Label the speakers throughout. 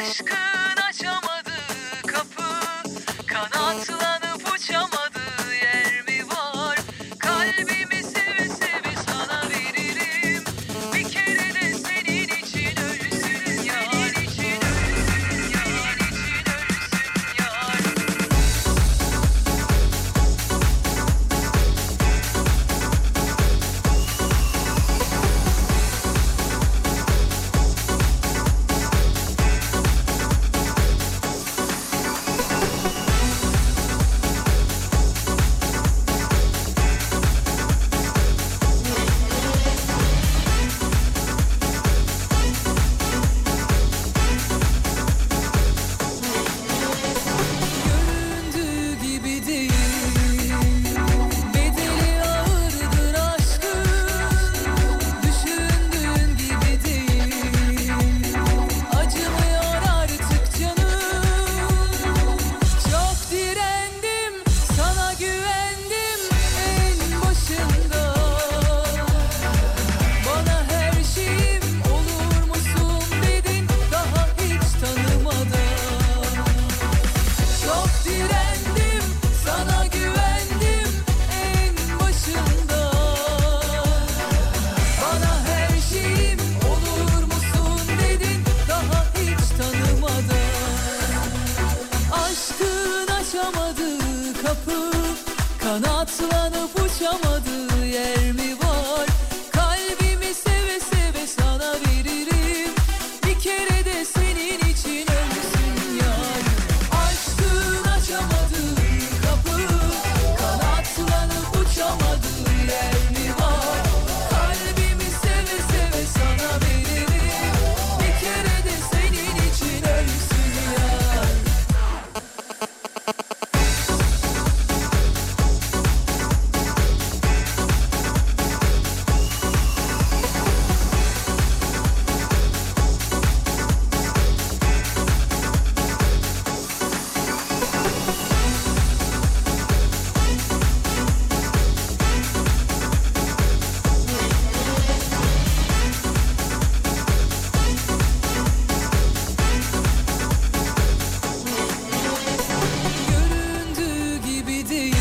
Speaker 1: Aşkın açamadığı kapı Kanatlanıp uçamadığı yer mi var Kalbimi seve seve sana veririm Bir kere de senin için ölsün yar için ölsün yar için ölsün yar Göründüğü gibi değil Bedeli ağırdır aşkın Düşündüğün gibi değil Acımıyor artık canım Çok direndim sana güvendim en başında Bana her şeyim olur musun dedin daha hiç tanımadan çok direndim, sana güvendim en başında. Bana her şeyim olur musun dedin, daha hiç tanımadan. Aşkın açamadığı kapı Kanatlanıp uçamadığı yer mi var Kalbimi seve seve sana veririm Bir kere de senin için ölsün yar Aşkın açamadığı kapı Kanatlanıp uçamadığı yer mi var Kalbimi seve seve sana veririm Bir kere de senin için ölsün yar Göründüğü gibi değil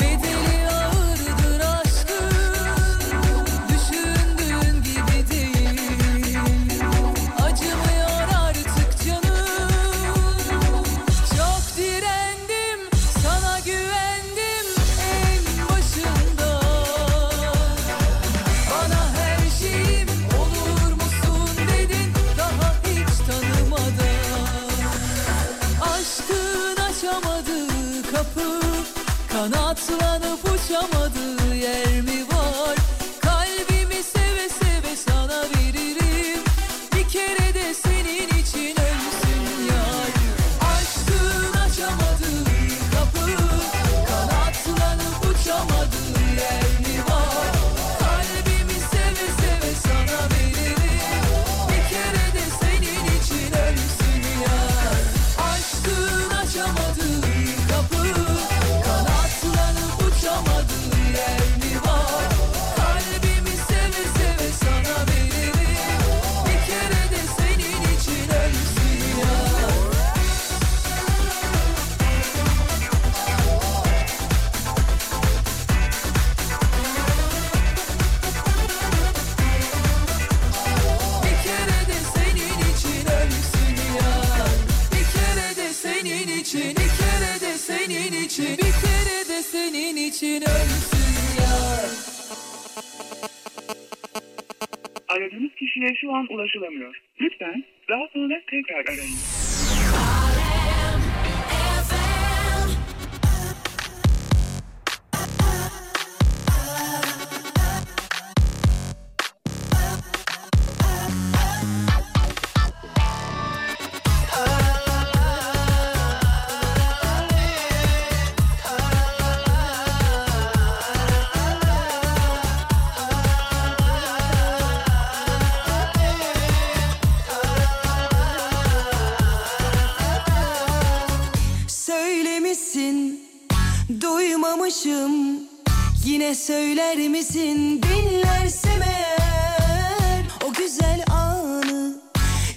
Speaker 1: Bedeli ağırdır aşkın Düşündüğün gibi değil Acımıyor artık canım Çok direndim sana güvendim en başında Bana her şeyim olur musun dedin daha hiç tanımadan Aşkın açamadığı kapı Kanatlanıp uçamadığı yer mi var Kalbimi seve seve sana veririm Bir kere de senin için ölsün yar Aşkın açamadığı kapı Kanatlanıp uçamadığı yer mi var Kalbimi seve seve sana veririm Bir kere de senin için ölsün yar Aşkın açamadığı kapı Kanatlanıp uçamadığı yer mi var Kalbimi seve seve sana veririm Bir kere de senin için ölsün ya Bir kere de senin için ölsün ya Bir kere de senin için Bir kere de senin için Bir kere de senin için ölsün ya
Speaker 2: Aradığınız kişiye şu an ulaşılamıyor. Lütfen daha sonra tekrar arayın.
Speaker 3: Söylemişsin duymamışım Yine söyler misin dinlersem eğer O güzel anı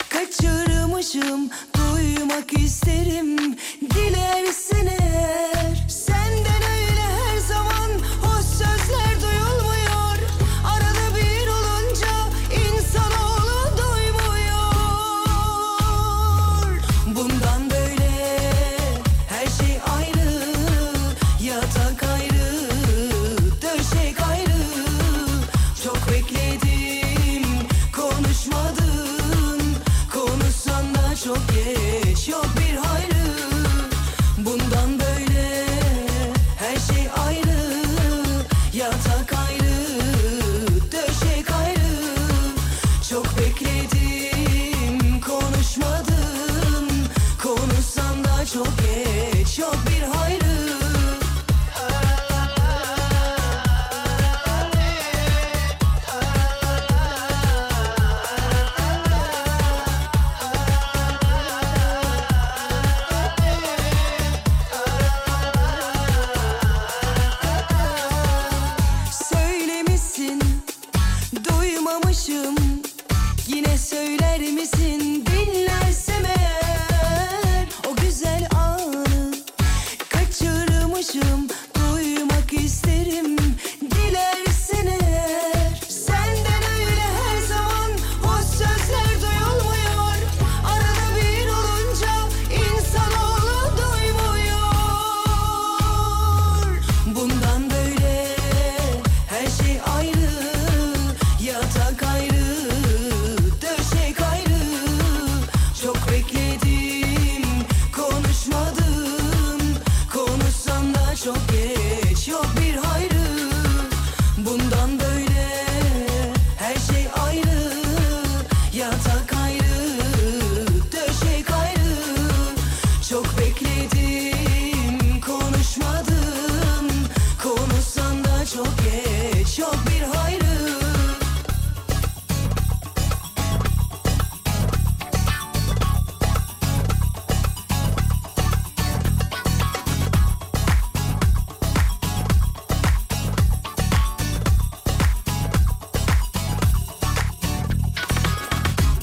Speaker 3: kaçır
Speaker 4: aşığım Duymak isterim dilersin eğer Senden öyle her zaman hoş sözler duyulmuyor Arada bir olunca insanoğlu doymuyor Bundan böyle her şey ayrı Yatak ayrı, döşek ayrı çok bekledim, konuşmadın Konuşsan da çok geç, yok bir hayrı Bundan böyle her şey ayrı Yatak ayrı, döşek ayrı Çok bekledim, konuşmadın Konuşsan da çok geç, yok bir hayrı Söylemişsin duymamışım Yine söyler misin dinlersem eğer O güzel anı kaçırmışım Duymak isterim dilersin eğer Senden öyle her zaman hoş sözler duyulmuyor Arada bir olunca insanoğlu doymuyor Bundan böyle her şey ayrı Yatak ayrı, döşek ayrı Çok bekledim, konuşmadım Konuşsan da çok geç, yok bir hayrı Bundan böyle her şey ayrı Yatak ayrı, döşek ayrı Çok bekledim, konuşmadım Konuşsan da çok geç, yok bir hayrı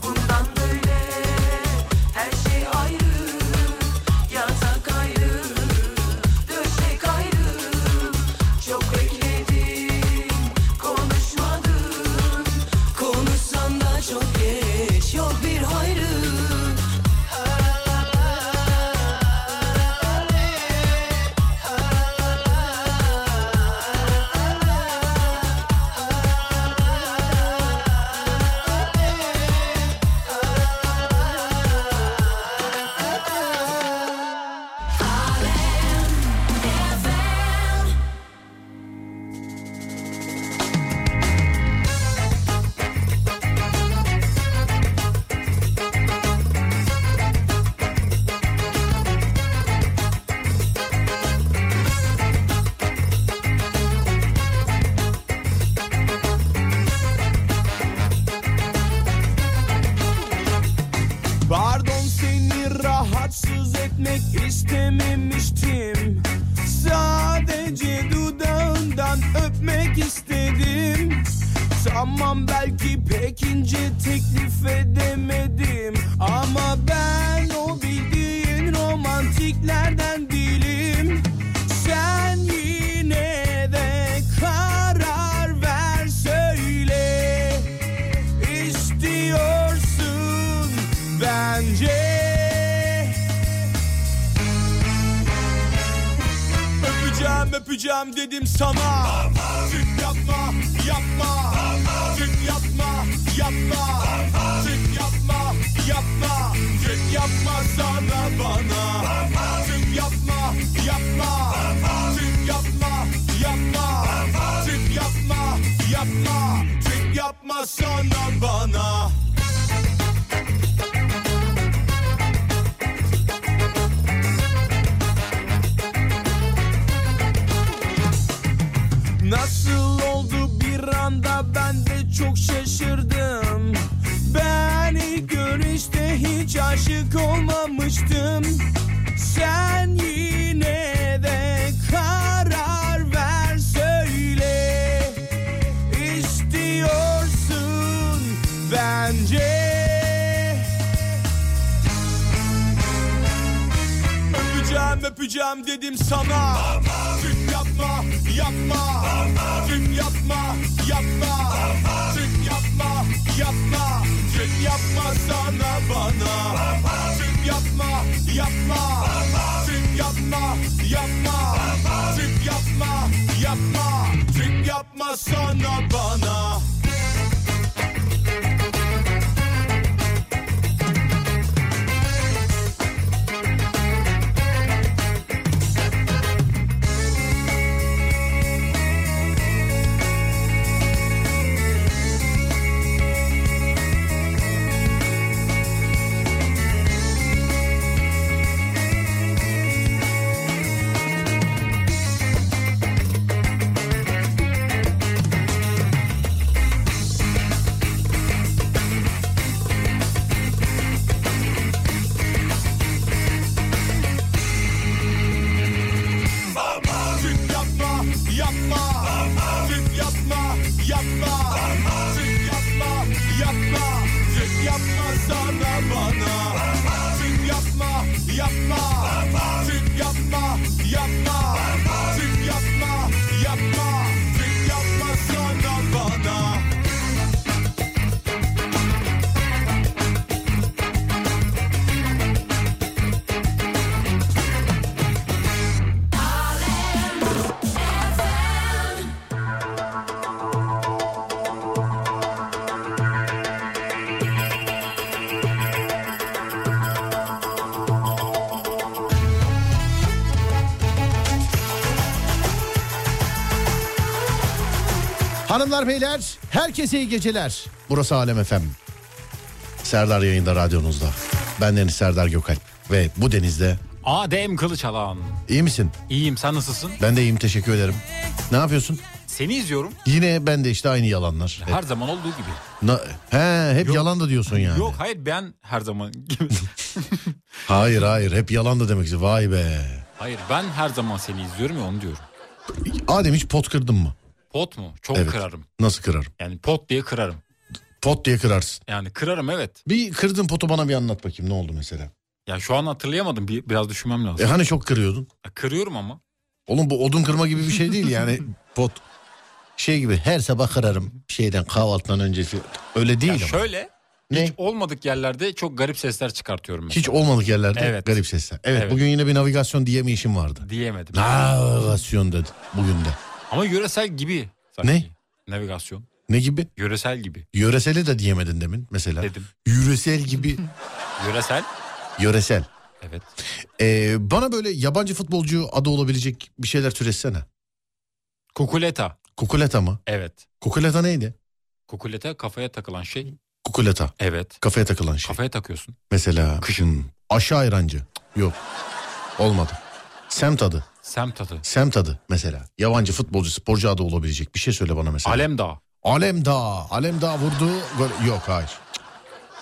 Speaker 4: Bundan böyle her şey ayrı, yatak ayrı, döşek ayrı. Çok bekledim, konuşmadım. Konuşsan da çok geç, yok bir hayrı.
Speaker 5: Pardon seni rahatsız etmek istememiştim Sadece dudağından öpmek istedim Tamam belki pek ince teklif edemedim Ama ben o bildiğin romantiklerden değilim Sen yine de karar ver söyle istiyorsun bence Öpeceğim öpeceğim dedim sana Tık yapma yapma Tık yapma yapma Tık yapma yapma Tık yapma sana bana Tık yapma yapma Tık yapma yapma Tık yapma yapma Tık yapma sana bana Nasıl oldu bir anda ben de çok şaşırdım Ben ilk görüşte hiç aşık olmamıştım Sen yine de karar ver söyle İstiyorsun bence öpeceğim dedim sana Tüh yapma yapma Tüh yapma yapma Tüh yapma yapma Tüh yapma sana bana Tüh yapma yapma Tüh yapma yapma Tüh yapma yapma Tüh yapma sana bana Tüp yapma, yapma. Tüp yapma, yapma. Tüp yapma, yapma. Tüp yapma sana bana. Tüp yapma, yapma. Tüp yapma, yapma. Tüp yapma, yapma. Tüp yapma sana bana.
Speaker 6: Hanımlar beyler herkese iyi geceler. Burası Alem FM. Serdar yayında radyonuzda. Ben Deniz Serdar Gökalp ve bu denizde
Speaker 7: Adem Kılıçalan.
Speaker 6: iyi misin?
Speaker 7: İyiyim sen nasılsın?
Speaker 6: Ben de iyiyim teşekkür ederim. Ne yapıyorsun?
Speaker 7: Seni izliyorum.
Speaker 6: Yine ben de işte aynı yalanlar.
Speaker 7: Her zaman olduğu gibi.
Speaker 6: Na- he hep yalan da diyorsun yani.
Speaker 7: Yok hayır ben her zaman gibi.
Speaker 6: Hayır hayır hep yalan da demek istiyor. Vay be.
Speaker 7: hayır ben her zaman seni izliyorum ya onu diyorum.
Speaker 6: Adem hiç pot kırdın mı?
Speaker 7: Pot mu? Çok
Speaker 6: Evet.
Speaker 7: kırarım.
Speaker 6: Nasıl kırarım?
Speaker 7: Yani pot diye kırarım.
Speaker 6: Pot diye kırarsın.
Speaker 7: Yani kırarım evet.
Speaker 6: Bir kırdın potu bana bir anlat bakayım ne oldu mesela?
Speaker 7: Ya şu an hatırlayamadım. Bir, biraz
Speaker 6: E
Speaker 7: düşünmem lazım.
Speaker 6: hani çok kırıyordun?
Speaker 7: Kırıyorum ama.
Speaker 6: Oğlum bu odun kırma gibi bir şey değil yani pot. Şey gibi her sabah kırarım şeyden kahvaltıdan öncesi. Öyle değil
Speaker 7: Ya
Speaker 6: ama.
Speaker 7: şöyle
Speaker 6: Ne?
Speaker 7: hiç olmadık yerlerde çok garip sesler çıkartıyorum.
Speaker 6: Hiç
Speaker 7: mesela.
Speaker 6: olmadık yerlerde
Speaker 7: Evet.
Speaker 6: garip sesler. Evet,
Speaker 7: Evet.
Speaker 6: bugün yine bir navigasyon diyemeyişim vardı.
Speaker 7: diyemedim.
Speaker 6: Navigasyon dedi bugün de.
Speaker 7: Ama yöresel gibi. sanki.
Speaker 6: Ne?
Speaker 7: Navigasyon.
Speaker 6: Ne gibi?
Speaker 7: Yöresel gibi
Speaker 6: Yöreseli de diyemedin demin mesela.
Speaker 7: dedim.
Speaker 6: Yöresel gibi.
Speaker 7: Yöresel.
Speaker 6: Yöresel.
Speaker 7: Evet.
Speaker 6: Ee, bana böyle yabancı futbolcu adı olabilecek bir şeyler türetsene.
Speaker 7: Kukuleta.
Speaker 6: Kukuleta mı?
Speaker 7: Evet.
Speaker 6: Kukuleta neydi?
Speaker 7: Kukuleta kafaya takılan şey.
Speaker 6: Kukuleta.
Speaker 7: Evet.
Speaker 6: Kafaya takılan şey.
Speaker 7: Kafaya takıyorsun.
Speaker 6: Mesela.
Speaker 7: Kışın.
Speaker 6: Aşağı ayrancı. Yok. Olmadı. Semt adı.
Speaker 7: Semt adı.
Speaker 6: Semt adı mesela. Yabancı futbolcu, sporcu adı olabilecek. Bir şey söyle bana mesela.
Speaker 7: Alem Dağı.
Speaker 6: Alem Dağ. Alem Dağ vurdu. gol- Yok hayır. Cık.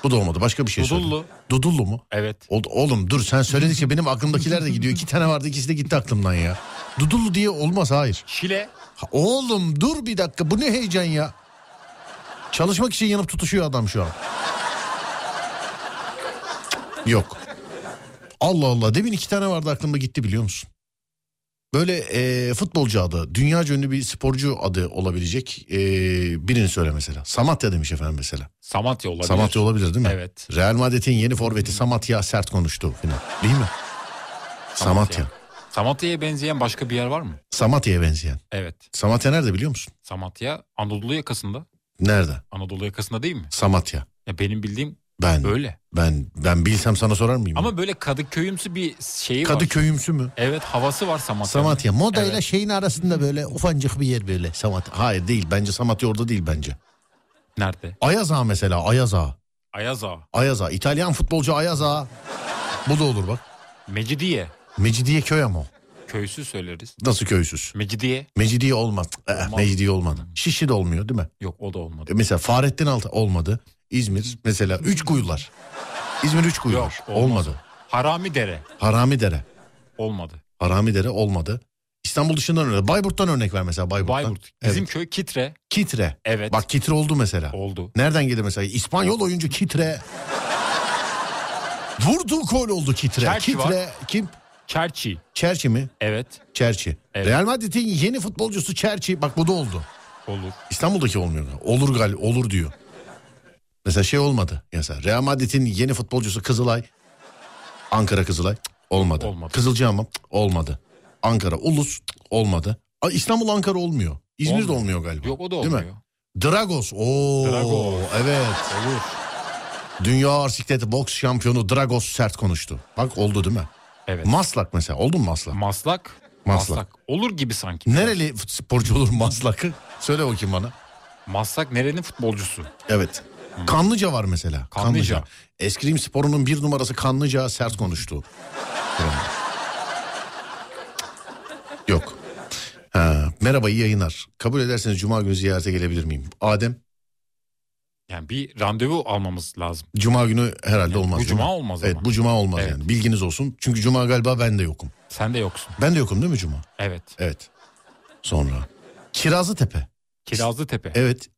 Speaker 6: Bu da olmadı. Başka bir şey söyle.
Speaker 7: Dudullu.
Speaker 6: Dudullu mu?
Speaker 7: Evet.
Speaker 6: O- Oğlum dur sen söyledikçe benim aklımdakiler de gidiyor. İki tane vardı ikisi de gitti aklımdan ya. Dudullu diye olmaz hayır.
Speaker 7: Şile.
Speaker 6: Ha, Oğlum dur bir dakika bu ne heyecan ya. Çalışmak için yanıp tutuşuyor adam şu an. Yok. Allah Allah demin iki tane vardı aklımda gitti biliyor musun? Böyle e, futbolcu adı, dünya ünlü bir sporcu adı olabilecek e, birini söyle mesela. Samatya demiş efendim mesela.
Speaker 7: Samatya olabilir.
Speaker 6: Samatya olabilir değil mi?
Speaker 7: Evet.
Speaker 6: Real Madrid'in yeni forveti Samatya sert konuştu falan. Değil mi? Samatya.
Speaker 7: Samatya'ya benzeyen başka bir yer var mı?
Speaker 6: Samatya'ya benzeyen.
Speaker 7: Evet.
Speaker 6: Samatya nerede biliyor musun?
Speaker 7: Samatya Anadolu yakasında.
Speaker 6: Nerede?
Speaker 7: Anadolu yakasında değil mi?
Speaker 6: Samatya.
Speaker 7: Ya benim bildiğim
Speaker 6: Ben
Speaker 7: öyle.
Speaker 6: ben ben bilsem sana sorar mıyım?
Speaker 7: Ama böyle Kadıköy'ümsü bir şeyi var.
Speaker 6: Kadıköy'ümsü mü?
Speaker 7: Evet havası var Samatya'nın.
Speaker 6: Samatya. Moda ile
Speaker 7: Evet.
Speaker 6: şeyin arasında böyle ufancık bir yer böyle. Samatya. Hayır değil. Bence Samatya orada değil bence.
Speaker 7: Nerede?
Speaker 6: Ayaz Ağa mesela. Ayaz Ağa.
Speaker 7: Ayaz Ağa.
Speaker 6: Ayaz Ağa. İtalyan futbolcu Ayaz Ağa. Bu da olur bak.
Speaker 7: Mecidiye.
Speaker 6: Mecidiye köy ama o.
Speaker 7: Köysü söyleriz.
Speaker 6: Nasıl köysüz?
Speaker 7: Mecidiye.
Speaker 6: Mecidiye olmaz. Eh,
Speaker 7: Olmaz.
Speaker 6: Mecidiye olmadı. Şişli de olmuyor değil mi?
Speaker 7: Yok o da olmadı.
Speaker 6: E, Mesela Fahrettin Altı olmadı. İzmir mesela üç kuyular. İzmir üç kuyular.
Speaker 7: Yok, olmaz.
Speaker 6: olmadı.
Speaker 7: Harami Dere.
Speaker 6: Haramidere.
Speaker 7: Olmadı.
Speaker 6: Haramidere olmadı. İstanbul dışından örnek. Bayburt'tan örnek ver mesela Bayburt'tan.
Speaker 7: Bayburt.
Speaker 6: Evet.
Speaker 7: Bizim köy Kitre.
Speaker 6: Kitre.
Speaker 7: Evet.
Speaker 6: Bak Kitre oldu mesela.
Speaker 7: Oldu.
Speaker 6: Nereden gelir mesela? İspanyol oyuncu Kitre. Vurdu gol oldu Kitre.
Speaker 7: Çerçi
Speaker 6: kitre kim?
Speaker 7: Çerçi.
Speaker 6: Çerçi mi?
Speaker 7: Evet.
Speaker 6: Çerçi.
Speaker 7: Evet.
Speaker 6: Real Madrid'in yeni futbolcusu Çerçi. Bak bu da oldu.
Speaker 7: Olur.
Speaker 6: İstanbul'daki olmuyor. Olur gal, olur diyor. Mesela şey olmadı. Mesela Real Madrid'in yeni futbolcusu Kızılay. Ankara Kızılay. Cık, Olmadı.
Speaker 7: Olmadı.
Speaker 6: Kızılcahamam. cık, Olmadı. Ankara Ulus. cık, Olmadı. A, İstanbul Ankara olmuyor. İzmir de
Speaker 7: Olmuyor.
Speaker 6: olmuyor galiba.
Speaker 7: Yok o da
Speaker 6: Değil mi?
Speaker 7: olmuyor.
Speaker 6: Dragos. Oo,
Speaker 7: Dragos.
Speaker 6: Evet.
Speaker 7: Olur.
Speaker 6: Dünya ağır sikleti boks şampiyonu Dragos sert konuştu. Bak oldu değil mi?
Speaker 7: Evet.
Speaker 6: Maslak mesela. Oldu mu Maslak?
Speaker 7: Maslak.
Speaker 6: Maslak.
Speaker 7: Olur gibi sanki.
Speaker 6: Nereli fut- sporcu olur Maslak'ı? Söyle bakayım bana.
Speaker 7: Maslak nerenin futbolcusu?
Speaker 6: Evet. Kanlıca var mesela.
Speaker 7: Kanlıca.
Speaker 6: Eskrim sporunun bir numarası Kanlıca sert konuştu. Yani. Yok. Ha, merhaba iyi yayınlar. Kabul ederseniz cuma günü ziyarete gelebilir miyim? Adem
Speaker 7: Yani bir randevu almamız lazım.
Speaker 6: cuma günü herhalde olmaz.
Speaker 7: bu
Speaker 6: değil
Speaker 7: cuma
Speaker 6: mi?
Speaker 7: olmaz
Speaker 6: Evet
Speaker 7: ama.
Speaker 6: bu cuma olmaz
Speaker 7: Evet.
Speaker 6: yani. Bilginiz olsun. Çünkü cuma galiba ben de yokum.
Speaker 7: Sen de yoksun.
Speaker 6: Ben de yokum değil mi cuma?
Speaker 7: Evet.
Speaker 6: Evet. Sonra Kirazlı Tepe.
Speaker 7: Kirazlı Tepe.
Speaker 6: Evet.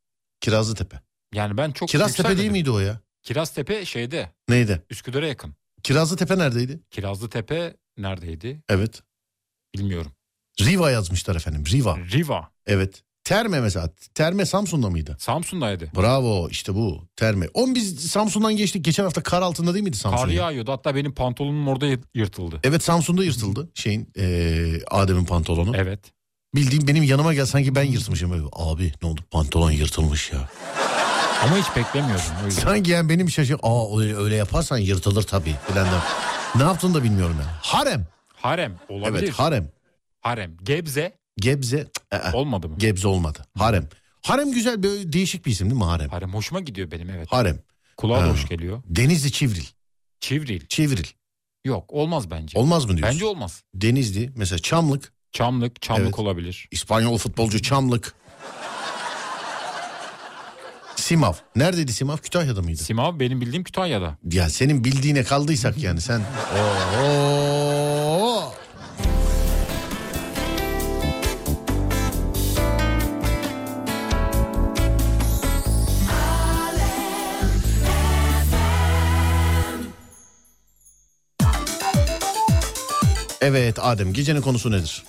Speaker 6: Kirazlı Tepe.
Speaker 7: Yani ben çok
Speaker 6: Kiraz Tepe değil
Speaker 7: yükselmedim.
Speaker 6: miydi o ya?
Speaker 7: Kiraz Tepe şeyde.
Speaker 6: Neydi?
Speaker 7: Üsküdar'a yakın.
Speaker 6: Kirazlı Tepe neredeydi?
Speaker 7: Kirazlı Tepe neredeydi?
Speaker 6: Evet.
Speaker 7: Bilmiyorum.
Speaker 6: Riva yazmışlar efendim. Riva.
Speaker 7: Riva.
Speaker 6: Evet. Terme mesela. Terme Samsun'da mıydı?
Speaker 7: Samsun'daydı.
Speaker 6: Bravo işte bu terme. On biz Samsun'dan geçtik. Geçen hafta kar altında değil miydi Samsun?
Speaker 7: Kar
Speaker 6: ya?
Speaker 7: yağıyordu. Hatta benim pantolonum orada yı- yırtıldı.
Speaker 6: Evet Samsun'da yırtıldı şeyin eee, Adem'in pantolonu.
Speaker 7: Evet.
Speaker 6: Bildiğim benim yanıma gel sanki ben yırtmışım. Böyle, Abi ne oldu pantolon yırtılmış ya.
Speaker 7: Ama hiç beklemiyordum. O yüzden.
Speaker 6: Sanki yani benim şaşır. Aa öyle, öyle yaparsan yırtılır tabii. Falan da. Ne yaptığını da bilmiyorum yani. Harem.
Speaker 7: Harem olabilir.
Speaker 6: Evet harem.
Speaker 7: Harem. Gebze
Speaker 6: Gebze. Cık, ee,
Speaker 7: olmadı mı?
Speaker 6: Gebze olmadı. Harem. Harem güzel böyle değişik bir isim değil mi harem?
Speaker 7: Harem hoşuma gidiyor benim evet.
Speaker 6: Harem.
Speaker 7: Kulağa da
Speaker 6: Ha.
Speaker 7: hoş geliyor.
Speaker 6: Denizli Çivril.
Speaker 7: Çivril.
Speaker 6: Çevril.
Speaker 7: Yok olmaz bence.
Speaker 6: Olmaz mı diyorsun?
Speaker 7: bence olmaz.
Speaker 6: Denizli mesela Çamlık.
Speaker 7: Çamlık, Çamlık
Speaker 6: Evet.
Speaker 7: olabilir.
Speaker 6: İspanyol futbolcu Çamlık. Simav. Neredeydi Simav? Kütahya'da mıydı?
Speaker 7: Simav benim bildiğim Kütahya'da.
Speaker 6: ya senin bildiğine kaldıysak yani sen. Oo. Evet Adem gecenin konusu nedir?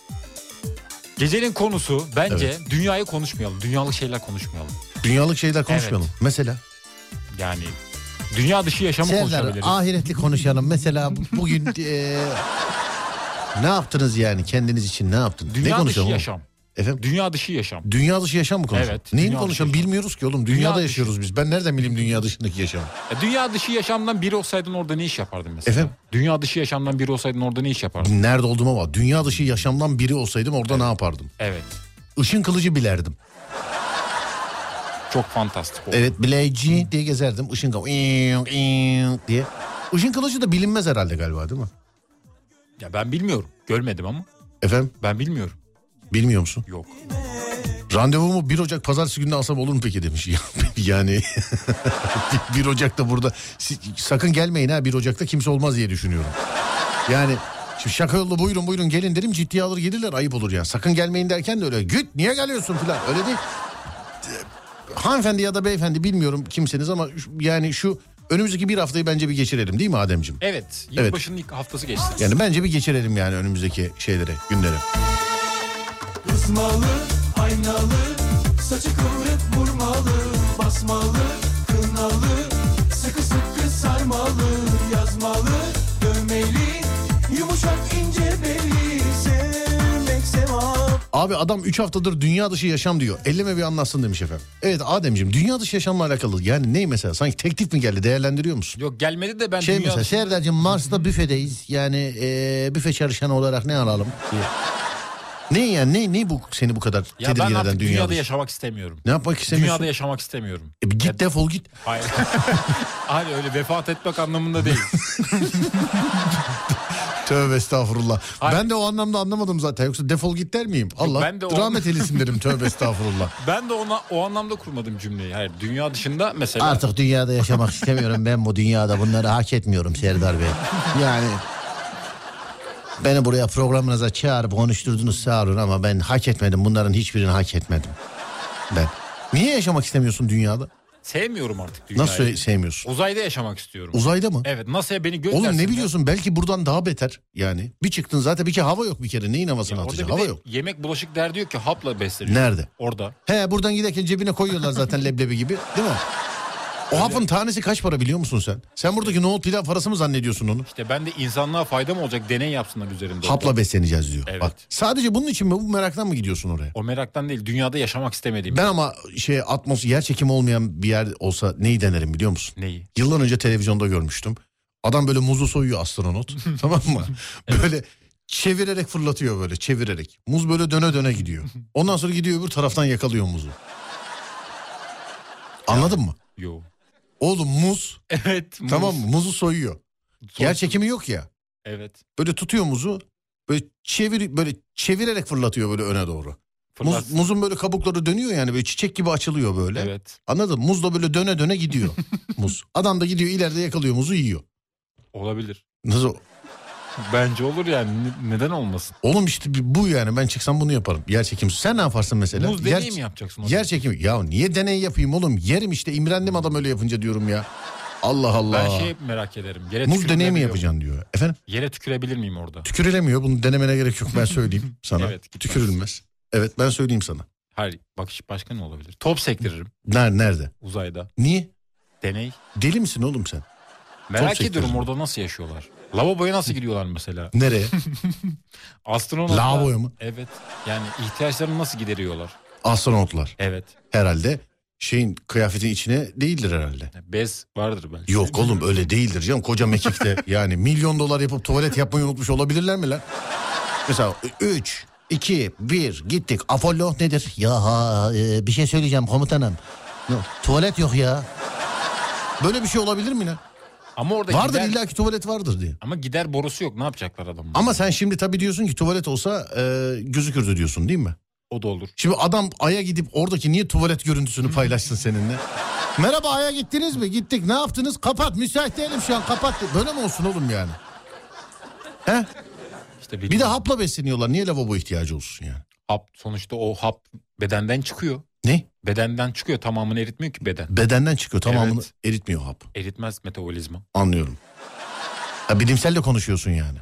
Speaker 7: Gecenin konusu bence dünyayı konuşmayalım. Dünyalık şeyler konuşmayalım.
Speaker 6: Dünyalık şeyler konuşmayalım. Mesela
Speaker 7: Yani dünya dışı yaşamı
Speaker 6: Serdar
Speaker 7: konuşabiliriz.
Speaker 6: ahiretli konuşalım. Mesela bu- bugün eee, ne yaptınız yani kendiniz için ne yaptınız? ne
Speaker 7: dünya dışı
Speaker 6: konuşalım? oğlum?
Speaker 7: yaşam.
Speaker 6: Efendim?
Speaker 7: Dünya dışı yaşam.
Speaker 6: Dünya dışı yaşam mı konuşalım?
Speaker 7: Evet,
Speaker 6: Neyini
Speaker 7: dünya dışı
Speaker 6: konuşalım
Speaker 7: yaşam.
Speaker 6: bilmiyoruz ki oğlum. Dünyada
Speaker 7: dışı.
Speaker 6: yaşıyoruz biz. Ben nereden bileyim dünya dışındaki yaşamı?
Speaker 7: Ya E, Dünya dışı yaşamdan biri olsaydın orada ne iş yapardın mesela?
Speaker 6: Efendim?
Speaker 7: Dünya dışı yaşamdan biri olsaydın orada ne iş yapardın?
Speaker 6: Nerede olduğuma bak. Dünya dışı yaşamdan biri olsaydım orada ne yapardım?
Speaker 7: Evet.
Speaker 6: Işın kılıcı bilerdim.
Speaker 7: Çok fantastik oldu.
Speaker 6: Evet bileci diye gezerdim. Işın kılıcı diye. Işın kılıcı da bilinmez herhalde galiba değil mi?
Speaker 7: Ya ben bilmiyorum. Görmedim ama
Speaker 6: Efendim
Speaker 7: ben bilmiyorum.
Speaker 6: bilmiyor musun?
Speaker 7: Yok.
Speaker 6: Randevumu 1 Ocak pazartesi gününe alsam olur mu peki demiş. Ya, yani 1 Ocak'ta burada Siz- sakın gelmeyin ha 1 Ocak'ta kimse olmaz diye düşünüyorum. Yani şimdi şaka yollu buyurun buyurun gelin derim ciddiye alır gelirler ayıp olur yani. Sakın gelmeyin derken de öyle güt niye geliyorsun falan öyle değil. Hanımefendi ya da beyefendi bilmiyorum kimseniz ama şu- yani şu önümüzdeki bir haftayı bence bir geçirelim değil mi Ademciğim?
Speaker 7: Evet.
Speaker 6: Evet.
Speaker 7: Yılbaşının ilk haftası geçti.
Speaker 6: Yani bence bir geçirelim yani önümüzdeki şeylere günlere.
Speaker 3: Kızmalı, aynalı, saçı kıvrık vurmalı Basmalı, kınalı, sıkı sıkı sarmalı Yazmalı, dövmeli, yumuşak ince beli Sevmek sevap
Speaker 6: Abi adam 3 haftadır dünya dışı yaşam diyor. Elleme bir anlatsın demiş efendim. Evet Ademciğim dünya dışı yaşamla alakalı yani ne mesela sanki teklif mi geldi değerlendiriyor musun?
Speaker 7: Yok gelmedi de ben
Speaker 6: Şey
Speaker 7: dünya
Speaker 6: mesela
Speaker 7: dışı-
Speaker 6: Serdar'cığım Mars'ta büfedeyiz yani eee, büfe çalışanı olarak ne alalım? diye. ne yani ne, ne bu seni bu kadar
Speaker 7: Şey- Ya
Speaker 6: tedirgin
Speaker 7: ben
Speaker 6: eden
Speaker 7: artık
Speaker 6: dünya
Speaker 7: dünyada
Speaker 6: dışı?
Speaker 7: yaşamak istemiyorum.
Speaker 6: Ne yapmak istemiyorsun?
Speaker 7: Dünyada yaşamak istemiyorum.
Speaker 6: E, git defol git.
Speaker 7: Hayır. Hayır öyle vefat etmek anlamında değil.
Speaker 6: Tövbe estağfurullah.
Speaker 7: Hayır.
Speaker 6: Ben de o anlamda anlamadım zaten. Yoksa defol git der miyim? Allah
Speaker 7: ben de o
Speaker 6: rahmet eylesin derim tövbe estağfurullah.
Speaker 7: Ben de ona o anlamda kurmadım cümleyi. Hayır dünya dışında mesela
Speaker 6: Artık dünyada yaşamak istemiyorum. Ben bu dünyada bunları hak etmiyorum Serdar Bey. Yani beni buraya programınıza çağırıp konuşturdunuz sağ olun ama ben hak etmedim. Bunların hiçbirini hak etmedim. Ben. Niye yaşamak istemiyorsun dünyada?
Speaker 7: Sevmiyorum artık dünyayı.
Speaker 6: Nasıl se- sevmiyorsun?
Speaker 7: Uzayda yaşamak istiyorum.
Speaker 6: Uzayda mı?
Speaker 7: evet NASA'ya beni göndersin.
Speaker 6: Oğlum
Speaker 7: ya.
Speaker 6: ne biliyorsun belki buradan daha beter yani. Bir çıktın zaten bir kere hava yok bir kere neyin havasını
Speaker 7: Ya orada
Speaker 6: atacaksın
Speaker 7: bir
Speaker 6: hava
Speaker 7: de
Speaker 6: yok.
Speaker 7: Yemek bulaşık derdi yok ki hapla besleniyor.
Speaker 6: Nerede?
Speaker 7: Orada.
Speaker 6: He buradan giderken cebine koyuyorlar zaten leblebi gibi değil mi? O hapın tanesi kaç para biliyor musun sen? Sen buradaki nohut pilav parası mı zannediyorsun onu?
Speaker 7: İşte ben de insanlığa fayda mı olacak deney yapsınlar üzerinde.
Speaker 6: Hapla besleneceğiz diyor.
Speaker 7: Evet.
Speaker 6: Bak, sadece bunun için mi bu meraktan mı gidiyorsun oraya?
Speaker 7: O meraktan değil dünyada yaşamak istemediğim.
Speaker 6: Ben ama şey atmos yer çekimi olmayan bir yer olsa neyi denerim biliyor musun?
Speaker 7: Neyi?
Speaker 6: Yıllar önce televizyonda görmüştüm. Adam böyle muzu soyuyor astronot. tamam mı? Böyle çevirerek fırlatıyor böyle çevirerek. Muz böyle döne döne gidiyor. Ondan sonra gidiyor öbür taraftan yakalıyor muzu. Anladın mı?
Speaker 7: Yo.
Speaker 6: Oğlum muz
Speaker 7: Evet. muz.
Speaker 6: tamam mı? Muzu soyuyor.
Speaker 7: Soğuk-
Speaker 6: Yer çekimi yok ya.
Speaker 7: Evet.
Speaker 6: Böyle tutuyor muzu. Böyle çevir böyle çevirerek fırlatıyor böyle öne doğru. Muz,
Speaker 7: Fırlat.
Speaker 6: muzun böyle kabukları dönüyor yani böyle çiçek gibi açılıyor böyle.
Speaker 7: Evet.
Speaker 6: Anladın mı? Muz da böyle döne döne gidiyor muz. Adam da gidiyor ileride yakalıyor muzu yiyor.
Speaker 7: Olabilir.
Speaker 6: Nasıl?
Speaker 7: Bence olur yani. Ne- Neden olmasın?
Speaker 6: Oğlum işte bir- bu yani ben çıksam bunu yaparım. Yer çekimi. Sen ne yaparsın mesela?
Speaker 7: Muz
Speaker 6: yer,
Speaker 7: deneyi mi yapacaksın? o zaman?
Speaker 6: Yer çekimi. Ya niye deney yapayım oğlum? Yerim işte imrendim adam öyle yapınca diyorum ya. Allah Allah.
Speaker 7: Ben şey merak ederim. Yere
Speaker 6: Muz deneyi mi
Speaker 7: tükürebiliyor
Speaker 6: yapacaksın diyor. Efendim
Speaker 7: muyum? Yere tükürebilir miyim orada?
Speaker 6: tükürülemiyor bunu denemene gerek yok ben söyleyeyim sana.
Speaker 7: Evet, gitmez.
Speaker 6: Tükürülmez. Evet ben söyleyeyim sana.
Speaker 7: Hayır. Bak işte başka ne olabilir? Top sektiririm
Speaker 6: Nerede? Nerede?
Speaker 7: uzayda.
Speaker 6: Niye?
Speaker 7: Deney.
Speaker 6: Deli misin oğlum sen?
Speaker 7: Merak
Speaker 6: sektiririm.
Speaker 7: ediyorum orada nasıl yaşıyorlar? Lavaboya nasıl gidiyorlar mesela?
Speaker 6: Nereye?
Speaker 7: Astronotlar.
Speaker 6: Lavaboya mı?
Speaker 7: Evet. Yani ihtiyaçlarını nasıl gideriyorlar?
Speaker 6: Astronotlar.
Speaker 7: Evet.
Speaker 6: Herhalde şeyin kıyafetin içine değildir herhalde.
Speaker 7: Bez vardır belki.
Speaker 6: Yok oğlum öyle değildir canım. Koca mekikte yani milyon dolar yapıp tuvalet yapmayı unutmuş olabilirler mi lan? Mesela 3, 2, 1 gittik. Apollo nedir? Ya ha, e, bir şey söyleyeceğim komutanım. Ne- Tuvalet yok ya. Böyle bir şey olabilir mi lan?
Speaker 7: Ama orada
Speaker 6: Vardır
Speaker 7: gider,
Speaker 6: illaki tuvalet vardır diye.
Speaker 7: Ama gider borusu yok. Ne yapacaklar adamlar?
Speaker 6: Ama sen şimdi tabii diyorsun ki tuvalet olsa e, gözükürdü diyorsun değil mi?
Speaker 7: O da olur.
Speaker 6: Şimdi adam Ay'a gidip oradaki niye tuvalet görüntüsünü paylaşsın seninle? Merhaba Ay'a gittiniz mi? Gittik. Ne yaptınız? Kapat. Müsait değilim şu an. Kapat. de- Böyle mi olsun oğlum yani? He?
Speaker 7: İşte
Speaker 6: Bir de
Speaker 7: bilmiyorum.
Speaker 6: hapla besleniyorlar. Niye lavabo ihtiyacı olsun yani?
Speaker 7: hap. Sonuçta o hap bedenden çıkıyor.
Speaker 6: Ne?
Speaker 7: Bedenden çıkıyor. Tamamını eritmiyor ki beden.
Speaker 6: Bedenden çıkıyor. Tamamını
Speaker 7: Evet.
Speaker 6: eritmiyor hap.
Speaker 7: Eritmez metabolizma.
Speaker 6: Anlıyorum. Ya bilimselle konuşuyorsun yani.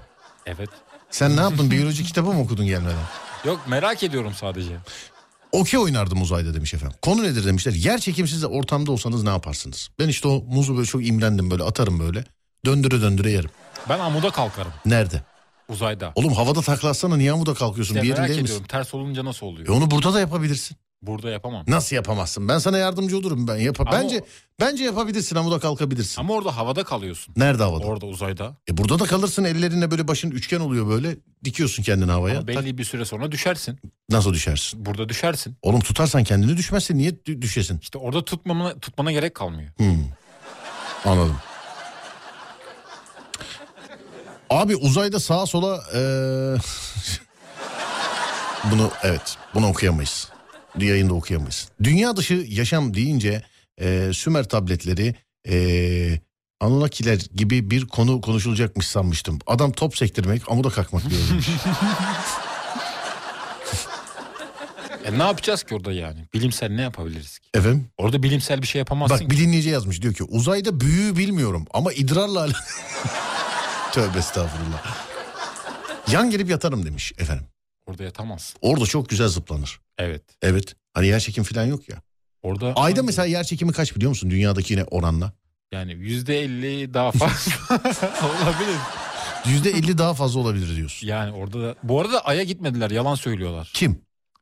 Speaker 7: Evet.
Speaker 6: Sen ne yaptın? Biyoloji kitabı mı okudun gelmeden?
Speaker 7: Yok merak ediyorum sadece.
Speaker 6: Okey oynardım uzayda demiş efendim. Konu nedir demişler. Yer çekimsiz de ortamda olsanız ne yaparsınız? Ben işte o muzu böyle çok imrendim böyle atarım böyle. Döndüre döndüre yerim.
Speaker 7: Ben amuda kalkarım
Speaker 6: Nerede?
Speaker 7: uzayda.
Speaker 6: Oğlum havada taklatsana niye amuda kalkıyorsun?
Speaker 7: İşte
Speaker 6: bir yerin
Speaker 7: merak
Speaker 6: değil
Speaker 7: ediyorum
Speaker 6: misin?
Speaker 7: ters olunca nasıl
Speaker 6: E
Speaker 7: oluyor?
Speaker 6: onu burada da yapabilirsin.
Speaker 7: Burada yapamam.
Speaker 6: Nasıl yapamazsın? Ben sana yardımcı olurum ben. Yap
Speaker 7: Ama
Speaker 6: bence
Speaker 7: o-
Speaker 6: bence yapabilirsin amuda kalkabilirsin.
Speaker 7: Ama orada havada kalıyorsun.
Speaker 6: Nerede havada?
Speaker 7: Orada uzayda.
Speaker 6: E burada da kalırsın ellerinle böyle başın üçgen oluyor böyle. Dikiyorsun kendini havaya.
Speaker 7: Ama
Speaker 6: Tak-
Speaker 7: belli bir süre sonra düşersin.
Speaker 6: Nasıl düşersin?
Speaker 7: Burada düşersin.
Speaker 6: Oğlum tutarsan kendini düşmezsin niye dü- düşesin?
Speaker 7: İşte orada tutmamana, tutmana gerek kalmıyor.
Speaker 6: Hmm. Anladım. Abi uzayda sağa sola eee, bunu evet bunu okuyamayız. Yayında okuyamayız. Dünya dışı yaşam deyince eee, Sümer tabletleri eee Anunnakiler gibi bir konu konuşulacakmış sanmıştım. Adam top sektirmek amuda kalkmak diyor.
Speaker 7: E ne yapacağız ki orada yani? Bilimsel ne yapabiliriz ki?
Speaker 6: Efendim?
Speaker 7: Orada bilimsel bir şey yapamazsın
Speaker 6: Bak
Speaker 7: ki.
Speaker 6: bir dinleyici yazmış diyor ki uzayda büyüğü bilmiyorum ama idrarla alakalı. Tövbe estağfurullah. Yan gelip yatarım demiş efendim.
Speaker 7: Orada yatamazsın.
Speaker 6: Orada çok güzel zıplanır.
Speaker 7: Evet.
Speaker 6: Evet. Hani yer çekim falan yok ya.
Speaker 7: Orada
Speaker 6: Ayda mesela yer çekimi kaç biliyor musun dünyadakine oranla?
Speaker 7: yani yüzde elli daha fazla olabilir.
Speaker 6: Yüzde elli daha fazla olabilir diyorsun.
Speaker 7: Yani orada da... Bu arada Ay'a gitmediler. Yalan söylüyorlar.
Speaker 6: Kim?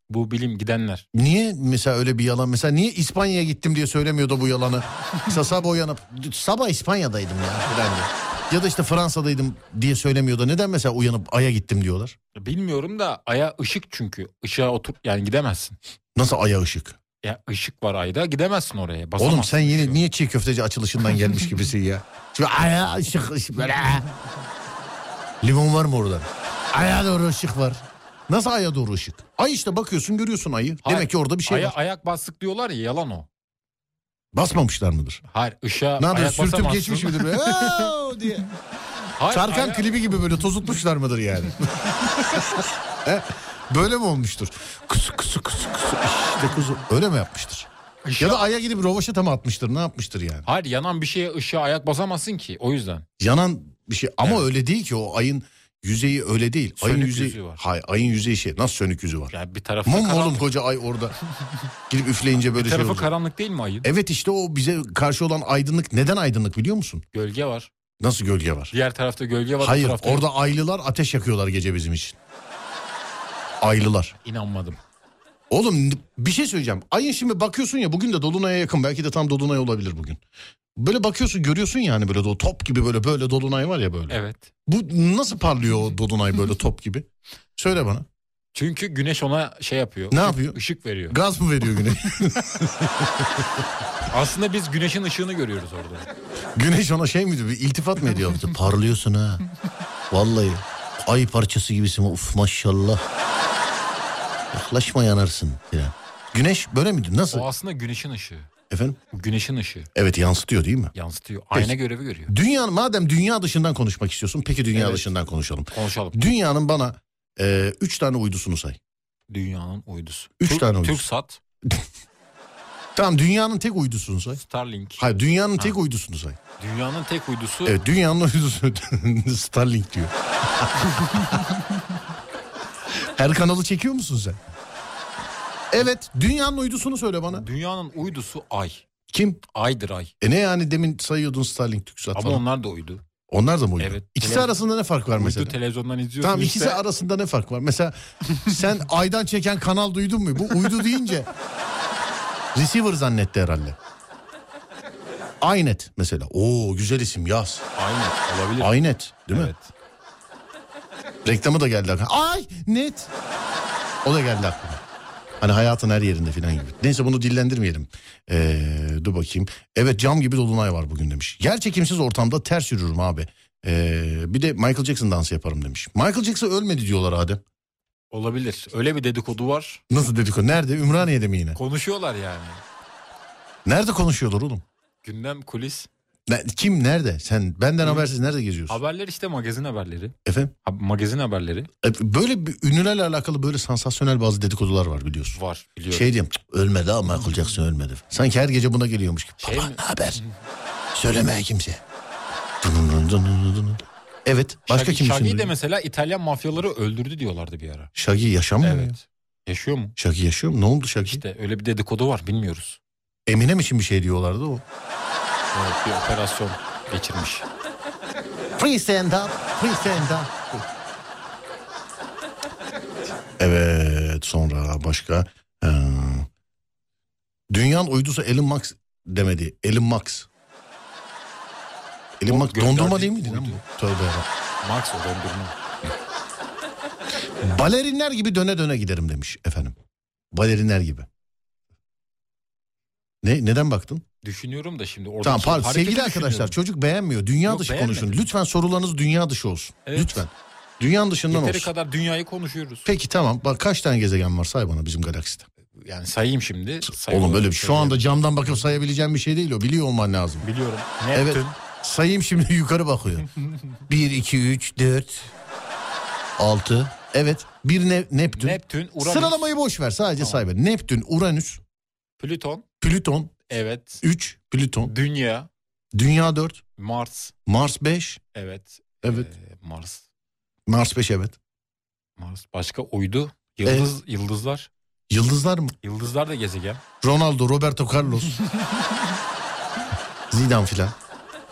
Speaker 7: Bu bilim gidenler.
Speaker 6: Niye mesela öyle bir yalan? Mesela niye İspanya'ya gittim diye söylemiyor da bu yalanı? Mesela sabah uyanıp sabah İspanya'daydım ya falan diyor. Ya da işte Fransa'daydım diye söylemiyor da neden mesela uyanıp Ay'a gittim diyorlar?
Speaker 7: Bilmiyorum da Ay'a ışık çünkü. Işığa otur yani gidemezsin.
Speaker 6: Nasıl Ay'a ışık?
Speaker 7: Ya ışık var Ay'da gidemezsin oraya. Basamazsın.
Speaker 6: Oğlum sen yine niye çiğ köfteci açılışından gelmiş gibisin ya? Şimdi aya ışık ışık böyle. Limon var mı orada? Aya doğru ışık var. Nasıl aya doğru ışık? Ay işte bakıyorsun görüyorsun ayı.
Speaker 7: Hayır,
Speaker 6: Demek ki orada bir şey
Speaker 7: Ay'a
Speaker 6: var.
Speaker 7: ayak bastık diyorlar ya yalan o.
Speaker 6: Basmamışlar mıdır?
Speaker 7: Hayır ışığa
Speaker 6: Ne
Speaker 7: ayak
Speaker 6: yapıyor sürtüp
Speaker 7: basamazsın.
Speaker 6: geçmiş midir? böyle? "Oo!" diye.
Speaker 7: Hayır,
Speaker 6: Tarkan
Speaker 7: aya-
Speaker 6: klibi gibi böyle tozutmuşlar mıdır yani? He? böyle mi olmuştur? Kusu kusu kusu kusu işte kuzu. Öyle mi yapmıştır?
Speaker 7: Işığa-
Speaker 6: Ya da aya gidip rovaşata mı atmıştır ne yapmıştır yani.
Speaker 7: Hayır yanan bir şeye ışığa ayak basamazsın ki o yüzden.
Speaker 6: Yanan bir şey ama öyle değil ki o ayın yüzeyi öyle değil. ayın
Speaker 7: Sönük
Speaker 6: yüzeyi,
Speaker 7: yüzü var.
Speaker 6: Hayır ayın yüzeyi şey nasıl sönük yüzü var.
Speaker 7: Yani bir tarafı
Speaker 6: Mum
Speaker 7: karanlık,
Speaker 6: oğlum koca ay orada gidip üfleyince böyle
Speaker 7: bir
Speaker 6: şey
Speaker 7: tarafı
Speaker 6: olacak.
Speaker 7: karanlık değil mi ayın?
Speaker 6: Evet işte o bize karşı olan aydınlık neden aydınlık biliyor musun?
Speaker 7: Gölge var.
Speaker 6: Nasıl gölge var?
Speaker 7: Diğer tarafta gölge var. bu
Speaker 6: Hayır
Speaker 7: tarafta
Speaker 6: orada aylılar ateş yakıyorlar gece bizim için. Aylılar.
Speaker 7: inanmadım.
Speaker 6: Oğlum n- bir şey söyleyeceğim. Ayın şimdi bakıyorsun ya bugün de dolunaya yakın belki de tam dolunay olabilir bugün. Böyle bakıyorsun görüyorsun yani böyle o top gibi böyle böyle dolunay var ya böyle.
Speaker 7: Evet.
Speaker 6: Bu nasıl parlıyor o dolunay böyle top gibi? Söyle bana.
Speaker 7: Çünkü güneş ona şey yapıyor.
Speaker 6: Ne
Speaker 7: ışık-
Speaker 6: yapıyor?
Speaker 7: Işık veriyor.
Speaker 6: Gaz mı veriyor güneş?
Speaker 7: Aslında biz güneşin ışığını görüyoruz orada.
Speaker 6: güneş ona şey mi diyor? Bir iltifat mı ediyor? Parlıyorsun ha. Vallahi. Ay parçası gibisin. Uf maşallah. Yaklaşma yanarsın. filan. Güneş böyle mi diyor? Nasıl?
Speaker 7: O aslında güneşin ışığı.
Speaker 6: Efendim?
Speaker 7: Güneşin ışığı
Speaker 6: Evet yansıtıyor değil mi?
Speaker 7: yansıtıyor. Ayna görevi görüyor.
Speaker 6: Dünya madem dünya dışından konuşmak istiyorsun peki dünya
Speaker 7: Evet.
Speaker 6: dışından konuşalım.
Speaker 7: Konuşalım.
Speaker 6: Dünyanın bana e, üç tane uydusunu say.
Speaker 7: Dünyanın uydusu.
Speaker 6: Üç
Speaker 7: Türk-
Speaker 6: tane uydusu.
Speaker 7: TürkSat,
Speaker 6: Tamam dünyanın tek uydusunu say.
Speaker 7: Starlink.
Speaker 6: Hayır dünyanın tek uydusunu say.
Speaker 7: Dünyanın tek uydusu
Speaker 6: Evet E, dünyanın uydusu Starlink diyor. Her kanalı çekiyor musun sen? Evet dünyanın uydusunu söyle bana.
Speaker 7: Dünyanın uydusu ay.
Speaker 6: Kim?
Speaker 7: Aydır ay.
Speaker 6: E ne yani demin sayıyordun Starlink TürkSat
Speaker 7: Ama
Speaker 6: falan.
Speaker 7: onlar da uydu.
Speaker 6: Onlar da mı uydu?
Speaker 7: Evet.
Speaker 6: İkisi
Speaker 7: Televizyon-
Speaker 6: arasında ne fark var mesela?
Speaker 7: Uydu televizyondan izliyorsun
Speaker 6: Tamam
Speaker 7: işte.
Speaker 6: ikisi arasında ne fark var? Mesela sen aydan çeken kanal duydun mu? Bu uydu deyince receiver zannetti herhalde. Aynet mesela. Oo güzel isim yaz.
Speaker 7: Aynen olabilir.
Speaker 6: Aynet değil mi?
Speaker 7: evet.
Speaker 6: Reklamı da geldi aklıma. Ay net. O da geldi aklıma. Hani hayatın her yerinde falan gibi. Neyse bunu dillendirmeyelim. Ee, dur bakayım. Evet cam gibi dolunay var bugün demiş. Yer çekimsiz ortamda ters yürürüm abi. Ee, bir de Michael Jackson dansı yaparım demiş. Michael Jackson ölmedi diyorlar Adem.
Speaker 7: Olabilir. Öyle bir dedikodu var.
Speaker 6: Nasıl dedikodu? Nerede? Ümraniye'de mi yine?
Speaker 7: Konuşuyorlar yani.
Speaker 6: Nerede konuşuyorlar oğlum?
Speaker 7: Gündem kulis.
Speaker 6: Ne- Kim nerede? Sen benden habersiz nerede geziyorsun?
Speaker 7: Haberler işte magazin haberleri.
Speaker 6: Efendim?
Speaker 7: Ha, magazin haberleri
Speaker 6: E, Böyle bir ünlülerle alakalı böyle sansasyonel bazı dedikodular var biliyorsun.
Speaker 7: var biliyorum.
Speaker 6: Şey diyeyim "Cık, ölmedi ama Michael Jackson ölmedi. Sanki her gece buna geliyormuş gibi.
Speaker 7: Şey
Speaker 6: Baba,
Speaker 7: mi?
Speaker 6: ne haber? Söyleme kimse. Dın dın dın dın. Evet. Başka
Speaker 7: Shaggy-
Speaker 6: kim
Speaker 7: Shaggy
Speaker 6: Şagi
Speaker 7: de mesela İtalyan mafyaları öldürdü diyorlardı bir ara.
Speaker 6: Şagi yaşamıyor mu?
Speaker 7: Evet. Yaşıyor mu?
Speaker 6: Şagi yaşıyor mu? Ne oldu Şagi?
Speaker 7: İşte öyle bir dedikodu var bilmiyoruz.
Speaker 6: Eminem için bir şey diyorlardı o.
Speaker 7: Evet bir operasyon geçirmiş.
Speaker 6: Free stand up, free stand up. Evet sonra başka. Ee, dünyanın uydusu Elon Musk demedi. Elon Musk. Elon
Speaker 7: O
Speaker 6: Musk dondurma
Speaker 7: gönderdiği
Speaker 6: değil miydi lan
Speaker 7: uydu.
Speaker 6: bu? Tövbe yarabbim.
Speaker 7: Max o dondurma.
Speaker 6: Balerinler gibi döne döne giderim demiş efendim. Balerinler gibi. Ne, neden baktın?
Speaker 7: Düşünüyorum da şimdi orada. şey,
Speaker 6: Tamam pardon sevgili arkadaşlar çocuk beğenmiyor. Dünya
Speaker 7: Yok,
Speaker 6: dışı
Speaker 7: beğenmedim.
Speaker 6: konuşun. Lütfen sorularınız dünya dışı olsun.
Speaker 7: Evet.
Speaker 6: Lütfen. Dünya dışından
Speaker 7: Yeteri
Speaker 6: olsun.
Speaker 7: kadar dünyayı konuşuyoruz.
Speaker 6: Peki tamam. Bak kaç tane gezegen var say bana bizim galakside.
Speaker 7: Yani sayayım şimdi.
Speaker 6: Oğlum
Speaker 7: Sayıyorum,
Speaker 6: böyle bir şu
Speaker 7: söyleyeyim.
Speaker 6: anda camdan bakıp sayabileceğim bir şey değil o. Biliyor olman lazım.
Speaker 7: Biliyorum.
Speaker 6: Evet.
Speaker 7: Neptün.
Speaker 6: Sayayım şimdi yukarı bakıyor. 1 2 3 4 6 Evet. Bir ne- Neptün.
Speaker 7: Neptün, Uranüs,
Speaker 6: Sıralamayı boş ver. Sadece say ver. Neptün, Uranüs,
Speaker 7: Plüton,
Speaker 6: Plüton
Speaker 7: evet,
Speaker 6: 3, Plüton,
Speaker 7: Dünya,
Speaker 6: Dünya 4,
Speaker 7: Mars,
Speaker 6: Mars 5.
Speaker 7: evet,
Speaker 6: Evet.
Speaker 7: Ee, Mars,
Speaker 6: Mars 5 evet.
Speaker 7: Mars başka uydu, yıldız, yıldızlar,
Speaker 6: Yıldızlar mı?
Speaker 7: yıldızlar da gezegen.
Speaker 6: Ronaldo, Roberto Carlos. Zidane filan.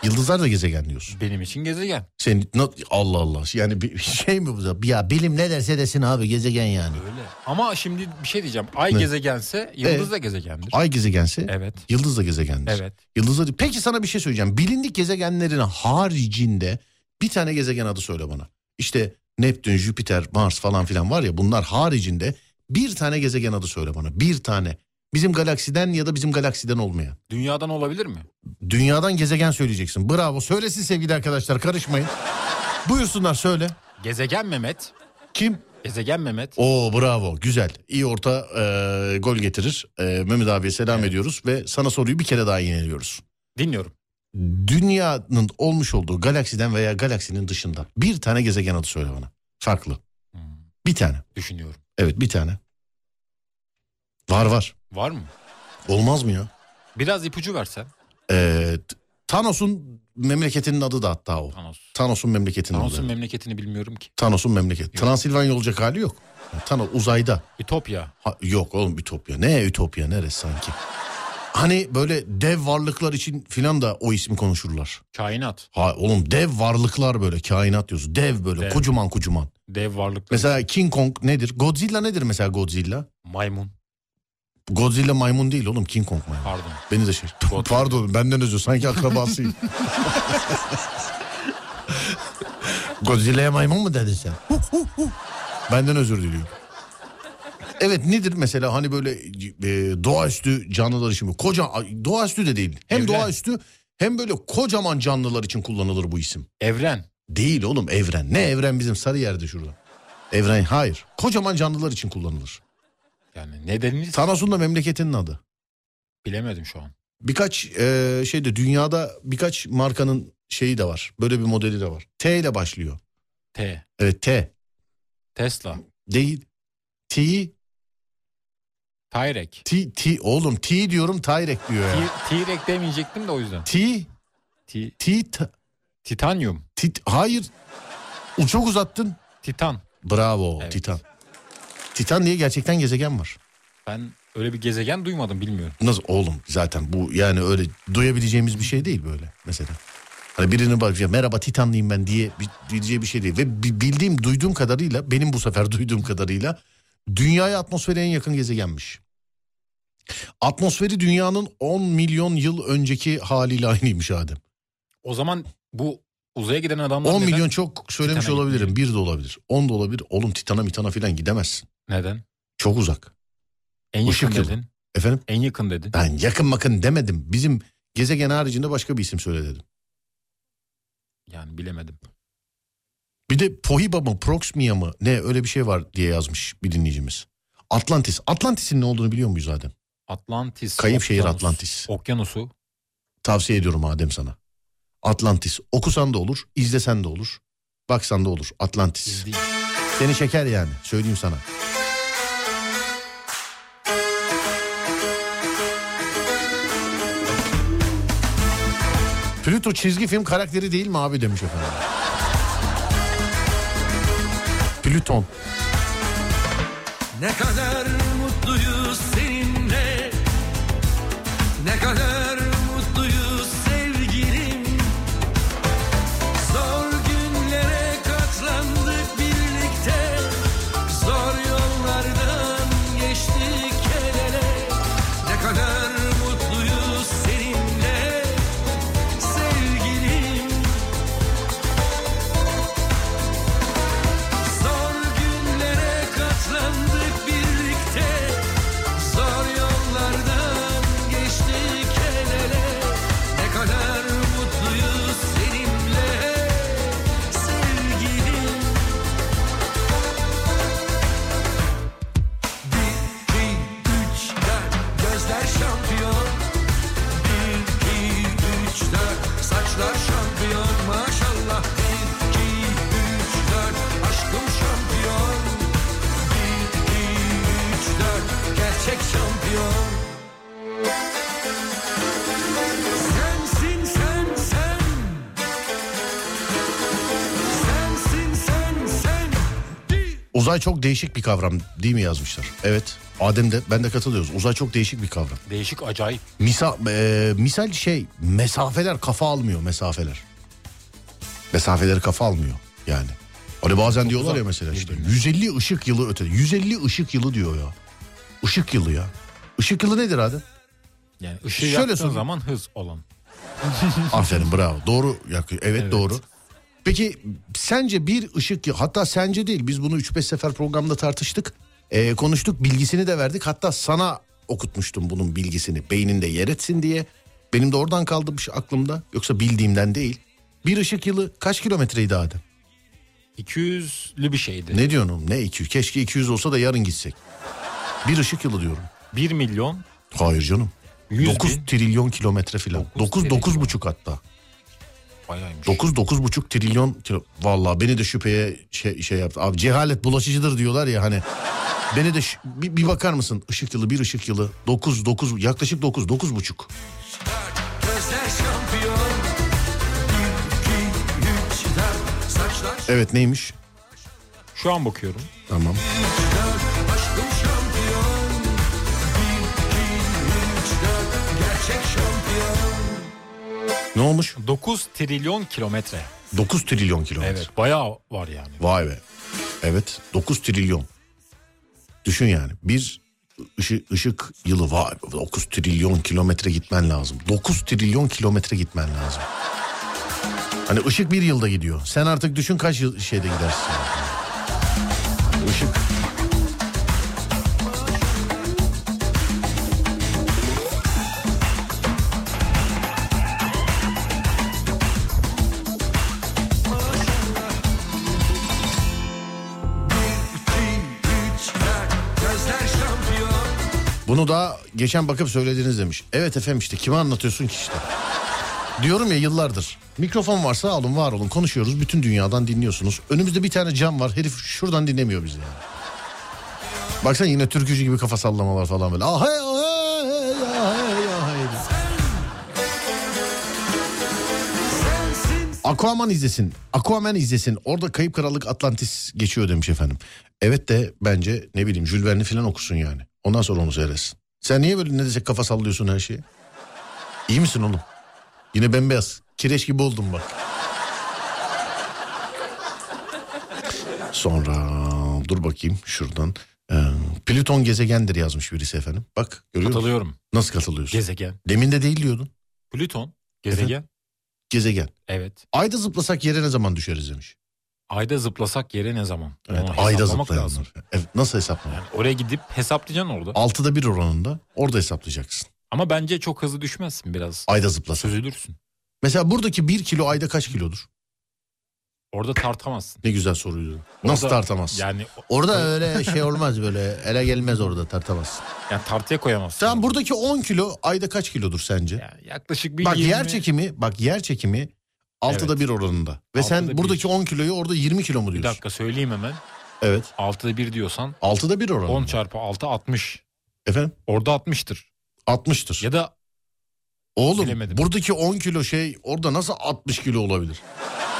Speaker 6: Yıldızlar da gezegen diyorsun.
Speaker 7: Benim için gezegen.
Speaker 6: Sen na- Allah Allah yani bir şey mi bu da? Ya bilim ne derse desin abi gezegen yani.
Speaker 7: Öyle. Ama şimdi bir şey diyeceğim. Ay
Speaker 6: Ne?
Speaker 7: gezegense yıldız da gezegendir.
Speaker 6: Ay gezegense
Speaker 7: Evet.
Speaker 6: yıldız da gezegendir.
Speaker 7: Evet.
Speaker 6: Yıldız da- Peki sana bir şey söyleyeceğim. Bilindik gezegenlerin haricinde bir tane gezegen adı söyle bana. İşte Neptün, Jüpiter, Mars falan filan var ya bunlar haricinde bir tane gezegen adı söyle bana. Bir tane. Bizim galaksiden ya da bizim galaksiden olmayan.
Speaker 7: Dünyadan olabilir mi?
Speaker 6: Dünyadan gezegen söyleyeceksin. Bravo. Söylesin sevgili arkadaşlar karışmayın. Buyursunlar söyle.
Speaker 7: Gezegen Mehmet.
Speaker 6: Kim?
Speaker 7: Gezegen Mehmet.
Speaker 6: Oo bravo güzel iyi orta e, gol getirir. E, Mehmet abiye selam ediyoruz ve sana soruyu bir kere daha yeniliyoruz.
Speaker 7: Dinliyorum.
Speaker 6: Dünyanın olmuş olduğu galaksiden veya galaksinin dışında bir tane gezegen adı söyle bana. Farklı.
Speaker 7: Hmm,
Speaker 6: Bir tane.
Speaker 7: düşünüyorum.
Speaker 6: Evet bir tane. Var var.
Speaker 7: Var mı?
Speaker 6: Olmaz mı ya?
Speaker 7: Biraz ipucu versen.
Speaker 6: Ee, T- Thanos'un memleketinin adı da hatta o.
Speaker 7: Thanos.
Speaker 6: Thanos'un memleketinin
Speaker 7: Thanos'un
Speaker 6: adı.
Speaker 7: memleketini bilmiyorum ki.
Speaker 6: Thanos'un memleketi. Transilvanya olacak hali yok. Yani Thanos uzayda.
Speaker 7: Ütopya.
Speaker 6: Ha, yok oğlum Ütopya. Ne Ütopya neresi sanki? Hani böyle dev varlıklar için filan da o ismi konuşurlar.
Speaker 7: Kainat.
Speaker 6: Ha oğlum dev varlıklar böyle kainat diyorsun. Dev böyle
Speaker 7: Dev.
Speaker 6: kocaman kocaman.
Speaker 7: Dev varlık.
Speaker 6: Mesela King Kong nedir? Godzilla nedir mesela Godzilla?
Speaker 7: Maymun.
Speaker 6: Godzilla maymun değil oğlum King Kong maymun.
Speaker 7: Pardon.
Speaker 6: Beni de şey. Pardon benden özür sanki akrabasıyım. Godzilla'ya maymun mu dedin sen? Hu, hu, hu. benden özür diliyorum. Evet nedir mesela hani böyle e, doğaüstü canlılar için bu koca ay, doğaüstü de değil. Hem
Speaker 7: Evren.
Speaker 6: doğaüstü hem böyle kocaman canlılar için kullanılır bu isim.
Speaker 7: Evren.
Speaker 6: Değil oğlum evren. Ne evren bizim sarı yerde şurada. Evren hayır. Kocaman canlılar için kullanılır.
Speaker 7: Yani nedenini
Speaker 6: Thanos'un da memleketinin adı.
Speaker 7: bilemedim şu an.
Speaker 6: Birkaç e, şeyde dünyada birkaç markanın şeyi de var. Böyle bir modeli de var. T ile başlıyor.
Speaker 7: T.
Speaker 6: Evet T
Speaker 7: Tesla.
Speaker 6: değil. T,
Speaker 7: Tyrek.
Speaker 6: T, T oğlum T diyorum Tayrek diyor ya.
Speaker 7: T- T-Rex demeyecektim de o yüzden.
Speaker 6: T,
Speaker 7: T-
Speaker 6: T, T,
Speaker 7: titanyum.
Speaker 6: T, hayır. O çok uzattın.
Speaker 7: Titan.
Speaker 6: Bravo
Speaker 7: Evet.
Speaker 6: Titan. Titan diye gerçekten gezegen var.
Speaker 7: Ben öyle bir gezegen duymadım bilmiyorum.
Speaker 6: Nasıl oğlum zaten bu yani öyle duyabileceğimiz bir şey değil böyle mesela. Hani birinin bak ya merhaba Titanlıyım ben diye bi- diyeceği bir şey değil. Ve bi- bildiğim duyduğum kadarıyla benim bu sefer duyduğum kadarıyla dünyaya atmosferi en yakın gezegenmiş. Atmosferi dünyanın 10 milyon yıl önceki haliyle aynıymış Adem.
Speaker 7: O zaman bu uzaya giden adamlar
Speaker 6: 10
Speaker 7: neden?
Speaker 6: milyon çok söylemiş
Speaker 7: Titan'a
Speaker 6: olabilirim. 1 de olabilir. 10 da olabilir. Oğlum Titan'a mitana filan gidemezsin.
Speaker 7: Neden?
Speaker 6: Çok uzak.
Speaker 7: En yakın
Speaker 6: Işık yılı.
Speaker 7: dedin.
Speaker 6: Efendim?
Speaker 7: En yakın dedin.
Speaker 6: Ben yakın makın demedim. Bizim gezegen haricinde başka bir isim söyle dedim.
Speaker 7: Yani bilemedim.
Speaker 6: Bir de Pohiba mı Proxmia mı ne öyle bir şey var diye yazmış bir dinleyicimiz. Atlantis. Atlantis'in ne olduğunu biliyor muyuz Adem?
Speaker 7: Atlantis.
Speaker 6: Kayıp şehir
Speaker 7: okyanus-
Speaker 6: Atlantis.
Speaker 7: Okyanusu.
Speaker 6: Tavsiye ediyorum Adem sana. Atlantis. Okusan da olur, izlesen de olur, baksan da olur. Atlantis.
Speaker 7: Değil.
Speaker 6: Seni çeker yani söyleyeyim sana. Pluto çizgi film karakteri değil mi abi demiş efendim. Plüton.
Speaker 1: Ne kadar mutluyuz seninle Ne kadar mutluyuz sevgilim Zor günlere katlandık birlikte Zor yollardan geçtik el ele Ne kadar mutluyuz seninle Sevgilim Zor günlere katlandık birlikte Zor yollardan geçtik el ele Ne kadar mutluyuz seninle sevgilim Bir, iki, üç, dört gözler şampiyon Bir, iki, üç, dört saçlar şampiyon maşallah Bir, iki, üç, dört aşkım şampiyon Bir, iki, üç, dört gerçek şampiyon Sensin sen sen Sensin sen sen Bir-
Speaker 6: Uzay çok değişik bir kavram değil mi yazmışlar? Evet. Adem de ben de katılıyoruz. Uzay çok değişik bir kavram.
Speaker 7: Değişik acayip.
Speaker 6: Misal, e, misal şey mesafeler kafa almıyor mesafeler. Mesafeleri kafa almıyor yani. Hani bazen diyorlar ya mesela işte 150 ışık yılı öte. 150 ışık yılı diyor ya. Işık yılı ya. Işık yılı nedir Adem?
Speaker 7: Yani ışığı
Speaker 6: Şöyle
Speaker 7: yaktığın
Speaker 6: sorayım.
Speaker 7: zaman hız olan.
Speaker 6: Aferin bravo. Doğru. yakıyor. Evet, doğru. Peki sence bir ışık yılı hatta sence değil biz bunu 3-5 sefer programda tartıştık. Ee, konuştuk bilgisini de verdik. Hatta sana okutmuştum bunun bilgisini beyninde yer etsin diye. Benim de oradan kaldı bir şey aklımda. Yoksa bildiğimden değil. Bir ışık yılı kaç kilometreydi Adem?
Speaker 7: 200'lü bir şeydi.
Speaker 6: Ne diyorsun oğlum? Ne 200? Keşke 200 olsa da yarın gitsek. Bir ışık yılı diyorum.
Speaker 7: 1 milyon
Speaker 6: Hayır canım.
Speaker 7: 100
Speaker 6: 9
Speaker 7: bin.
Speaker 6: trilyon kilometre filan.
Speaker 7: Dokuz
Speaker 6: 9
Speaker 7: trilyon.
Speaker 6: 9,5 hatta.
Speaker 7: Bayağıymış.
Speaker 6: 9 9,5 trilyon kilo. Vallahi beni de şüpheye şey, şey yaptı. Abi cehalet bulaşıcıdır diyorlar ya hani. Beni de ş- bir, bir bakar mısın? Işık yılı bir ışık yılı 9 9 yaklaşık 9 9 buçuk. Evet neymiş?
Speaker 7: Şu an bakıyorum.
Speaker 6: Tamam. Ne olmuş?
Speaker 7: 9 trilyon kilometre.
Speaker 6: 9 trilyon kilometre.
Speaker 7: Evet bayağı var yani.
Speaker 6: Vay be. Evet 9 trilyon. Düşün yani bir ışık, ışık yılı vay be, 9 trilyon kilometre gitmen lazım. 9 trilyon kilometre gitmen lazım. Hani ışık bir yılda gidiyor. Sen artık düşün kaç yıl şeyde gidersin. Hani Işık. Bunu da geçen bakıp söylediniz demiş. Evet efendim işte kime anlatıyorsun ki işte. Diyorum ya yıllardır. Mikrofon varsa alın var olun konuşuyoruz. Bütün dünyadan dinliyorsunuz. Önümüzde bir tane cam var. Herif şuradan dinlemiyor bizi yani. Baksana yine türkücü gibi kafa sallamalar falan böyle. Ah, Ahay ahay ahay ahay. Aquaman izlesin. Aquaman izlesin. Orada Kayıp Krallık Atlantis geçiyor demiş efendim. Evet de bence ne bileyim Jules Verne'i falan okusun yani. Ondan sonra onu seyretsin. Sen niye böyle ne desek kafa sallıyorsun her şeye? İyi misin oğlum? Yine bembeyaz. Kireç gibi oldum bak. Sonra dur bakayım şuradan. Ee, Plüton gezegendir yazmış birisi efendim. Bak görüyor musun?
Speaker 7: Katılıyorum.
Speaker 6: Nasıl katılıyorsun?
Speaker 7: Gezegen.
Speaker 6: Demin de değil diyordun.
Speaker 7: Plüton. Gezegen.
Speaker 6: Gezegen.
Speaker 7: Evet.
Speaker 6: Ayda zıplasak yere ne zaman düşeriz demiş.
Speaker 7: Ayda zıplasak yere ne zaman?
Speaker 6: Evet,
Speaker 7: Onu
Speaker 6: ayda
Speaker 7: hesaplamak lazım.
Speaker 6: zıplayanlar. Evet, nasıl hesaplanıyor?
Speaker 7: Yani oraya gidip hesaplayacaksın orada.
Speaker 6: Altıda bir oranında orada hesaplayacaksın.
Speaker 7: Ama bence çok hızlı düşmezsin biraz.
Speaker 6: Ayda zıplasak.
Speaker 7: Süzülürsün.
Speaker 6: Mesela buradaki bir kilo ayda kaç kilodur?
Speaker 7: Orada tartamazsın.
Speaker 6: Ne güzel soruydu. Nasıl
Speaker 7: Orada-
Speaker 6: tartamazsın?
Speaker 7: Yani,
Speaker 6: Orada öyle şey olmaz böyle ele gelmez orada tartamazsın.
Speaker 7: yani tartıya koyamazsın.
Speaker 6: Tamam buradaki 10 kilo ayda kaç kilodur sence?
Speaker 7: Yani yaklaşık bir
Speaker 6: Bak
Speaker 7: 20
Speaker 6: yer çekimi bak yer çekimi altıda
Speaker 7: Evet.
Speaker 6: bir oranında. Ve
Speaker 7: Altıda
Speaker 6: sen
Speaker 7: bir.
Speaker 6: buradaki 10 kiloyu orada 20 kilo mu
Speaker 7: Bir
Speaker 6: diyorsun?
Speaker 7: dakika söyleyeyim hemen.
Speaker 6: Evet.
Speaker 7: 6'da 1 diyorsan
Speaker 6: Altıda bir oranında.
Speaker 7: 10 çarpı 6 60.
Speaker 6: Efendim?
Speaker 7: Orada 60'tır.
Speaker 6: 60'tır.
Speaker 7: Ya da
Speaker 6: Oğlum
Speaker 7: Bilemedim.
Speaker 6: buradaki 10 kilo şey orada nasıl 60 kilo olabilir?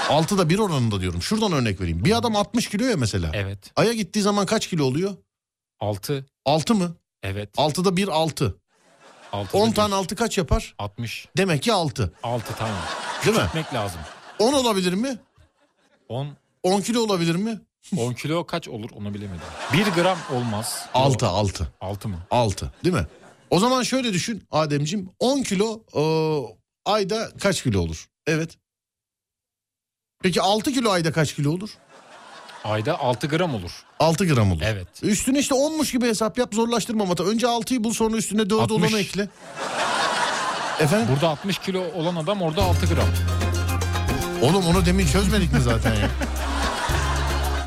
Speaker 6: 6'da 1 oranında diyorum. Şuradan örnek vereyim. Bir adam 60 kilo ya mesela.
Speaker 7: evet
Speaker 6: Ay'a gittiği zaman kaç kilo oluyor?
Speaker 7: 6
Speaker 6: 6 mı?
Speaker 7: evet
Speaker 6: 6'da 1 6.
Speaker 7: 6
Speaker 6: 10 tane 6 kaç yapar?
Speaker 7: 60
Speaker 6: Demek ki 6.
Speaker 7: 6 tamam.
Speaker 6: Değil mi?
Speaker 7: Gitmek lazım.
Speaker 6: 10 olabilir mi?
Speaker 7: 10
Speaker 6: 10 kilo olabilir mi?
Speaker 7: 10 kilo kaç olur onu bilemedim. 1 gram olmaz.
Speaker 6: 6 6.
Speaker 7: 6 mı?
Speaker 6: 6 değil mi? O zaman şöyle düşün Ademciğim. 10 kilo e, ayda kaç kilo olur? Evet. Peki 6 kilo ayda kaç kilo olur?
Speaker 7: Ayda 6 gram olur.
Speaker 6: 6 gram olur.
Speaker 7: Evet.
Speaker 6: Üstüne işte 10'muş gibi hesap yap zorlaştırma mata. Önce 6'yı bul sonra üstüne 4
Speaker 7: 60.
Speaker 6: olanı ekle. Efendim?
Speaker 7: Burada 60 kilo olan adam orada 6 gram.
Speaker 6: Oğlum onu demin çözmedik mi zaten ya?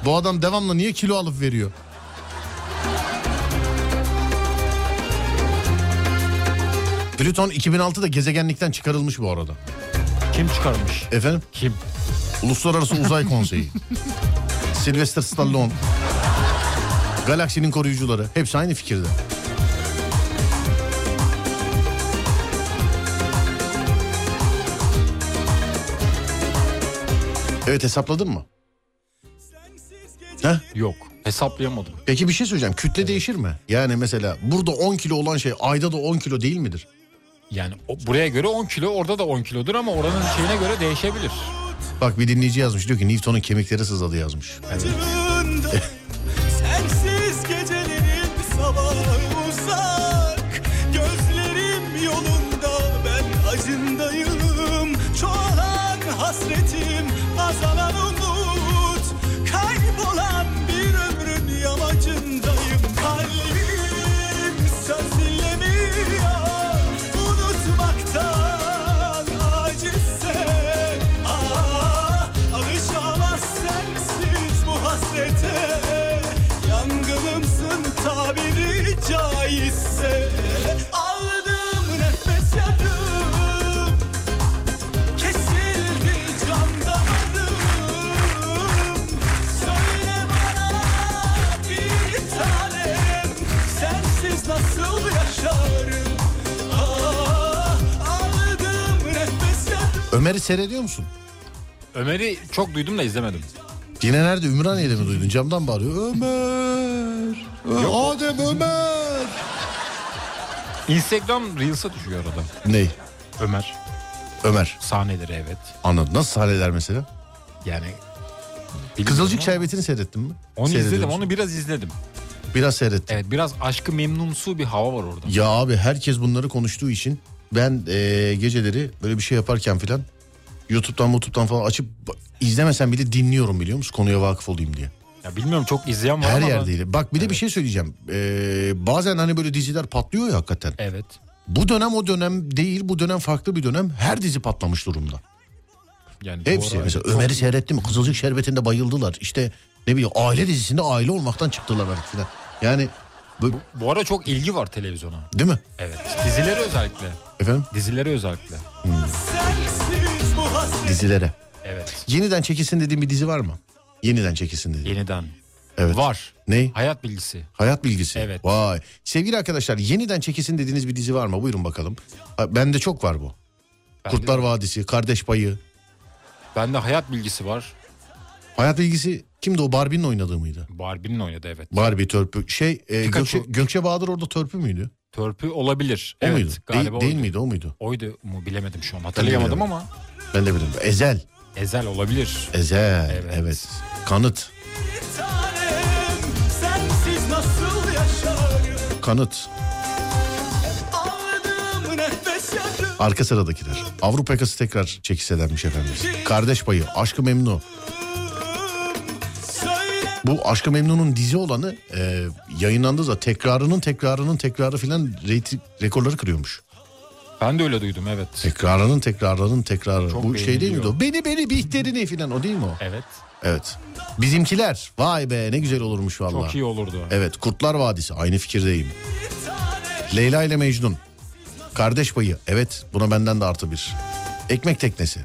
Speaker 6: Bu adam devamlı niye kilo alıp veriyor? Plüton 2006'da gezegenlikten çıkarılmış bu arada.
Speaker 7: Kim çıkarmış?
Speaker 6: Efendim?
Speaker 7: Kim?
Speaker 6: Uluslararası Uzay Konseyi. Sylvester Stallone. Galaksinin koruyucuları. Hepsi aynı fikirde. Evet hesapladın mı? Heh,
Speaker 7: Yok. Hesaplayamadım.
Speaker 6: peki bir şey söyleyeceğim. Kütle değişir mi? Yani mesela burada 10 kilo olan şey ayda da 10 kilo değil midir?
Speaker 7: Yani o, buraya göre 10 kilo orada da 10 kilodur ama oranın şeyine göre değişebilir.
Speaker 6: Bak bir dinleyici yazmış diyor ki Newton'un kemikleri sızladı yazmış.
Speaker 5: Acılığında Sensiz gecelerim sabah uzak Gözlerim yolunda ben acındayım Çoğalan hasretim azalan umut Kaybolan bir ömrün yamacındayım Kalbim söz dinlemiyor Unutmaktan acizse Ah alışamaz sensiz bu hasrete Yangınımsın tabiri caizse Aldım nefes yandım Kesildi can damarım Söyle bana bir tane
Speaker 6: Ömer'i seyrediyor musun?
Speaker 7: Ömer'i çok duydum da izlemedim.
Speaker 6: Yine nerede? Ümraniye'de mi duydun? Camdan bağırıyor. Ömer! Ö- Adem Ömer!
Speaker 7: Instagram Reels'a düşüyor arada.
Speaker 6: Ney?
Speaker 7: Ömer
Speaker 6: Ömer.
Speaker 7: sahneleri evet.
Speaker 6: Anladım. Nasıl sahneler mesela?
Speaker 7: Yani
Speaker 6: Kızılcık
Speaker 7: Bilmiyorum
Speaker 6: Şerbeti'ni seyrettin mi?
Speaker 7: ama Onu izledim,
Speaker 6: Seyrediyorsun.
Speaker 7: onu biraz izledim.
Speaker 6: Biraz seyrettim.
Speaker 7: Evet, biraz aşkı memnunsu bir hava var orada.
Speaker 6: Ya abi herkes bunları konuştuğu için ben eee, geceleri böyle bir şey yaparken filan YouTube'dan YouTube'dan falan açıp ba- izlemesem bile dinliyorum biliyor musun? Konuya vakıf olayım diye.
Speaker 7: Ya bilmiyorum çok izleyen var
Speaker 6: Her
Speaker 7: ama ben-
Speaker 6: yerdeydi. Bak bir de bir şey söyleyeceğim. Eee, bazen hani böyle diziler patlıyor ya hakikaten.
Speaker 7: Evet.
Speaker 6: Bu dönem o dönem değil bu dönem farklı bir dönem. Her dizi patlamış durumda.
Speaker 7: Yani
Speaker 6: Hepsi.
Speaker 7: doğru,
Speaker 6: mesela
Speaker 7: evet.
Speaker 6: Ömer'i seyrettim. Kızılcık Şerbeti'nde bayıldılar. İşte ne bileyim aile dizisinde aile olmaktan çıktılar artık filan. Yani bu-
Speaker 7: Bu ara çok ilgi var televizyona.
Speaker 6: değil mi?
Speaker 7: Evet. Dizilere özellikle.
Speaker 6: Efendim?
Speaker 7: Dizilere özellikle.
Speaker 5: Sensiz bu hasret
Speaker 6: Dizilere.
Speaker 7: Evet.
Speaker 6: Yeniden çekilsin dediğim bir dizi var mı? Yeniden çekilsin dediğim.
Speaker 7: Yeniden.
Speaker 6: Evet.
Speaker 7: Var.
Speaker 6: Ney?
Speaker 7: Hayat bilgisi.
Speaker 6: Hayat bilgisi.
Speaker 7: Evet.
Speaker 6: Vay. Sevgili arkadaşlar yeniden çekilsin dediğiniz bir dizi var mı? Buyurun bakalım. Ha, Bende çok var bu.
Speaker 7: Bende-
Speaker 6: Kurtlar Vadisi, Kardeş Payı.
Speaker 7: Bende hayat bilgisi var.
Speaker 6: Hayat bilgisi kimdi o? Barbie'nin oynadığı mıydı?
Speaker 7: Barbie'nin oynadı evet.
Speaker 6: Barbie, Törpü. Şey e,
Speaker 7: Pikachu.
Speaker 6: Gökçe, Gökçe Bahadır orada Törpü müydü?
Speaker 7: Törpü olabilir.
Speaker 6: O
Speaker 7: evet
Speaker 6: muydu? değil,
Speaker 7: galiba
Speaker 6: değil
Speaker 7: oydu.
Speaker 6: miydi o muydu?
Speaker 7: Oydu mu bilemedim şu an. Hatırlayamadım ama
Speaker 6: Ben de bilmiyorum. Ezel.
Speaker 7: Ezel olabilir.
Speaker 6: Ezel. Evet.
Speaker 7: Evet.
Speaker 6: Kanıt.
Speaker 5: tanem Sensiz nasıl yaşarım
Speaker 6: Kanıt.
Speaker 5: Aldığım nefes yarım
Speaker 6: Arka sıradakiler. Avrupa yakası tekrar çekilselermiş efendim. Kardeş Payı, Aşkı Memnu.
Speaker 5: Söyle
Speaker 6: Bu Aşkı Memnu'nun dizi olanı e, yayınlandığı zaman tekrarının tekrarının tekrarı filan reyting rekorları kırıyormuş.
Speaker 7: Ben de öyle duydum evet.
Speaker 6: Tekrarının tekrarının tekrarı.
Speaker 7: Çok
Speaker 6: Bu şey değil
Speaker 7: beğeniliyor.
Speaker 6: miydi o? Beni beni bihterini filan o değil mi o?
Speaker 7: Evet.
Speaker 6: Evet. Bizimkiler. Vay be ne güzel olurmuş valla.
Speaker 7: Çok iyi olurdu.
Speaker 6: Evet Kurtlar Vadisi aynı fikirdeyim. Leyla ile Mecnun. Kardeş payı. Evet buna benden de artı bir. Ekmek teknesi.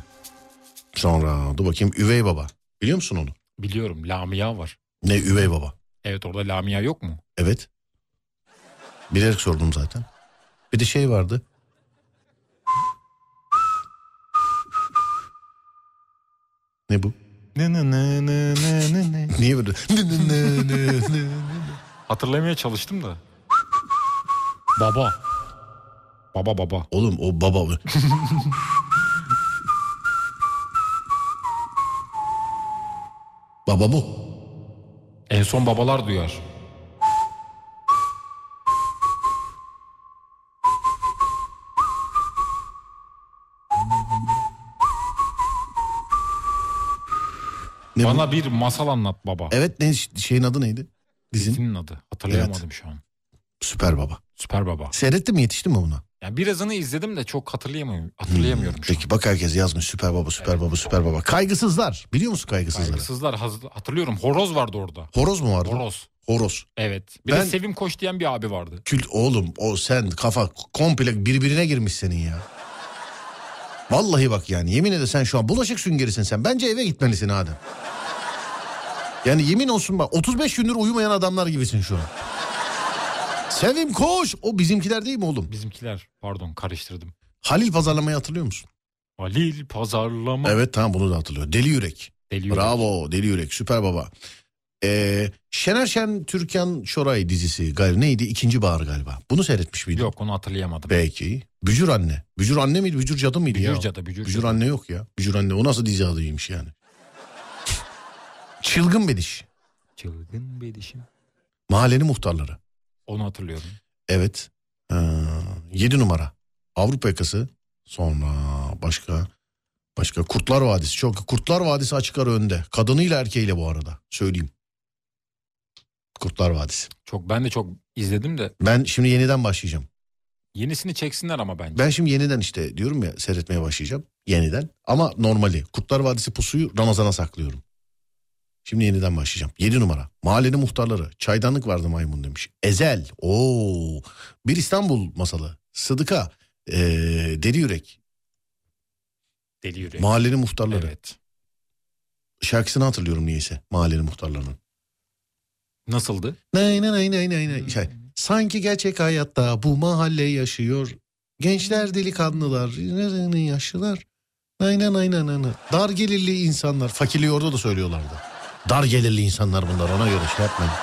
Speaker 6: Sonra dur bakayım Üvey Baba. Biliyor musun onu?
Speaker 7: Biliyorum Lamia var.
Speaker 6: Ne Üvey Baba?
Speaker 7: Evet orada Lamia yok mu?
Speaker 6: Evet. Bilerek sordum zaten. Bir de şey vardı. Ne bu? Niye böyle?
Speaker 7: Hatırlamaya çalıştım da. baba. Baba baba.
Speaker 6: Oğlum o baba. baba bu.
Speaker 7: En son babalar duyar.
Speaker 6: Ne bu?
Speaker 7: Bana bir masal anlat baba.
Speaker 6: Evet ne şeyin adı neydi? Dizin.
Speaker 7: Dizinin adı. Hatırlayamadım şu an.
Speaker 6: Süper Baba.
Speaker 7: Süper baba.
Speaker 6: Seyrettin mi yetiştin mi buna?
Speaker 7: Yani birazını izledim de çok hatırlayamıyorum. Hatırlayamıyorum şu an.
Speaker 6: Hmm. Peki bak herkes yazmış Süper Baba Süper Baba Süper Baba. Kaygısızlar. Biliyor musun kaygısızları?
Speaker 7: Saygısızlar haz- hatırlıyorum. Horoz vardı orada.
Speaker 6: Horoz mu vardı?
Speaker 7: Horoz.
Speaker 6: Horoz.
Speaker 7: Evet. Bir
Speaker 6: Ben-
Speaker 7: de Sevim Koç diyen bir abi vardı.
Speaker 6: Kült oğlum o sen kafa komple birbirine girmiş senin ya. Vallahi bak yani yemin ederim sen şu an bulaşık süngerisin sen. Bence eve gitmelisin Adem. Yani yemin olsun bak 35 gündür uyumayan adamlar gibisin şu an. Sevim koş. O bizimkiler değil mi oğlum?
Speaker 7: Bizimkiler. Pardon karıştırdım.
Speaker 6: Halil pazarlamayı hatırlıyor musun?
Speaker 7: Halil pazarlama.
Speaker 6: Evet tamam bunu da hatırlıyor. Deli yürek.
Speaker 7: Deli yürek.
Speaker 6: Bravo Deli Yürek süper baba. Ee, Şener Şen Türkan Şoray dizisi galiba neydi? İkinci Bahar galiba. Bunu seyretmiş miydin?
Speaker 7: Yok onu hatırlayamadım.
Speaker 6: Peki. Bücür Anne. Bücür Anne miydi? Bücür Cadı mıydı ya?
Speaker 7: Bücürca'da Bücürca'da.
Speaker 6: Bücür Anne yok ya. Bücür Anne o nasıl dizi adıymış yani? Çılgın Bediş.
Speaker 7: Çılgın bir dişim.
Speaker 6: Mahallenin Muhtarları.
Speaker 7: Onu hatırlıyorum.
Speaker 6: Evet. Ee, 7 numara. Avrupa yakası. Sonra başka başka Kurtlar Vadisi. Çok Kurtlar Vadisi açık ara önde. Kadınıyla erkeğiyle bu arada. Söyleyeyim. Kurtlar Vadisi.
Speaker 7: Çok ben de çok izledim de
Speaker 6: Ben şimdi yeniden başlayacağım.
Speaker 7: yenisini çeksinler ama bence.
Speaker 6: Ben şimdi yeniden işte diyorum ya seyretmeye başlayacağım. Yeniden ama normali. Kurtlar Vadisi pusuyu Ramazan'a saklıyorum. Şimdi yeniden başlayacağım. 7 numara. Mahallenin muhtarları. Çaydanlık vardı maymun demiş. Ezel. Oo. Bir İstanbul masalı. Sıdıka. Ee, Deli Yürek.
Speaker 7: Deli yürek.
Speaker 6: Mahallenin muhtarları.
Speaker 7: Evet.
Speaker 6: Şarkısını hatırlıyorum niyeyse. Mahallenin muhtarlarının.
Speaker 7: Nasıldı?
Speaker 6: Nay nay nay nay nay nay. Şey,
Speaker 7: Hmm.
Speaker 6: sanki gerçek
Speaker 7: Hmm.
Speaker 6: hayatta bu mahalle yaşıyor. Gençler delikanlılar. Yaşlılar. Aynen aynen aynen. Dar gelirli insanlar. Fakirliği orada da söylüyorlardı. Dar gelirli insanlar bunlar ona göre şey yapmayın.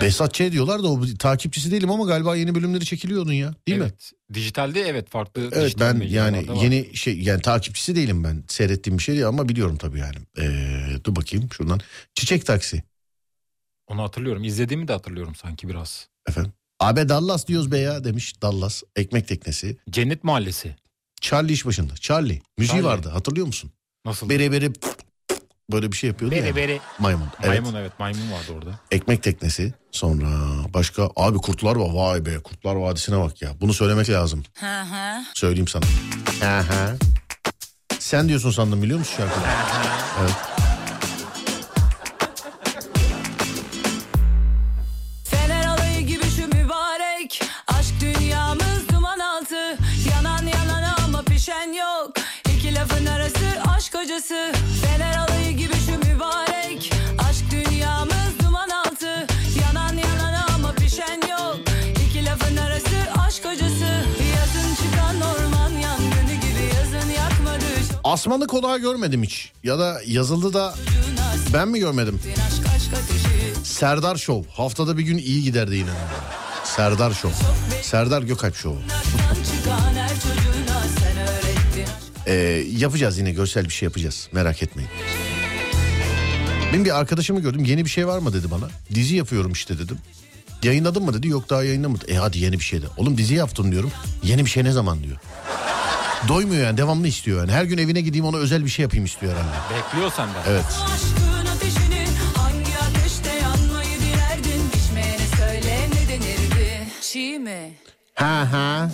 Speaker 6: Behzat Ç diyorlar da o takipçisi değilim ama galiba yeni bölümleri çekiliyor onun ya. Değil mi?
Speaker 7: evet. Dijitalde evet farklı.
Speaker 6: Evet
Speaker 7: dijital
Speaker 6: ben
Speaker 7: mecralarda
Speaker 6: yani
Speaker 7: var.
Speaker 6: yeni şey yani takipçisi değilim ben. Seyrettiğim bir şey değil ama biliyorum tabii yani. Ee, dur bakayım şuradan. Çiçek Taksi.
Speaker 7: Onu hatırlıyorum. İzlediğimi de hatırlıyorum sanki biraz.
Speaker 6: Efendim. Abi Dallas diyoruz be ya demiş Dallas. Ekmek teknesi.
Speaker 7: Cennet Mahallesi.
Speaker 6: Charlie iş başında. Charlie. Müziği
Speaker 7: Charlie.
Speaker 6: vardı hatırlıyor musun?
Speaker 7: Nasıl?
Speaker 6: Bere bere böyle bir şey yapıyordu ya.
Speaker 7: beri. beri.
Speaker 6: Maymun. Evet.
Speaker 7: Maymun evet maymun vardı orada.
Speaker 6: Ekmek teknesi. Sonra başka abi Kurtlar var vay be Kurtlar Vadisi'ne bak ya. Bunu söylemek lazım. Söyleyeyim sana. Hı hı. Sen diyorsun sandım biliyor musun şarkıyı? evet.
Speaker 3: Fener alayı gibi şu mübarek Aşk dünyamız duman altı Yanan yanan ama pişen yok İki lafın arası aşk hocası Fener alayı gibi şu mübarek Aşk dünyamız duman altı Yanan yanan ama pişen yok İki lafın arası aşk hocası Yazın çıkan orman yangını gibi Yazın yakmadı çok
Speaker 6: Asmanı kolağı görmedim hiç. Ya da yazıldı da ben mi görmedim?
Speaker 3: aşk aşk ateşi
Speaker 6: Serdar Show. Haftada bir gün iyi giderdi yine. Serdar Show. Serdar Gökalp Show.
Speaker 3: Aşktan çıkan her çocuğuna sen öğrettin aşk
Speaker 6: Ee, yapacağız yine görsel bir şey yapacağız. Merak etmeyin. Benim bir arkadaşımı gördüm. Yeni bir şey var mı dedi bana. Dizi yapıyorum işte dedim. Yayınladın mı dedi. Yok daha yayınlamadı. E hadi yeni bir şey de. Oğlum dizi yaptım diyorum. Yeni bir şey ne zaman diyor. Doymuyor yani devamlı istiyor yani. Her gün evine gideyim ona özel bir şey yapayım istiyor herhalde.
Speaker 7: Bekliyor senden.
Speaker 6: Evet.
Speaker 3: Aşkın ateşini hangi ateşte yanmayı dilerdin? Pişmeyene söyle ne denirdi? Çiğ mi?
Speaker 6: Ha ha.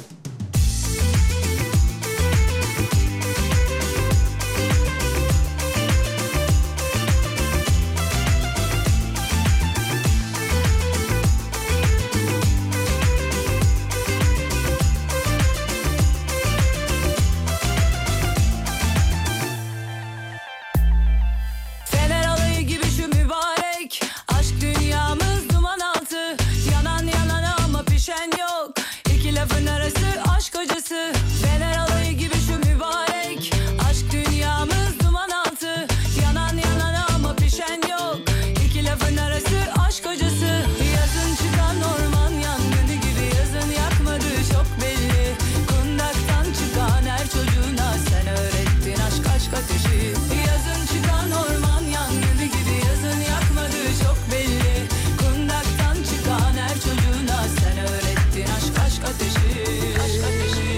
Speaker 3: Fener alayı gibi şu mübarek Aşk dünyamız duman altı Yanan yanan ama pişen yok İki lafın arası aşk hocası Fener alayı gibi şu mübarek Aşk dünyamız duman altı Yanan yanan ama pişen yok İki lafın arası aşk hocası Yazın çıkan orman yangını gibi Yazın yakmadı çok belli Kundaktan çıkan her çocuğuna sen öğrettin aşk aşk ateşi Yazın çıkan orman yangını gibi yazın yakmadı çok belli Kundaktan çıkan her çocuğuna sen öğrettin aşk aşk ateşi Aşk ateşi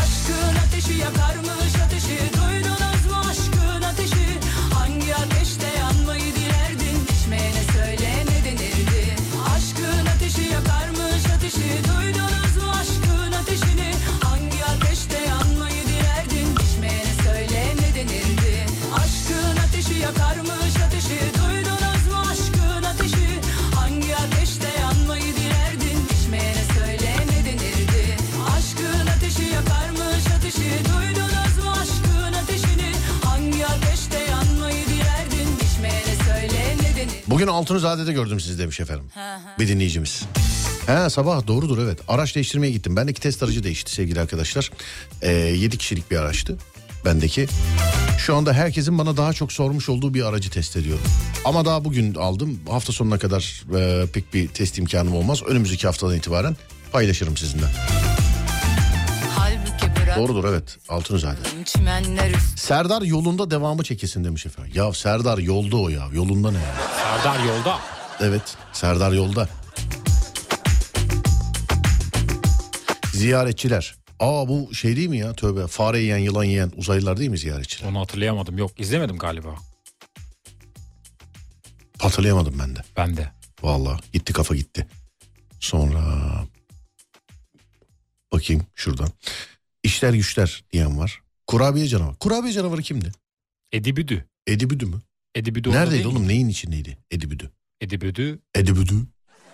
Speaker 3: Aşkın ateşi yakarmış ateşi Duydunuz mu aşkın ateşi Hangi ateşte yanmayı dilerdin Pişmeyene söyle ne denirdi Aşkın ateşi yakarmış ateşi Duydunuz mu aşkın ateşini Hangi ateşte yanmayı dilerdin Pişmeyene söyle ne denirdi Aşkın ateşi yakarmış ateşi Duydunuz mu aşkın ateşi Hangi ateşte yanmayı dilerdin Pişmeyene söyle ne denirdi Aşkın ateşi yakarmış ateşi Duydunuz mu aşkın ateşini Hangi ateşte yanmayı dilerdin Pişmeyene söyle ne denirdi
Speaker 6: Bugün Altunzade'de gördüm sizi demiş efendim. Bir dinleyicimiz. He sabah doğrudur evet. Araç değiştirmeye gittim. Bendeki test aracı değişti sevgili arkadaşlar. Ee, 7 kişilik bir araçtı bendeki. Şu anda herkesin bana daha çok sormuş olduğu bir aracı test ediyorum. Ama daha bugün aldım. Hafta sonuna kadar e, pek bir test imkanım olmaz. Önümüzdeki haftadan itibaren paylaşırım sizinle.
Speaker 3: Halbuki bırak
Speaker 6: Doğrudur evet Altunzade.
Speaker 3: çimenler üstüne
Speaker 6: Serdar yolunda devamı çekilsin demiş efendim. Ya Serdar yolda o ya. Yolunda ne ya?
Speaker 7: Serdar yolda.
Speaker 6: Evet, Serdar yolda. Ziyaretçiler. Aa bu şey değil mi ya? Tövbe. Fare yiyen, yılan yiyen uzaylılar değil mi ziyaretçiler?
Speaker 7: Onu hatırlayamadım. Yok izlemedim galiba.
Speaker 6: Hatırlayamadım ben de.
Speaker 7: Ben de.
Speaker 6: Vallahi gitti kafa gitti. Sonra bakayım şuradan. İşler güçler diyen var. Kurabiye canavarı. Kurabiye canavarı kimdi?
Speaker 7: Edibüdü.
Speaker 6: Edibüdü mü?
Speaker 7: Edibüdü orada
Speaker 6: Neredeydi
Speaker 7: değil mi?
Speaker 6: oğlum? Neyin içindeydi? Edibüdü.
Speaker 7: Edibüdü.
Speaker 6: Edibüdü.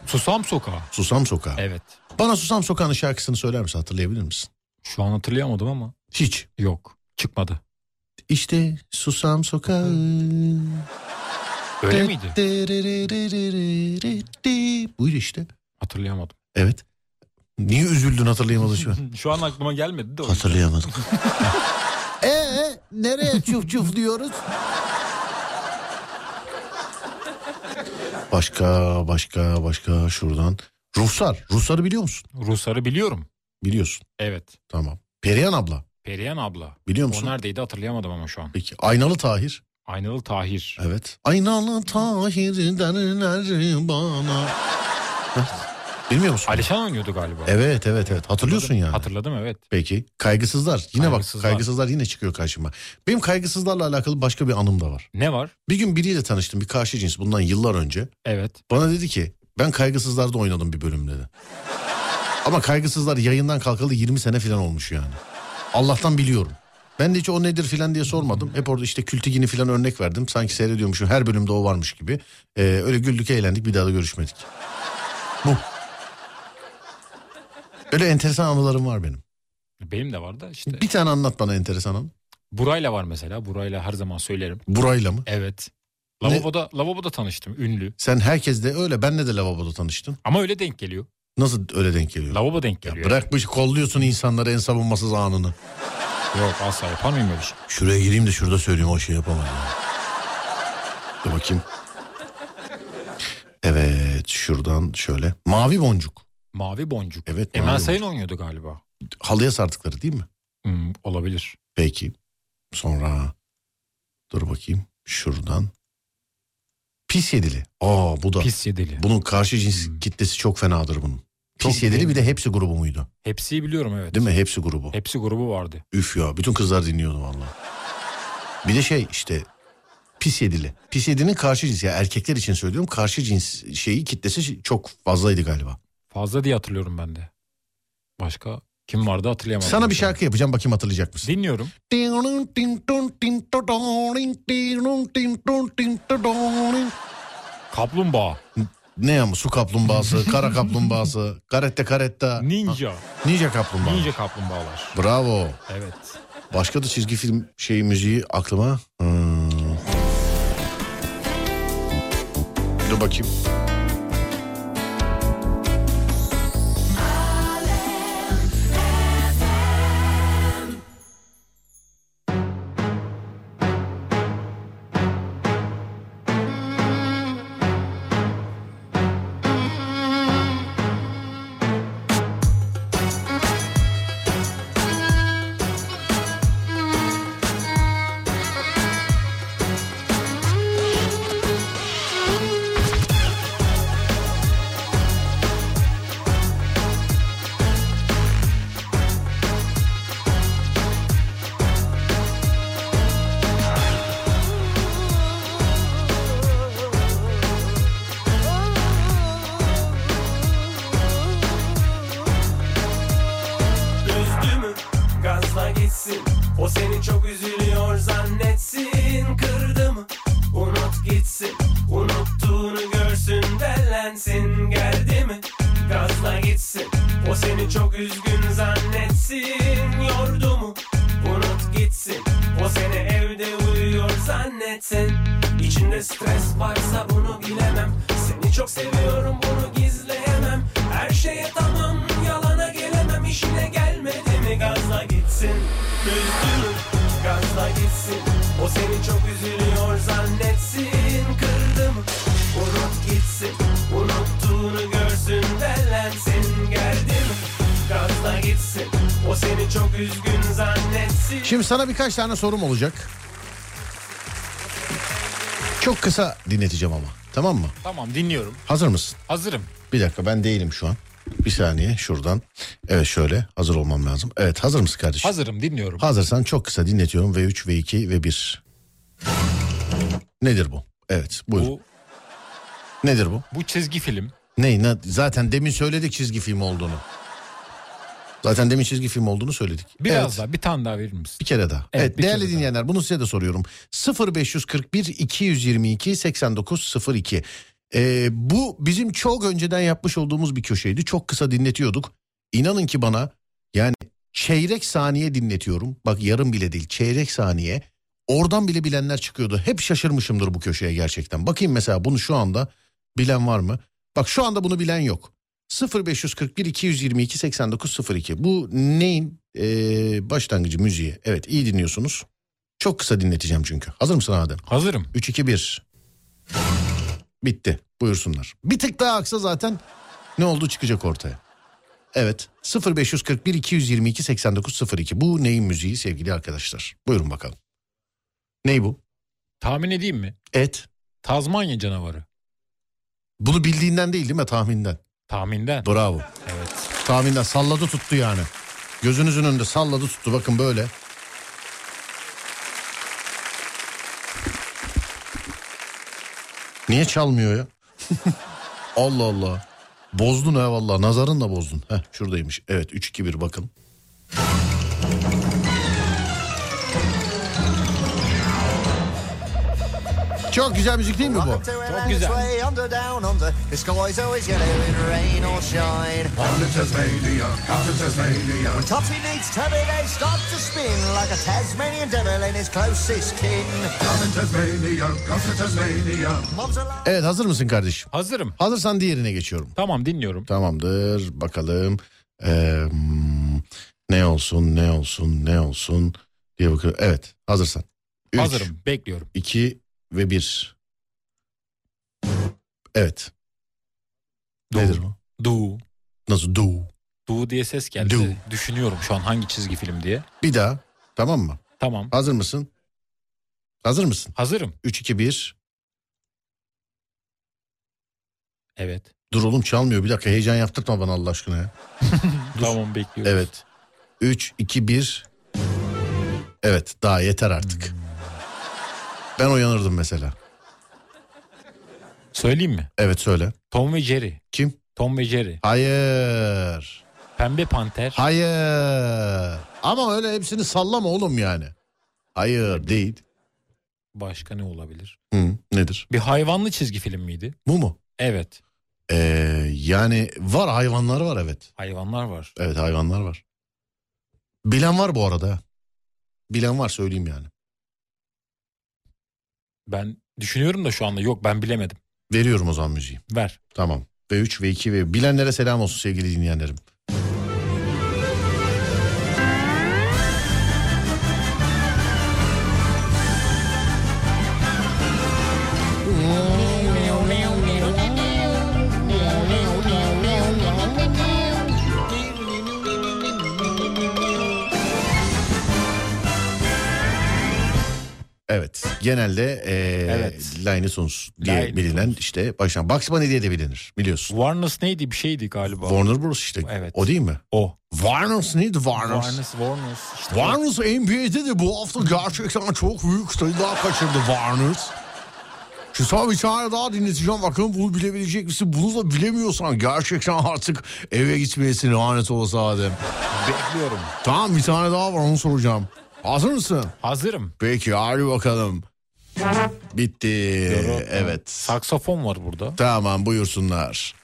Speaker 7: Susam Sokağı.
Speaker 6: Susam Sokağı.
Speaker 7: Evet.
Speaker 6: Bana Susam Sokağı'nın şarkısını söyler misin? Hatırlayabilir misin?
Speaker 7: Şu an hatırlayamadım ama.
Speaker 6: Hiç.
Speaker 7: Yok. Çıkmadı.
Speaker 6: İşte susam sokağı.
Speaker 7: Öyle miydi?
Speaker 6: Buyur işte.
Speaker 7: Hatırlayamadım.
Speaker 6: Evet. Niye üzüldün hatırlayamadın şimdi?
Speaker 7: Şu an aklıma gelmedi de. o yüzden.
Speaker 6: Hatırlayamadım. Ee nereye çuf çuf diyoruz? Başka başka başka şuradan. Ruhsar. Ruhsar'ı biliyor musun?
Speaker 7: Rusları biliyorum.
Speaker 6: Biliyorsun.
Speaker 7: Evet.
Speaker 6: Tamam. Perihan abla.
Speaker 7: Perihan abla.
Speaker 6: Biliyor
Speaker 7: O
Speaker 6: musun?
Speaker 7: neredeydi hatırlayamadım ama şu an.
Speaker 6: Peki. Aynalı Tahir.
Speaker 7: Aynalı Tahir.
Speaker 6: Evet. Aynalı Tahir derler bana. Heh, Bilmiyor musun?
Speaker 7: Alişan oynuyordu galiba.
Speaker 6: Evet evet evet. Hatırlıyorsun yani.
Speaker 7: Hatırladım evet.
Speaker 6: Peki. Kaygısızlar. Yine
Speaker 7: Kaygısızlar.
Speaker 6: bak kaygısızlar yine çıkıyor karşıma. Benim kaygısızlarla alakalı başka bir anım da var.
Speaker 7: Ne var?
Speaker 6: Bir gün biriyle tanıştım bir karşı cins bundan yıllar önce.
Speaker 7: Evet.
Speaker 6: Bana dedi ki ben kaygısızlarda oynadım bir bölüm dedi. Ama kaygısızlar yayından kalkalı 20 sene falan olmuş yani. Allah'tan biliyorum. Ben de hiç o nedir filan diye sormadım. Hep orada işte kültigini filan örnek verdim. Sanki seyrediyormuşum her bölümde o varmış gibi. Ee, öyle güldük eğlendik bir daha da görüşmedik. Bu. Öyle enteresan anılarım var benim.
Speaker 7: Benim de var da işte.
Speaker 6: Bir tane anlat bana enteresan anı.
Speaker 7: Burayla var mesela. Burayla her zaman söylerim.
Speaker 6: Burayla mı?
Speaker 7: Evet.
Speaker 6: Ne?
Speaker 7: Lavaboda, lavaboda tanıştım ünlü.
Speaker 6: Sen herkesle öyle benle de lavaboda tanıştın.
Speaker 7: Ama öyle denk geliyor.
Speaker 6: Nasıl öyle denk geliyor?
Speaker 7: Lavabo denk
Speaker 6: Ya
Speaker 7: geliyor.
Speaker 6: bırakmış kolluyorsun insanları en savunmasız anını.
Speaker 7: Yok asla yapar mıyım öyle şey?
Speaker 6: Şuraya gireyim de şurada söyleyeyim o şey yapamam. ya. Dur bakayım. Evet şuradan şöyle. Mavi boncuk.
Speaker 7: Mavi boncuk.
Speaker 6: Evet,
Speaker 7: Emel
Speaker 6: mavi
Speaker 7: Sayın oynuyordu galiba.
Speaker 6: Halıya sardıkları değil mi?
Speaker 7: Hmm, olabilir.
Speaker 6: Peki. Sonra dur bakayım şuradan. Pis yedili. Aa bu da.
Speaker 7: Pis yedili.
Speaker 6: Bunun karşı cins kitlesi çok fenadır bunun. Pis
Speaker 7: Çok
Speaker 6: yedili
Speaker 7: değil
Speaker 6: bir de hepsi grubu muydu?
Speaker 7: Hepsi biliyorum evet.
Speaker 6: Değil mi? Hepsi grubu.
Speaker 7: Hepsi grubu vardı.
Speaker 6: Üf ya bütün kızlar dinliyordu valla. Bir de şey işte pis yedili. Pis yedinin karşı cinsi. Yani erkekler için söylüyorum karşı cins şeyi kitlesi çok fazlaydı galiba.
Speaker 7: Fazla diye hatırlıyorum ben de. Başka kim vardı hatırlayamadım.
Speaker 6: Sana bir
Speaker 7: şu an.
Speaker 6: şarkı yapacağım bakayım hatırlayacak mısın?
Speaker 7: Dinliyorum. Kaplumbağa.
Speaker 6: Ne ya su kaplumbağası, kara kaplumbağası, karette karetta,
Speaker 7: Ninja.
Speaker 6: ninja kaplumbağa.
Speaker 7: Ninja kaplumbağalar.
Speaker 6: Bravo.
Speaker 7: Evet.
Speaker 6: Başka da çizgi film şey müziği aklıma. Hmm. Dur bakayım.
Speaker 8: Üzdümü gazla gitsin O seni çok üzülüyor zannetsin Kırdı mı unut gitsin Unuttuğunu görsün dellensin Geldi mi gazla gitsin O seni çok üzgün zannetsin Yordu mu unut gitsin O seni evde uyuyor zannetsin İçinde stres varsa bunu bilemem Seni çok seviyorum bunu gizleyemem Her şeye tamam yalana gelemem işine gelmedi mi gazla gitsin Üzdün gazla gitsin O seni çok üzülüyor zannetsin Kırdı mı unut gitsin Unuttuğunu görsün dellensin Geldi mi gazla gitsin O seni çok üzgün zannetsin
Speaker 6: Şimdi sana birkaç tane sorum olacak. Çok kısa dinleteceğim ama. Tamam mı?
Speaker 7: Tamam dinliyorum.
Speaker 6: Hazır mısın?
Speaker 7: Hazırım.
Speaker 6: Bir dakika ben değilim şu an. Bir saniye şuradan. Evet şöyle hazır olmam lazım. Evet hazır mısın kardeşim?
Speaker 7: Hazırım dinliyorum.
Speaker 6: Hazırsan çok kısa dinletiyorum. V3, V2 ve 1. Nedir bu? Evet buyur.
Speaker 7: Bu,
Speaker 6: Nedir bu?
Speaker 7: bu çizgi film.
Speaker 6: Ney? Ne? Zaten demin söyledik çizgi film olduğunu. Zaten demin çizgi film olduğunu söyledik.
Speaker 7: Biraz
Speaker 6: evet.
Speaker 7: daha bir tane daha verir misin?
Speaker 6: Bir kere daha.
Speaker 7: Evet,
Speaker 6: Evet,
Speaker 7: bir kere
Speaker 6: değerli
Speaker 7: daha.
Speaker 6: dinleyenler bunu size de soruyorum. 0541 222 8902. Ee, bu bizim çok önceden yapmış olduğumuz bir köşeydi. Çok kısa dinletiyorduk. İnanın ki bana yani çeyrek saniye dinletiyorum. Bak yarım bile değil çeyrek saniye. Oradan bile bilenler çıkıyordu. Hep şaşırmışımdır bu köşeye gerçekten. Bakayım mesela bunu şu anda bilen var mı? Bak şu anda bunu bilen yok. 0541 222 8902 bu neyin Ee, başlangıcı müziği evet iyi dinliyorsunuz çok kısa dinleteceğim çünkü hazır mısın Adem
Speaker 7: Hazırım.
Speaker 6: 3 2 1 bitti buyursunlar bir tık daha aksa zaten ne oldu çıkacak ortaya evet 0541 222 8902 bu neyin müziği sevgili arkadaşlar buyurun bakalım ney bu
Speaker 7: Tahmin edeyim mi?
Speaker 6: et
Speaker 7: Tazmanya canavarı.
Speaker 6: bunu bildiğinden değil değil mi tahminden
Speaker 7: Tahminden.
Speaker 6: bravo
Speaker 7: Evet.
Speaker 6: Tahminden salladı tuttu yani. Gözünüzün önünde salladı tuttu bakın böyle. Niye çalmıyor ya? Allah Allah. Bozdun ha vallahi nazarınla bozdun. Heh şuradaymış. Evet 3-2-1 bakın. Çok güzel müzik değil mi bu?
Speaker 7: Çok güzel.
Speaker 9: Toffee needs tabby, they start to spin like a Tasmanian devil and his closest kin. Mob's alive.
Speaker 6: Evet hazır mısın kardeşim?
Speaker 7: Hazırım.
Speaker 6: Hazırsan diğerine geçiyorum.
Speaker 7: Tamam dinliyorum.
Speaker 6: Tamamdır bakalım. Ee, hmm, ne olsun ne olsun ne olsun diye bakıyorum. Evet hazırsan. Üç,
Speaker 7: Hazırım. Bekliyorum.
Speaker 6: iki ve bir. Evet. Nedir bu?
Speaker 7: Du.
Speaker 6: Nasıl do?
Speaker 7: Du diye ses geldi.
Speaker 6: Du.
Speaker 7: Düşünüyorum şu an hangi çizgi film diye.
Speaker 6: Bir daha tamam mı?
Speaker 7: Tamam.
Speaker 6: Hazır mısın? Hazır mısın?
Speaker 7: Hazırım.
Speaker 6: 3 2 1.
Speaker 7: Evet.
Speaker 6: Dur oğlum çalmıyor. Bir dakika heyecan yaptırtma bana Allah aşkına ya.
Speaker 7: Tamam bekliyorum.
Speaker 6: Evet. 3 2 1. Evet, daha yeter artık. Ben uyanırdım mesela.
Speaker 7: Söyleyeyim mi?
Speaker 6: Evet söyle.
Speaker 7: Tom ve Jerry.
Speaker 6: Kim?
Speaker 7: Tom ve Jerry.
Speaker 6: Hayır.
Speaker 7: Pembe Panter.
Speaker 6: Hayır. Ama öyle hepsini sallama oğlum yani. Hayır değil.
Speaker 7: Başka ne olabilir?
Speaker 6: Hı, nedir?
Speaker 7: Bir hayvanlı çizgi film miydi?
Speaker 6: Bu mu?
Speaker 7: Evet.
Speaker 6: Ee, yani var hayvanlar var evet.
Speaker 7: Hayvanlar var.
Speaker 6: Evet hayvanlar var. Bilen var bu arada. Bilen var söyleyeyim yani.
Speaker 7: Ben düşünüyorum da şu anda yok ben bilemedim.
Speaker 6: Veriyorum o zaman müziği.
Speaker 7: Ver.
Speaker 6: Tamam. Ve 3 ve 2 ve bilenlere selam olsun sevgili dinleyenlerim. Evet. Genelde eee
Speaker 7: Evet.
Speaker 6: Linusons diye
Speaker 7: Linus.
Speaker 6: bilinen işte başkan. Bugs Bunny diye de bilinir biliyorsun.
Speaker 7: Warners neydi bir şeydi galiba.
Speaker 6: Warner Bros işte.
Speaker 7: Evet.
Speaker 6: O değil mi?
Speaker 7: o.
Speaker 6: Warners neydi Warners?
Speaker 7: Warners, Warners. İşte
Speaker 6: Warners NBA'de de bu hafta gerçekten çok büyük sayılar kaçırdı Warners. Şu sana bir tane daha dinleteceğim. Bakalım bunu bilebilecek misin? Bunu da bilemiyorsan gerçekten artık eve gitmeyesin lanet olası Adem.
Speaker 7: bekliyorum.
Speaker 6: Tamam bir tane daha var onu soracağım. Hazır mısın?
Speaker 7: Hazırım.
Speaker 6: Peki hadi bakalım. Bitti. Evet.
Speaker 7: Saksafon var burada.
Speaker 6: Tamam buyursunlar.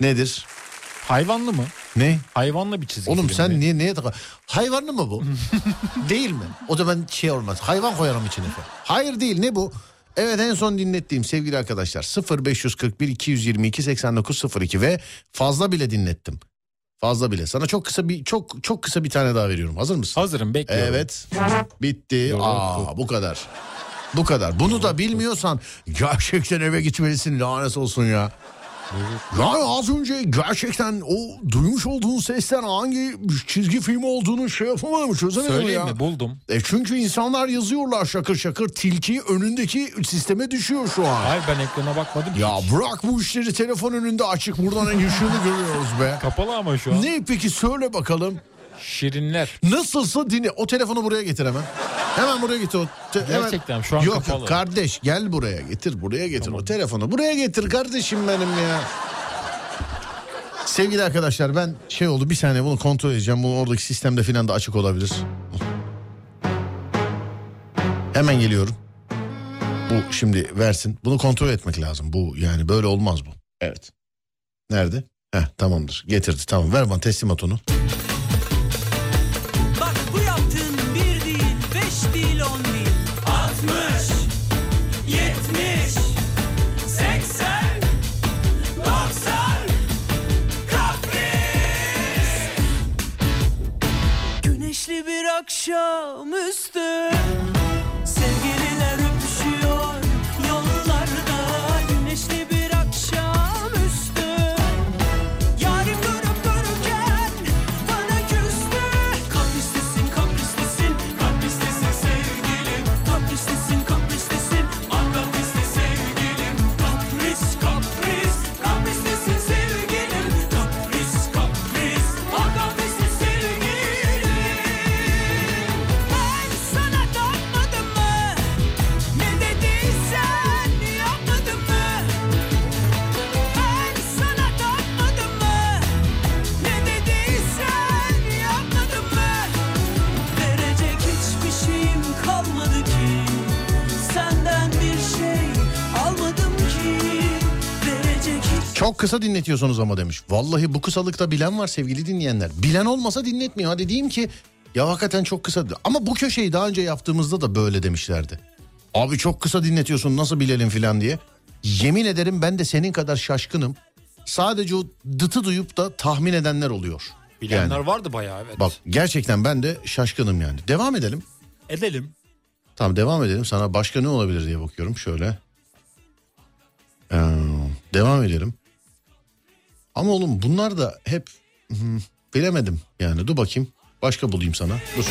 Speaker 6: Nedir?
Speaker 7: Hayvanlı mı?
Speaker 6: Ne?
Speaker 7: Hayvanlı bir çizgi
Speaker 6: Oğlum
Speaker 7: film
Speaker 6: sen
Speaker 7: mi?
Speaker 6: niye neye takar? Hayvanlı mı bu? değil mi? O zaman şey olmaz. Hayvan koyarım içine. Hayır değil ne bu? Evet en son dinlettiğim sevgili arkadaşlar 0541 222 8902 ve fazla bile dinlettim. Fazla bile. Sana çok kısa bir çok çok kısa bir tane daha veriyorum. Hazır mısın?
Speaker 7: Hazırım bekliyorum.
Speaker 6: Evet. Bitti. Aa bu kadar. Bu kadar. Bunu da bilmiyorsan gerçekten eve gitmelisin lanet olsun ya. Yani az önce gerçekten o duymuş olduğun sesten hangi çizgi film olduğunu şey yapamadım çözemedim
Speaker 7: Söyleyeyim
Speaker 6: ya.
Speaker 7: mi? Buldum.
Speaker 6: E çünkü insanlar yazıyorlar şakır şakır tilki önündeki sisteme düşüyor şu an.
Speaker 7: Hayır ben ekrana bakmadım. ki.
Speaker 6: Ya bırak bu işleri telefon önünde açık buradan en ışığını görüyoruz be.
Speaker 7: Kapalı ama şu an.
Speaker 6: Ne peki söyle bakalım.
Speaker 7: Şirinler.
Speaker 6: Nasılsa dinle. O telefonu buraya getir hemen. Hemen buraya getir. O te- hemen-
Speaker 7: Gerçekten şu an
Speaker 6: Yok,
Speaker 7: kapalı.
Speaker 6: Yok kardeş gel buraya getir buraya getir o telefonu. Buraya getir kardeşim benim ya. Sevgili arkadaşlar ben şey oldu bir saniye bunu kontrol edeceğim. Bunu oradaki sistemde filan da açık olabilir. Hemen geliyorum. Bu şimdi versin. Bunu kontrol etmek lazım. Bu yani böyle olmaz bu. Evet. Nerede? Heh tamamdır. Getirdi tamam. Ver bana teslimat onu.
Speaker 3: Bak bu yaptığın bir değil, beş değil, on değil.
Speaker 8: 70 80 90
Speaker 1: akşamüstü Sevgililer öpüşüyor yollarda Güneşli bir akşamüstü Yarim durup dururken bana küstü Kaprislisin kaprislisin kaprislisin sevgilim Kaprislisin kaprislisin akaprisli sevgilim Kapris kapris kaprislisin sevgilim Kapris kapris akaprisli sevgilim Ben sana dönmedim mı? Ne dediysen yapmadım mı? Ben sana dönmedim mi? Ne dediysen yapmadım mı? Verecek hiçbir şeyim kalmadı ki Senden bir şey almadım ki Verecek hiç
Speaker 6: Çok kısa dinletiyorsunuz ama demiş. Vallahi bu kısalıkta bilen var sevgili dinleyenler. Bilen olmasa dinletmiyor. Hadi diyeyim ki ya hakikaten çok kısa. Ama bu köşeyi daha önce yaptığımızda da böyle demişlerdi. Abi çok kısa dinletiyorsun nasıl bilelim filan diye. Yemin ederim ben de senin kadar şaşkınım. Sadece o dıtı duyup da tahmin edenler oluyor.
Speaker 7: Bilenler
Speaker 6: Yani
Speaker 7: vardı bayağı evet.
Speaker 6: bak gerçekten ben de şaşkınım yani. Devam edelim.
Speaker 7: Edelim.
Speaker 6: Tamam devam edelim. Sana başka ne olabilir diye bakıyorum şöyle. Ee, devam edelim. Ama oğlum bunlar da hep hmm, bilemedim yani. Dur bakayım. Başka bulayım sana. Dur.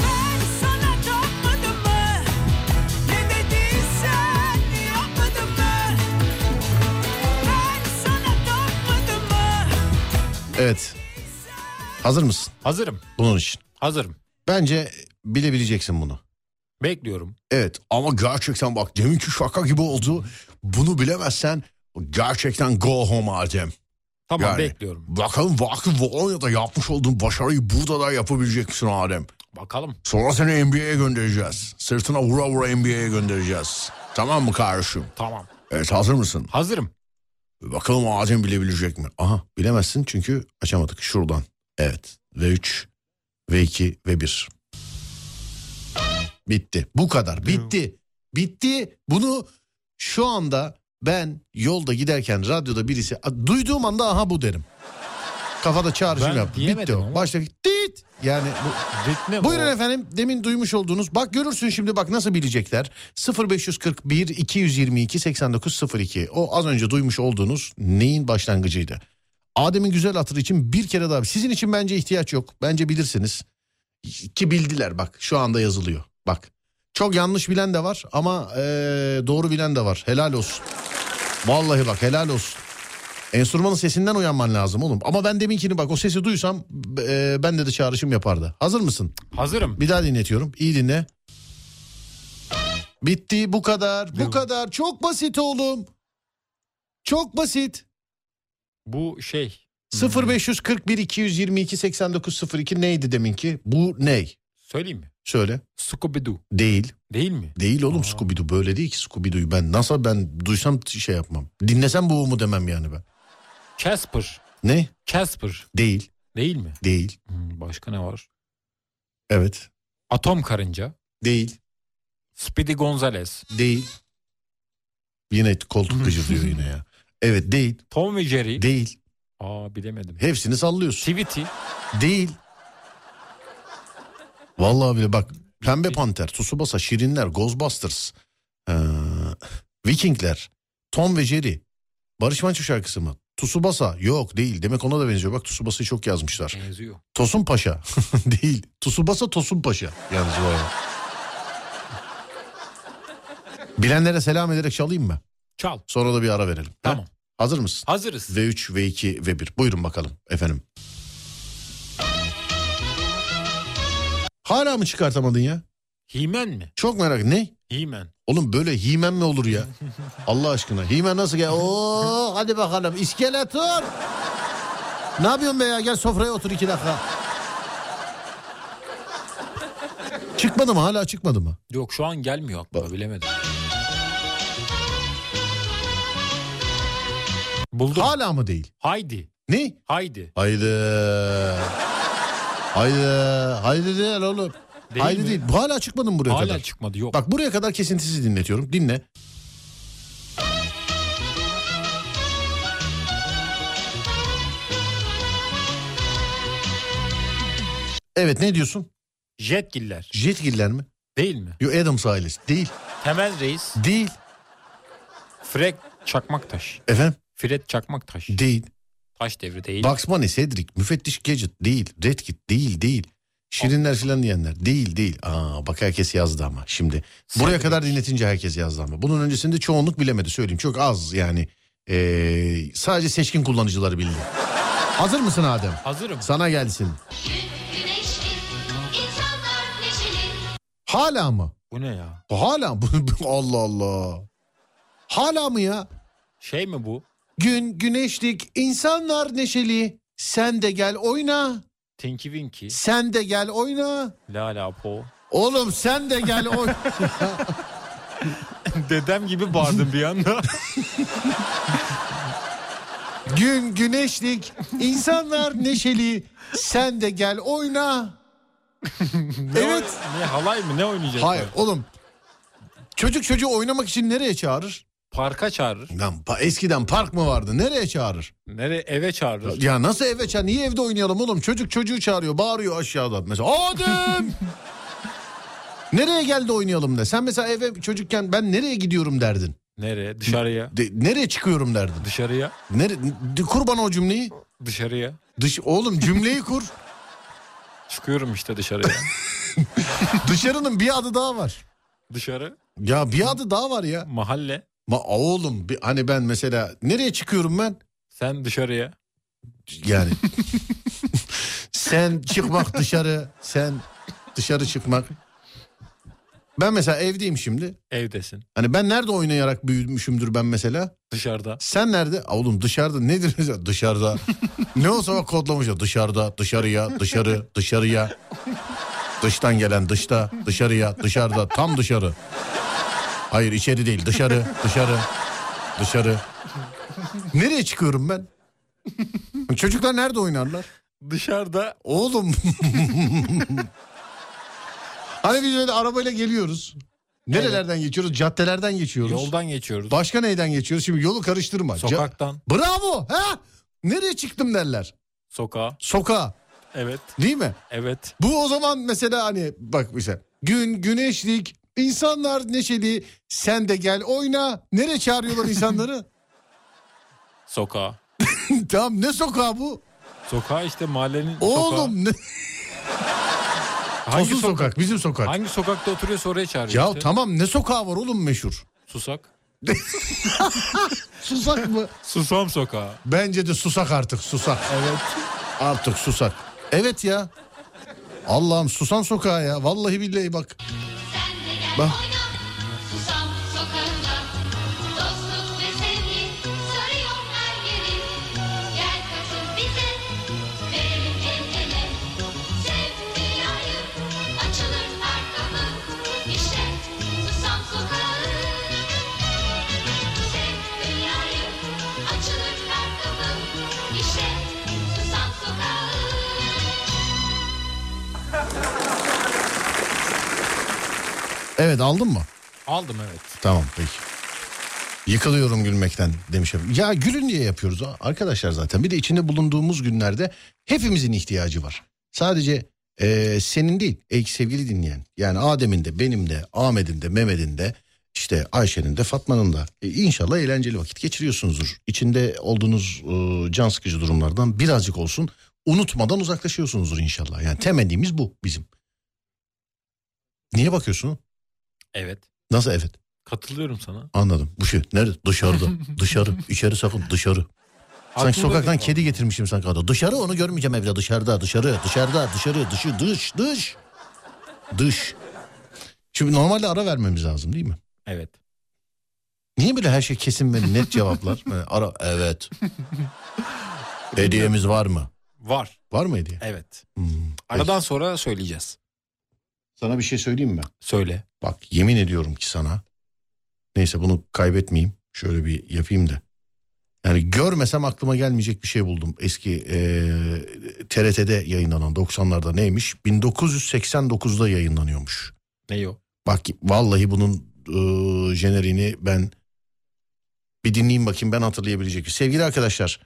Speaker 1: Ben sana dönmedim mi? Ne dediysen yapmadım mı? Ben sana dönmedim mi?
Speaker 6: Evet. Hazır mısın
Speaker 7: Hazırım.
Speaker 6: bunun için?
Speaker 7: Hazırım.
Speaker 6: Bence bilebileceksin bunu.
Speaker 7: Bekliyorum.
Speaker 6: Evet ama gerçekten bak deminki şaka gibi oldu. Bunu bilemezsen gerçekten go home Adem.
Speaker 7: Tamam
Speaker 6: Yani.
Speaker 7: bekliyorum.
Speaker 6: Bakalım vakıf Volonya'da yapmış olduğun başarıyı burada da yapabilecek misin Adem?
Speaker 7: Bakalım.
Speaker 6: Sonra seni NBA'ye göndereceğiz. Sırtına vura vura NBA'ye göndereceğiz. Tamam mı kardeşim?
Speaker 7: Tamam.
Speaker 6: Evet hazır mısın?
Speaker 7: Hazırım.
Speaker 6: Bakalım Adem bilebilecek mi? Aha bilemezsin çünkü açamadık şuradan. Evet ve 3 ve 2 ve 1. Bitti. Bu kadar. Bitti. Bitti. Bunu şu anda ben yolda giderken radyoda birisi A, duyduğum anda aha bu derim. Kafada çağrışım
Speaker 7: Ben
Speaker 6: yaptı. Bitti
Speaker 7: diyemedim
Speaker 6: o.
Speaker 7: ama.
Speaker 6: Baştaki tit. Yani bu,
Speaker 7: Ritme
Speaker 6: Buyurun
Speaker 7: bu.
Speaker 6: efendim demin duymuş olduğunuz bak görürsün şimdi bak nasıl bilecekler 0541 222 8902 o az önce duymuş olduğunuz neyin başlangıcıydı. Adem'in güzel hatırı için bir kere daha sizin için bence ihtiyaç yok bence bilirsiniz ki bildiler bak şu anda yazılıyor bak çok yanlış bilen de var ama eee, doğru bilen de var helal olsun vallahi bak helal olsun. Enstrümanın sesinden uyanman lazım oğlum. Ama ben deminkini bak o sesi duysam eee bende de çağrışım yapardı. Hazır mısın?
Speaker 7: Hazırım.
Speaker 6: Bir daha dinletiyorum. İyi dinle. Bitti bu kadar. Bu kadar. Çok basit oğlum. Çok basit.
Speaker 7: Bu şey
Speaker 6: 0541 222 8902 neydi deminki? Bu ney?
Speaker 7: söyleyeyim mi?
Speaker 6: Söyle.
Speaker 7: Scooby Doo
Speaker 6: Değil.
Speaker 7: değil mi?
Speaker 6: Değil oğlum Scooby Doo böyle değil ki Scooby Doo'yu ben nasıl ben duysam şey yapmam. Dinlesem bu mu demem yani ben.
Speaker 7: Casper.
Speaker 6: Ne?
Speaker 7: Casper
Speaker 6: Değil.
Speaker 7: değil mi?
Speaker 6: Değil.
Speaker 7: Hmm, başka ne var?
Speaker 6: Evet.
Speaker 7: Atom Karınca.
Speaker 6: Değil.
Speaker 7: Speedy Gonzales.
Speaker 6: Değil. Yine koltuk gıcırdıyor yine ya. Evet değil.
Speaker 7: Tom ve Jerry.
Speaker 6: Değil.
Speaker 7: Aa bilemedim.
Speaker 6: Hepsini sallıyorsun.
Speaker 7: Tweety.
Speaker 6: Değil. Vallahi bile bak Pembe Panter, Tsubasa, Şirinler, Ghostbusters, ee, Vikingler, Tom ve Jerry, Barış Manço şarkısı mı? Tsubasa yok değil demek ona da benziyor bak Tsubasa'yı çok yazmışlar.
Speaker 7: Benziyor.
Speaker 6: Tosun Paşa değil Tsubasa Tosun Paşa yalnız o arada. Bilenlere selam ederek çalayım mı?
Speaker 7: Çal.
Speaker 6: Sonra da bir ara verelim. Ha?
Speaker 7: Tamam.
Speaker 6: Hazır mısın?
Speaker 7: Hazırız.
Speaker 6: V3, V2, V1. Buyurun bakalım efendim. Hala mı çıkartamadın ya?
Speaker 7: He-Man mi?
Speaker 6: Çok merak ne?
Speaker 7: He-Man.
Speaker 6: Oğlum böyle himen mi olur ya? Allah aşkına. Himen nasıl gel? Oo hadi bakalım. İskeletor. Ne yapıyorsun be ya? Gel sofraya otur iki dakika. çıkmadı mı? Hala çıkmadı mı?
Speaker 7: Yok şu an gelmiyor aklıma bilemedim. Buldum.
Speaker 6: Hala mı değil?
Speaker 7: Haydi.
Speaker 6: Ne?
Speaker 7: Haydi.
Speaker 6: Haydi. Haydi. Haydi değil oğlum.
Speaker 7: Değil
Speaker 6: Haydi
Speaker 7: mi?
Speaker 6: değil. Bu hala çıkmadın buraya
Speaker 7: Hala
Speaker 6: kadar.
Speaker 7: çıkmadı yok.
Speaker 6: Bak buraya kadar kesintisiz dinletiyorum. Dinle. Evet ne diyorsun?
Speaker 7: Jetgiller
Speaker 6: Jetgiller mi?
Speaker 7: değil mi?
Speaker 6: Yo Adams ailesi. Değil.
Speaker 7: Temel Reis,
Speaker 6: Değil.
Speaker 7: Fred Çakmaktaş.
Speaker 6: Efendim?
Speaker 7: Fred Çakmaktaş.
Speaker 6: Değil.
Speaker 7: Taş devri değil.
Speaker 6: Bugs Bunny, Cedric, Müfettiş Gadget değil. Redkit değil değil. Şirinler filan diyenler. Değil değil. Aa bak herkes yazdı ama şimdi. Buraya
Speaker 7: Cedric.
Speaker 6: kadar dinletince herkes yazdı ama. Bunun öncesinde çoğunluk bilemedi söyleyeyim. Çok az yani. Ee, sadece seçkin kullanıcıları bildi. Hazır mısın Adem?
Speaker 7: Hazırım.
Speaker 6: Sana gelsin.
Speaker 10: Güneşli, insanlar neşeli.
Speaker 6: Hala mı?
Speaker 7: Bu ne ya?
Speaker 6: Hala mı? Allah Allah. Hala mı ya?
Speaker 7: Şey mi bu?
Speaker 6: Gün güneşlik, insanlar neşeli. Sen de gel oyna.
Speaker 7: Tinky Winky,
Speaker 6: Sen de gel oyna.
Speaker 7: La La Po.
Speaker 6: Oğlum sen de gel oyna.
Speaker 7: Dedem gibi bağırdım bir anda.
Speaker 6: Gün güneşlik, insanlar neşeli. Sen de gel oyna. evet.
Speaker 7: ne halay mı? Ne oynayacağız?
Speaker 6: Hayır oğlum. Çocuk çocuğu oynamak için nereye çağırır?
Speaker 7: Parka çağırır.
Speaker 6: Lan pa- eskiden park mı vardı? Nereye çağırır?
Speaker 7: Nereye? Eve çağırır.
Speaker 6: Ya nasıl eve çağır? Niye evde oynayalım oğlum? Çocuk çocuğu çağırıyor, bağırıyor aşağıdan. Mesela Adem! nereye geldi oynayalım de. Sen mesela eve çocukken ben nereye gidiyorum derdin.
Speaker 7: Nereye? Dışarıya.
Speaker 6: De- nereye çıkıyorum derdin.
Speaker 7: Dışarıya.
Speaker 6: Nere, de- kur bana o cümleyi.
Speaker 7: Dışarıya.
Speaker 6: Dış, oğlum cümleyi kur.
Speaker 7: Çıkıyorum işte dışarıya.
Speaker 6: Dışarının bir adı daha var.
Speaker 7: Dışarı.
Speaker 6: Ya bir adı daha var ya.
Speaker 7: Mahalle.
Speaker 6: Ma oğlum bir, hani ben mesela nereye çıkıyorum ben?
Speaker 7: Sen dışarıya.
Speaker 6: Yani sen çıkmak dışarı, sen dışarı çıkmak. Ben mesela evdeyim şimdi.
Speaker 7: Evdesin.
Speaker 6: Hani ben nerede oynayarak büyümüşümdür ben mesela?
Speaker 7: Dışarıda.
Speaker 6: Sen nerede? Aa, Oğlum dışarıda nedir? mesela? dışarıda. ne olsa bak kodlamış ya. Dışarıda, dışarıya, dışarı, dışarıya. Dıştan gelen dışta, dışarıya, dışarıda, tam dışarı. Hayır içeri değil dışarı, dışarı, dışarı. Nereye çıkıyorum ben? Çocuklar nerede oynarlar?
Speaker 7: Dışarıda.
Speaker 6: Oğlum. hani biz böyle arabayla geliyoruz. Nerelerden geçiyoruz? Caddelerden geçiyoruz.
Speaker 7: Yoldan geçiyoruz.
Speaker 6: Başka neyden geçiyoruz? Şimdi yolu karıştırma. Ca-
Speaker 7: Sokaktan.
Speaker 6: Bravo. Ha? Nereye çıktım derler.
Speaker 7: Sokağa.
Speaker 6: Sokağa.
Speaker 7: Evet.
Speaker 6: Değil mi?
Speaker 7: Evet.
Speaker 6: Bu o zaman mesela hani bak mesela gün güneşlik insanlar neşeli sen de gel oyna. Nereye çağırıyorlar insanları?
Speaker 7: Sokağa.
Speaker 6: tamam ne sokağı bu?
Speaker 7: Sokağa işte mahallenin sokağı.
Speaker 6: Oğlum ne?
Speaker 7: Hangi
Speaker 6: Uzun
Speaker 7: sokak?
Speaker 6: sokak bizim sokak.
Speaker 7: Hangi sokakta oturuyorsa oraya çağırıyor
Speaker 6: Ya
Speaker 7: işte.
Speaker 6: tamam ne sokağı var oğlum meşhur?
Speaker 7: Susak.
Speaker 6: Susak mı?
Speaker 7: Susam sokağı.
Speaker 6: Bence de susak artık susak.
Speaker 7: Evet.
Speaker 6: Artık susak. Evet ya. Allah'ım susan sokağa ya. Vallahi billahi bak.
Speaker 10: Sen de gel
Speaker 6: Bak.
Speaker 10: oyna. Susam sokağında. Dostluk ve sevgi sarıyor her yeri. Gel katıl bize. Verelim el ele. Sevgi yayı. Açılır her kapı. İşte susam sokağı. Sevgi yayı. Açılır her kapı. İşte susam sokağı.
Speaker 6: Evet aldın mı?
Speaker 7: Aldım evet.
Speaker 6: Tamam peki. Yıkılıyorum gülmekten demiş efendim. Ya gülün diye yapıyoruz a- arkadaşlar zaten. Bir de içinde bulunduğumuz günlerde hepimizin ihtiyacı var. Sadece eee, senin değil ey sevgili dinleyen. Yani Adem'in de benim de Ahmet'in de Mehmet'in de işte Ayşe'nin de Fatma'nın da. E, inşallah eğlenceli vakit geçiriyorsunuzdur. İçinde olduğunuz eee, can sıkıcı durumlardan birazcık olsun unutmadan uzaklaşıyorsunuzdur inşallah. Yani temennimiz bu bizim. Niye bakıyorsun?
Speaker 7: Evet.
Speaker 6: Nasıl evet?
Speaker 7: Katılıyorum sana.
Speaker 6: Anladım. Bu şey nerede? Dışarıda. dışarı. İçeri sakın dışarı. Sanki
Speaker 7: Aklımda
Speaker 6: sokaktan
Speaker 7: değil
Speaker 6: kedi getirmişim sanki. arada. Dışarı onu görmeyeceğim evde. Dışarıda, dışarı, dışarıda, dışarı, dışı, dış, dış. Dış. Şimdi normalde ara vermemiz lazım değil mi?
Speaker 7: Evet.
Speaker 6: Niye böyle her şey kesin ve net cevaplar? Yani ara, evet. Hediyemiz var mı?
Speaker 7: Var.
Speaker 6: Var mı hediye?
Speaker 7: Evet.
Speaker 6: Hmm.
Speaker 7: Aradan sonra söyleyeceğiz.
Speaker 6: Sana bir şey söyleyeyim mi?
Speaker 7: Söyle.
Speaker 6: Bak yemin ediyorum ki sana. Neyse bunu kaybetmeyeyim. Şöyle bir yapayım da. Yani görmesem aklıma gelmeyecek bir şey buldum. Eski eee, TRT'de yayınlanan 90'larda neymiş? 1989'da yayınlanıyormuş.
Speaker 7: Ne o?
Speaker 6: Bak vallahi bunun eee jeneriğini ben bir dinleyeyim bakayım ben hatırlayabilecek. miyim? Sevgili e, arkadaşlar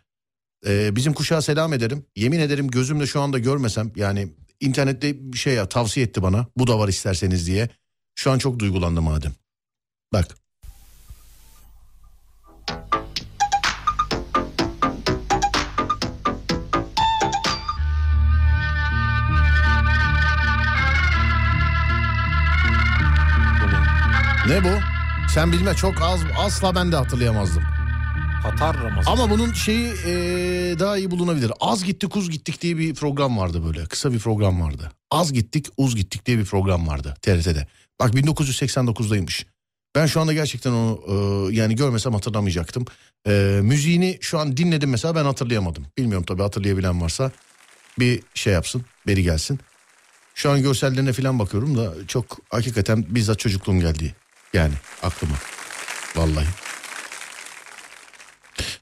Speaker 6: eee, bizim kuşağa selam ederim. Yemin ederim gözümle şu anda görmesem yani internette bir şey ya tavsiye etti bana. Bu da var isterseniz diye. Şu an çok duygulandım Adem. Bak. Ne bu? Sen bilme çok az asla ben de hatırlayamazdım.
Speaker 7: Katar Ramazan.
Speaker 6: Ama bunun şeyi eee, daha iyi bulunabilir. Az gitti kuz gittik diye bir program vardı böyle. Kısa bir program vardı. Az gittik uz gittik diye bir program vardı TRT'de. Bak 1989'daymış. Ben şu anda gerçekten onu eee, yani görmesem hatırlamayacaktım. Eee, müziğini şu an dinledim mesela ben hatırlayamadım. Bilmiyorum tabii hatırlayabilen varsa bir şey yapsın beri gelsin. Şu an görsellerine falan bakıyorum da çok hakikaten bizzat çocukluğum geldi. Yani aklıma. Vallahi.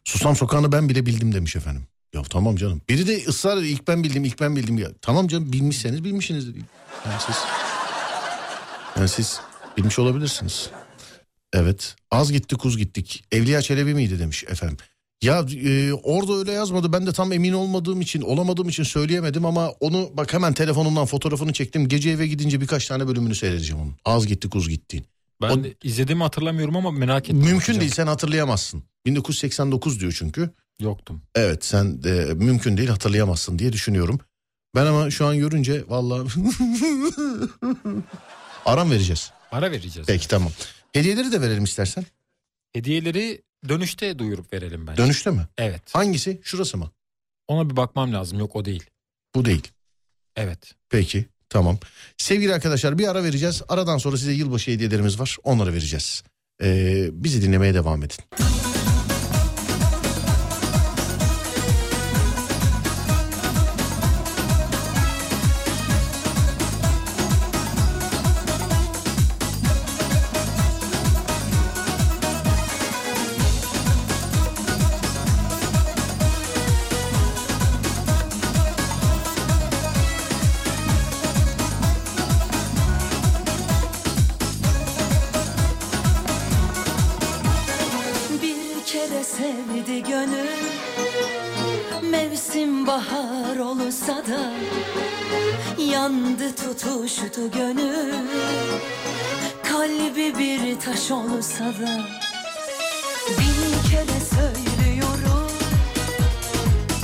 Speaker 6: Susam sokağını ben bile bildim demiş efendim. Ya tamam canım. Biri de ısrar ediyor. ilk ben bildim ilk ben bildim. Ya, tamam canım bilmişseniz bilmişsiniz. Yani siz, yani siz bilmiş olabilirsiniz. Evet. Az gitti kuz gittik. Evliya Çelebi miydi demiş efendim. Ya e, orada öyle yazmadı. Ben de tam emin olmadığım için, olamadığım için söyleyemedim ama onu bak hemen telefonumdan fotoğrafını çektim. Gece eve gidince birkaç tane bölümünü seyredeceğim onun. Az gitti kuz gittiğin.
Speaker 7: Ben
Speaker 6: O-
Speaker 7: de izlediğimi hatırlamıyorum ama merak ettim.
Speaker 6: Mümkün
Speaker 7: Bakacağım.
Speaker 6: değil sen hatırlayamazsın. 1989 diyor çünkü.
Speaker 7: Yoktum.
Speaker 6: Evet sen de mümkün değil hatırlayamazsın diye düşünüyorum. Ben ama şu an görünce vallahi aram vereceğiz.
Speaker 7: Ara vereceğiz.
Speaker 6: Peki tamam. Hediyeleri de verelim istersen.
Speaker 7: Hediyeleri dönüşte duyurup verelim bence.
Speaker 6: Dönüşte mi?
Speaker 7: Evet.
Speaker 6: Hangisi? Şurası mı?
Speaker 7: Ona bir bakmam lazım. Yok o değil.
Speaker 6: Bu değil.
Speaker 7: Evet.
Speaker 6: Peki tamam. Sevgili arkadaşlar bir ara vereceğiz. Aradan sonra size yılbaşı hediyelerimiz var. Onları vereceğiz. Ee, bizi dinlemeye devam edin.
Speaker 11: Bir kere sevdi gönül Mevsim bahar olsa da Yandı tutuştu gönül Kalbi bir taş olsa da Bin kere söylüyorum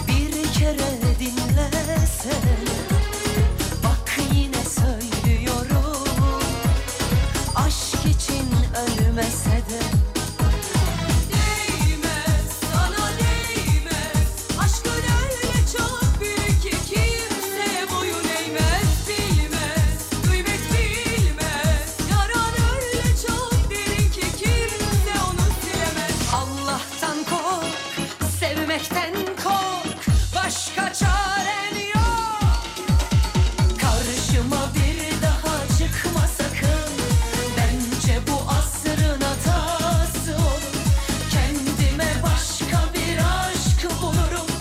Speaker 11: Bir kere dinlesen Bak yine söylüyorum Aşk için ölmese de Değmez sana değmez Aşkın öyle çok büyük ki kimse boyun eğmez Bilmez kıymet bilmez Yaran öyle çok derin ki kimse onu silemez Allah'tan kork sevmekten kork Başka çaren yok Karşıma bir daha çıkma sakın Bence bu asrın hatası olur Kendime başka bir aşk bulurum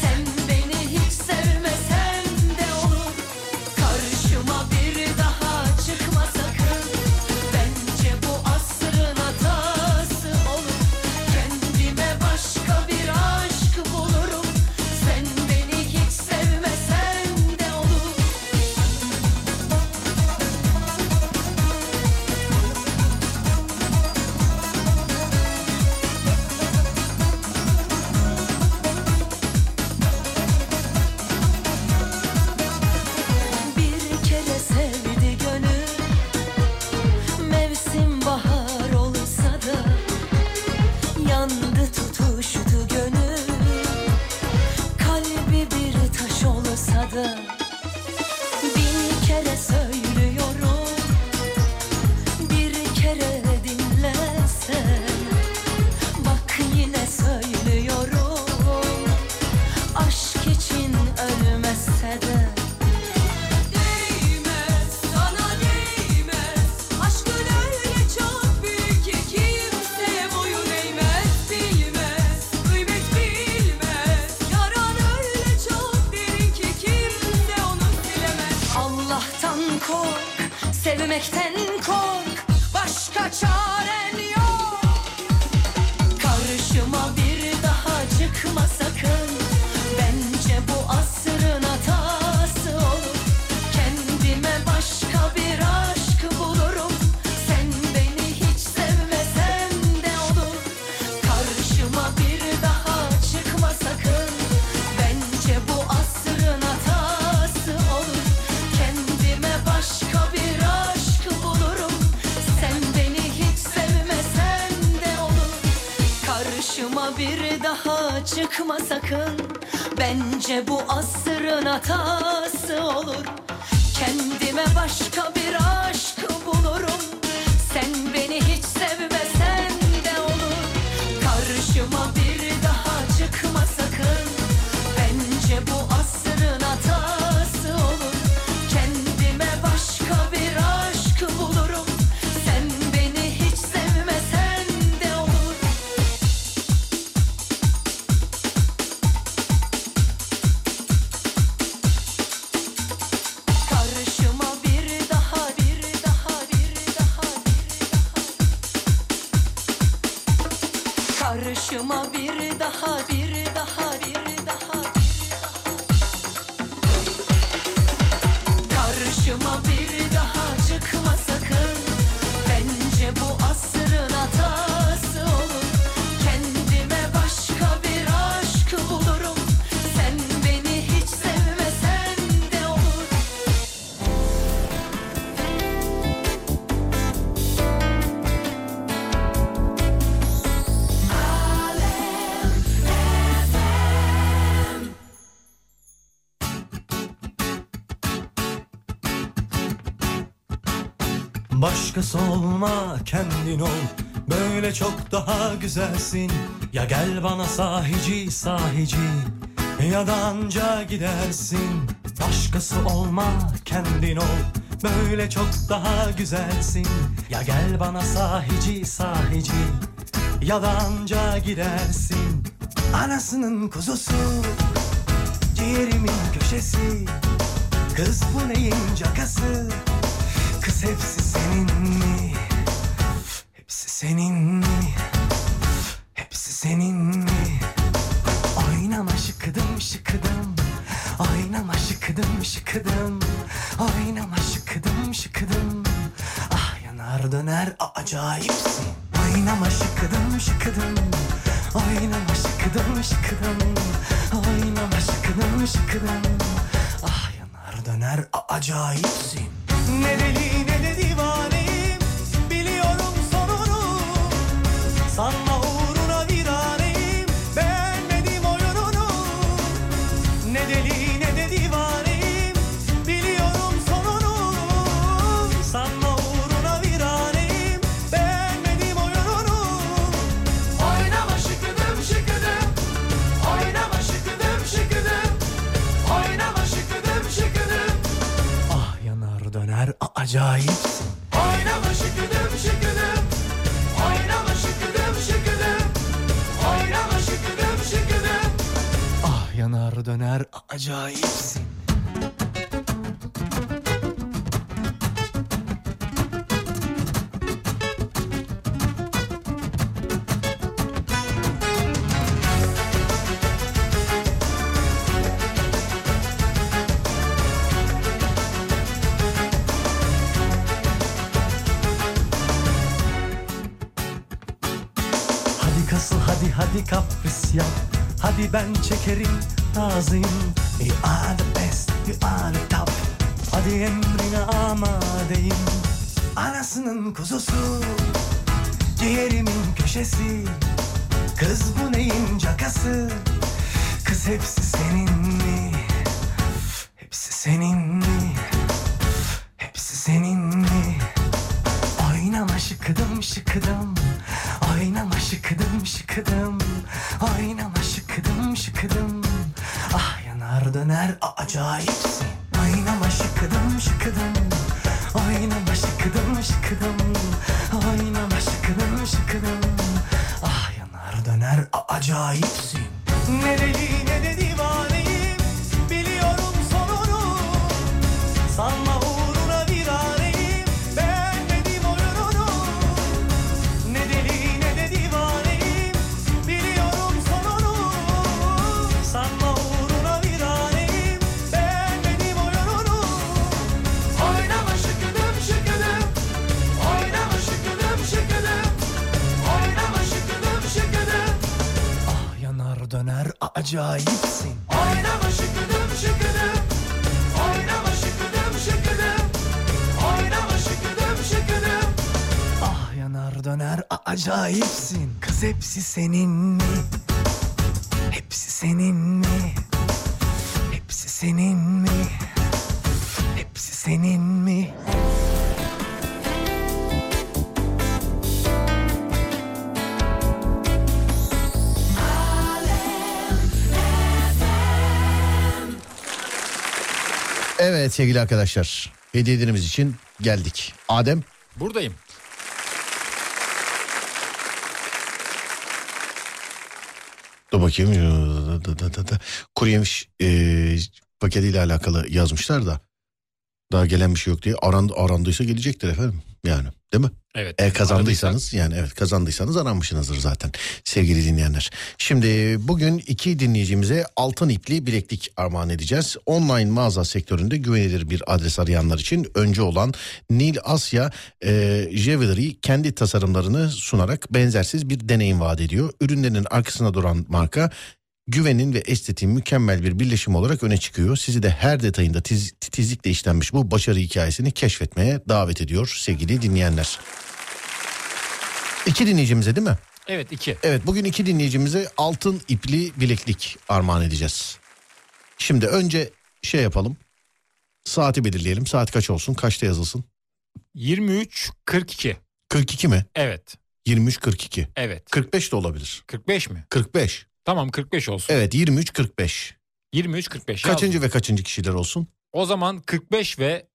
Speaker 11: Sen beni hiç sevmesen de olur Karşıma bir daha çıkma sakın Bence bu asrın hatası olur Kendime başka bir aşk bulurum Sen beni hiç sevmesen de olur Bir kere sevdi gönül Mevsim bahar olsa da Yandı tutuştu gönül Kalbi bir taş olsa da Bin kere söylüyorum Bir kere dinlesen Bak yine söylüyorum Aşk için ölmese de Değmez sana değmez Aşkın öyle çok büyük ki kimse boyun eğmez Bilmez kıymet bilmez Yaran öyle çok derin ki kimse onu bilemez Allah'tan kork sevmekten kork Başka çaren yok Karşıma bir daha çıkma sakın Bence bu asrın hatası olur daha çıkma sakın Bence bu asrın hatası olur Kendime başka bir aşk bulurum Sen beni hiç sevmesen de olur Karşıma bir daha çıkma sakın Bence bu asrın hatası olur Kendime başka bir aşk bulurum Sen beni hiç sevmesen de olur Karışıma bir daha bir daha bir daha bir daha Karışıma bir daha bir daha bir daha Karışıma bir daha çıkma sakın Bence bu asrın hatası olur Kendime başka bir aşk bulurum Sen beni hiç sevmesen de olur
Speaker 12: Başkası olma kendin ol Böyle çok daha güzelsin Ya gel bana sahici sahici Ya da anca gidersin Başkası olma kendin ol Böyle çok daha güzelsin Ya gel bana sahici sahici Ya da anca gidersin Anasının kuzusu Ciğerimin köşesi Kız bu neyin cakası Kız hepsi senin mi? Hepsi senin mi? Hepsi senin mi? Oynama şıkıdım şıkıdım Oynama şıkıdım şıkıdım Oynama şıkıdım şıkıdım Ah yanar döner a- acayipsin Oynama şıkıdım şıkıdım Oynama şıkıdım şıkıdım Oynama şıkıdım şıkıdım Ah yanar döner a- acayipsin Ne deli ne de divaneyim Biliyorum sonunu Sanma uğruna viraneyim Beğenmedim oyununu Ne deli ne de divaneyim Biliyorum sonunu Sanma uğruna viraneyim Beğenmedim oyununu Oynama şıkıdım şıkıdım Oynama şıkıdım şıkıdım Oynama şıkıdım şıkıdım Ah yanar döner ah a- acayipsin Oynama şıkıdım şıkıdım Oynama şıkıdım şıkıdım Oynama şıkıdım şıkıdım Ah yanar döner a- acayipsin Hadi kasıl hadi hadi kapris yap Hadi ben çekerim razıyım You are the best you are the top Hadi emrine amadeyim Anasının kuzusu Ciğerimin köşesi Kız bu neyin cakası Kız hepsi senin mi Hepsi senin mi Hepsi senin mi Oynama şıkıdım şıkıdım Oynama şıkıdım şıkıdım Oynama şıkıdım şıkıdım Ah yanar döner a- acayipsin Oynama şıkıdım şıkıdım Oynama şıkıdım şıkıdım Oynama şıkıdım şıkıdım Ah yanar döner a- acayipsin Ne deli ne de divaneyim Biliyorum sonunu Sanma uğruna viraneyim Beğenmedim oyununu Ne deli ne de divaneyim Biliyorum sonunu Sanma uğruna viraneyim Beğenmedim oyununu Oynama şıkıdım şıkıdım Oynama şıkıdım şıkıdım Oynama şıkıdım şıkıdım Ah yanar döner a- acayipsin Oynama şıkıdım şıkıdım Oynama şıkıdım şıkıdım Oynama şıkıdım şıkıdım Ah yanar döner a- acayipsin Kız hepsi senin mi?
Speaker 5: Hepsi senin mi? Hepsi senin mi? Hepsi senin mi?
Speaker 6: Evet sevgili arkadaşlar hediyelerimiz için geldik. Adem
Speaker 7: Buradayım.
Speaker 6: dur bakayım. Kuru yemiş e, paketiyle alakalı yazmışlar da. Daha gelen bir şey yok diye aran, arandıysa gelecektir efendim yani değil mi?
Speaker 7: Evet.
Speaker 6: Eğer kazandıysanız yani evet kazandıysanız aranmışsınızdır zaten sevgili dinleyenler. Şimdi bugün iki dinleyicimize altın ipli bileklik armağan edeceğiz. Online mağaza sektöründe güvenilir bir adres arayanlar için önce olan Nil Asya e, Jewelry kendi tasarımlarını sunarak benzersiz bir deneyim vaat ediyor. Ürünlerinin arkasına duran marka güvenin ve estetiğin mükemmel bir birleşim olarak öne çıkıyor. Sizi de her detayında tiz- titizlikle işlenmiş bu başarı hikayesini keşfetmeye davet ediyor sevgili dinleyenler. İki dinleyicimize değil mi?
Speaker 7: Evet iki.
Speaker 6: Evet bugün iki dinleyicimize altın ipli bileklik armağan edeceğiz. Şimdi önce şey yapalım. Saati belirleyelim. Saat kaç olsun? Kaçta yazılsın?
Speaker 7: 23 42.
Speaker 6: 42 mi?
Speaker 7: Evet.
Speaker 6: 23 42.
Speaker 7: Evet.
Speaker 6: 45 de olabilir.
Speaker 7: 45 mi?
Speaker 6: 45.
Speaker 7: Tamam 45 olsun.
Speaker 6: Evet 23 45.
Speaker 7: 23 45.
Speaker 6: Kaçıncı
Speaker 7: yazdım.
Speaker 6: ve kaçıncı kişiler olsun?
Speaker 7: O zaman 45 ve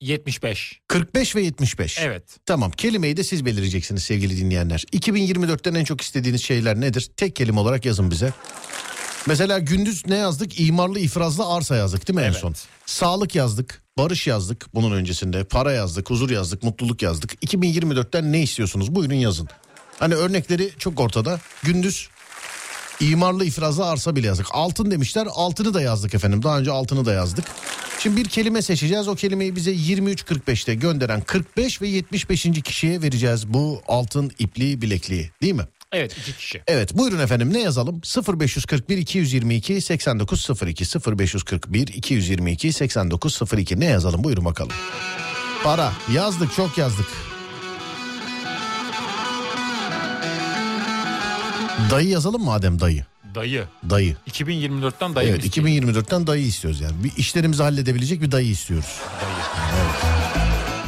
Speaker 7: 75.
Speaker 6: 45 ve 75.
Speaker 7: Evet.
Speaker 6: Tamam kelimeyi de siz belirleyeceksiniz sevgili dinleyenler. 2024'ten en çok istediğiniz şeyler nedir? Tek kelime olarak yazın bize. Mesela gündüz ne yazdık? İmarlı ifrazlı arsa yazdık değil mi en
Speaker 7: Evet.
Speaker 6: son? Sağlık yazdık, barış yazdık bunun öncesinde. Para yazdık, huzur yazdık, mutluluk yazdık. 2024'ten ne istiyorsunuz? Buyurun yazın. Hani örnekleri çok ortada. Gündüz İmarlı ifrazlı arsa bile yazdık. Altın demişler. Altını da yazdık efendim. Daha önce altını da yazdık. Şimdi bir kelime seçeceğiz. O kelimeyi bize 23.45'te gönderen 45 ve 75. kişiye vereceğiz bu altın ipliği bilekliği değil mi?
Speaker 7: Evet iki kişi.
Speaker 6: Evet buyurun efendim ne yazalım? 0541 222 8902 0541 222 8902 ne yazalım buyurun bakalım. Para yazdık çok yazdık. Dayı yazalım madem dayı.
Speaker 7: Dayı.
Speaker 6: Dayı.
Speaker 7: 2024'ten dayı.
Speaker 6: evet
Speaker 7: biz-
Speaker 6: 2024'ten dayı istiyoruz yani. Bir işlerimizi halledebilecek bir dayı istiyoruz. Evet.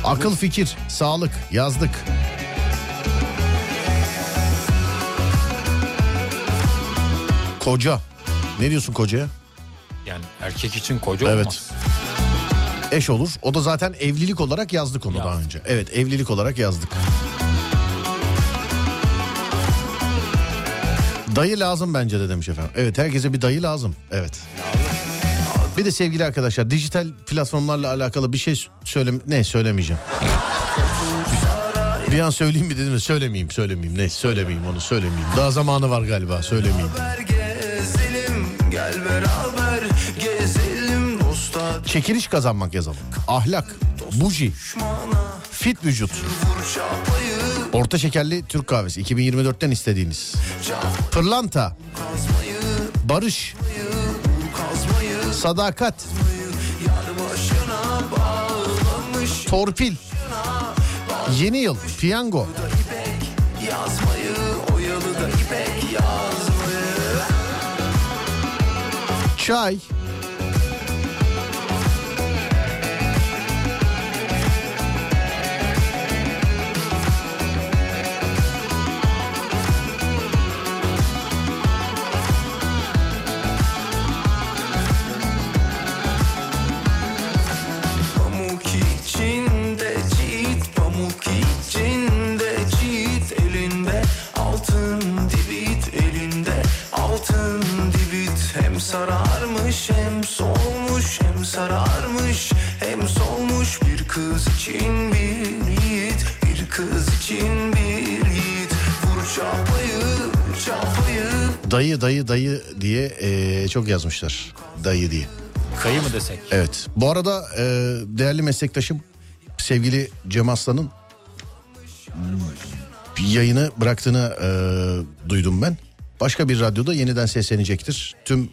Speaker 6: Akıl fikir, sağlık yazdık. Koca. Ne diyorsun kocaya?
Speaker 7: Yani erkek için koca
Speaker 6: Evet.
Speaker 7: olmaz.
Speaker 6: Eş olur. O da zaten evlilik olarak yazdık onu daha
Speaker 7: Yazdık.
Speaker 6: önce. Evet evlilik olarak yazdık. Dayı lazım bence de demiş efendim. Evet herkese bir dayı lazım. Evet. Bir de sevgili arkadaşlar dijital platformlarla alakalı bir şey söyle ne söylemeyeceğim. Bir an söyleyeyim mi dedim de söylemeyeyim söylemeyeyim. Ne söylemeyeyim onu söylemeyeyim. Daha zamanı var galiba söylemeyeyim. Çekiliş kazanmak yazalım. Ahlak, buji, fit vücut. Orta şekerli Türk kahvesi 2024'ten istediğiniz. Pırlanta, barış, sadakat, torpil, yeni yıl, piyango. Çay,
Speaker 12: Pamuk içinde çiğit Pamuk içinde çiğit Elinde altın divit Elinde altın divit Hem sararmış hem solmuş Hem sararmış hem solmuş Bir kız için bir yiğit Bir kız için bir yiğit Vur çapayı çapayı
Speaker 6: Dayı dayı dayı diye eee, çok yazmışlar. Dayı diye.
Speaker 7: Kayı mı desek?
Speaker 6: Evet. Bu arada eee, değerli meslektaşım sevgili Cem Aslan'ın bir yayını bıraktığını eee, duydum ben. Başka bir radyoda yeniden seslenecektir. Tüm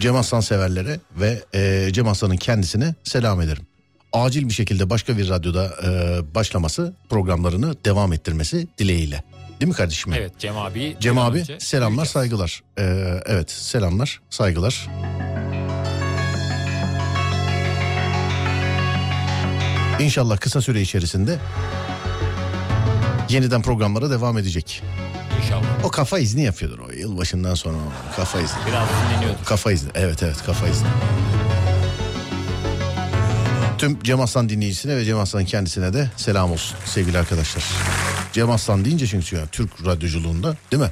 Speaker 6: Cem Aslan severlere ve eee Cem Aslan'ın kendisine selam ederim. e, Acil bir şekilde başka bir radyoda eee, başlaması programlarını devam ettirmesi dileğiyle. Değil mi kardeşim?
Speaker 7: Evet Cem abi.
Speaker 6: Cem abi
Speaker 7: önce
Speaker 6: selamlar saygılar. Ee, evet selamlar saygılar. İnşallah kısa süre içerisinde yeniden programlara devam edecek.
Speaker 7: İnşallah.
Speaker 6: O kafa izni yapıyordur o yılbaşından sonra o kafa izni.
Speaker 7: Biraz dinleniyordur.
Speaker 6: Kafa izni evet evet kafa izni. Tüm Cem Aslan dinleyicisine ve Cem Aslan kendisine de selam olsun sevgili arkadaşlar. Cem Aslan deyince çünkü yani Türk radyoculuğunda değil mi?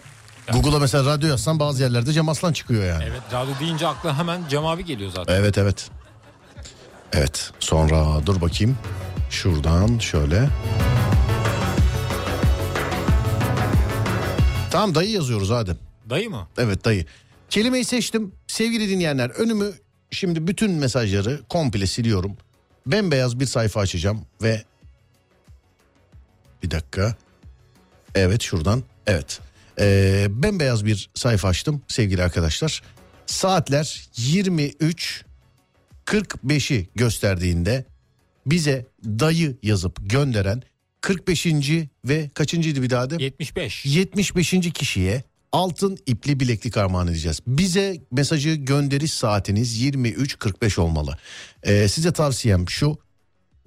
Speaker 6: Google'a mesela radyo yazsan bazı yerlerde Cem Aslan çıkıyor yani.
Speaker 7: Evet radyo deyince akla hemen Cem abi geliyor zaten.
Speaker 6: Evet evet. Evet sonra dur bakayım. Şuradan şöyle. Tamam dayı yazıyoruz Adem.
Speaker 7: Dayı mı?
Speaker 6: Evet dayı. Kelimeyi seçtim. Sevgili dinleyenler önümü şimdi bütün mesajları komple siliyorum. Bembeyaz bir sayfa açacağım ve... Bir dakika. Evet şuradan. Evet. Ee, bembeyaz bir sayfa açtım sevgili arkadaşlar. Saatler 23 45'i gösterdiğinde bize dayı yazıp gönderen 45. ve kaçıncıydı bir daha de?
Speaker 7: 75.
Speaker 6: 75. kişiye altın ipli bileklik armağan edeceğiz. Bize mesajı gönderiş saatiniz 23.45 olmalı. Ee, size tavsiyem şu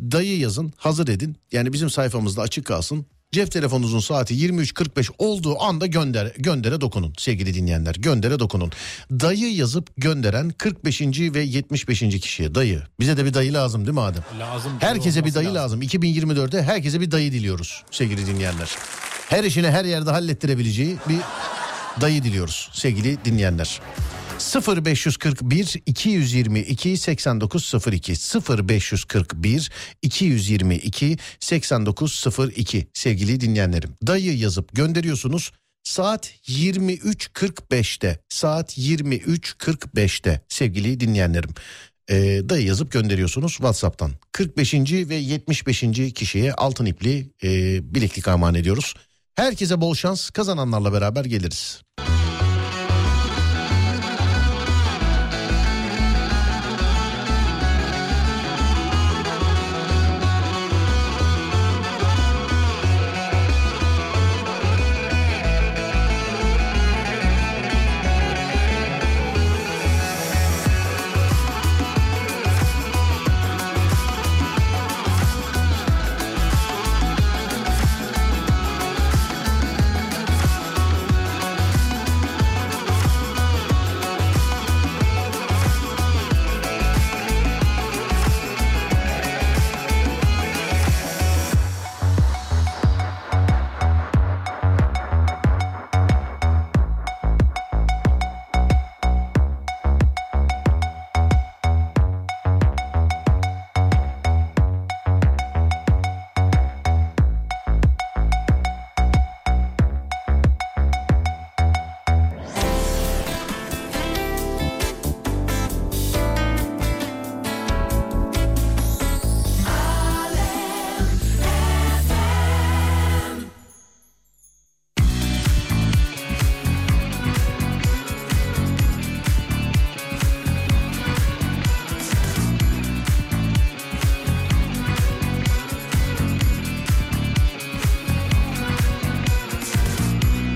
Speaker 6: dayı yazın hazır edin. Yani bizim sayfamızda açık kalsın. Cep telefonunuzun saati 23.45 olduğu anda gönder, göndere dokunun sevgili dinleyenler. Göndere dokunun. Dayı yazıp gönderen 45. ve 75. kişiye dayı. Bize de bir dayı lazım değil mi Adem?
Speaker 7: Lazım.
Speaker 6: Herkese bir dayı lazım. 2024'te herkese bir dayı diliyoruz sevgili dinleyenler. Her işini her yerde hallettirebileceği bir dayı diliyoruz sevgili dinleyenler. 0541 222 8902 0541 222 8902 sevgili dinleyenlerim. Dayı yazıp gönderiyorsunuz. Saat 23.45'te saat 23.45'te sevgili dinleyenlerim. Ee, dayı yazıp gönderiyorsunuz WhatsApp'tan. 45. ve 75. kişiye altın ipli e, bileklik armağan ediyoruz. Herkese bol şans kazananlarla beraber geliriz.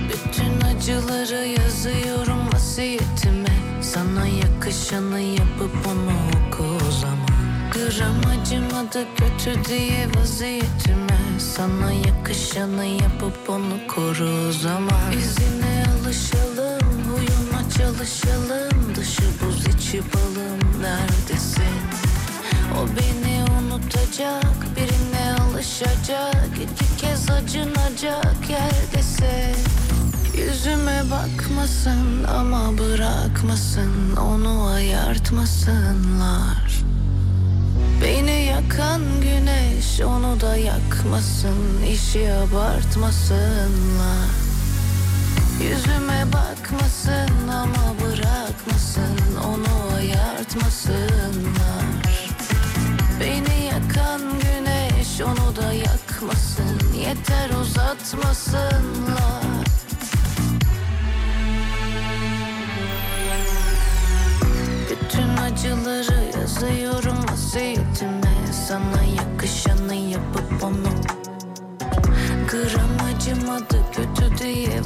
Speaker 13: Bütün acıları yazıyorum vasiyetime Sana yakışanı yapıp onu oku o zaman Gram acımadı kötü diye vaziyetime Sana yakışanı yapıp onu koru o zaman İzine alışalım, uyuma çalışalım Dışı buz içi balım neredesin? O beni unutacak, birine alışacak iki kez acınacak yerdesin Yüzüme bakmasın ama bırakmasın Onu ayartmasınlar Beni yakan güneş onu da yakmasın işi abartmasınlar Yüzüme bakmasın ama bırakmasın Onu ayartmasınlar Beni yakan güneş onu da yakmasın Yeter uzatmasınlar Bütün acıları yazıyorum vasiyetime Sana yakışanı yapıp onu Gram acımadı kötü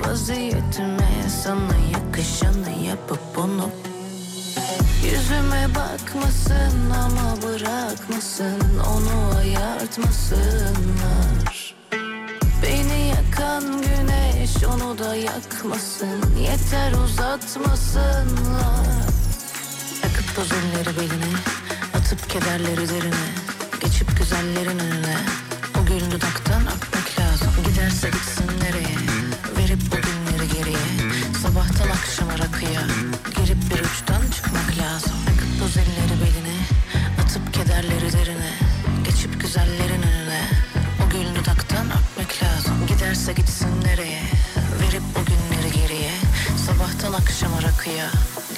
Speaker 13: vaziyetime Sana yakışanı yapıp onu Yüzüme bakmasın ama bırakmasın Onu ayartmasınlar Beni yakan güneş onu da yakmasın Yeter uzatmasınlar Akıp toz elleri beline Atıp kederleri derine Geçip güzellerin önüne O gül dudaktan akmak lazım Giderse gitsin nereye Verip o günleri geriye Sabahtan akşama rakıya Girip bir uçtan çıkmak lazım Akıp toz elleri beline Atıp kederleri derine Geçip güzellerin önüne O gül dudaktan akmak lazım Giderse gitsin nereye Verip o günleri geriye Sabahtan akşama rakıya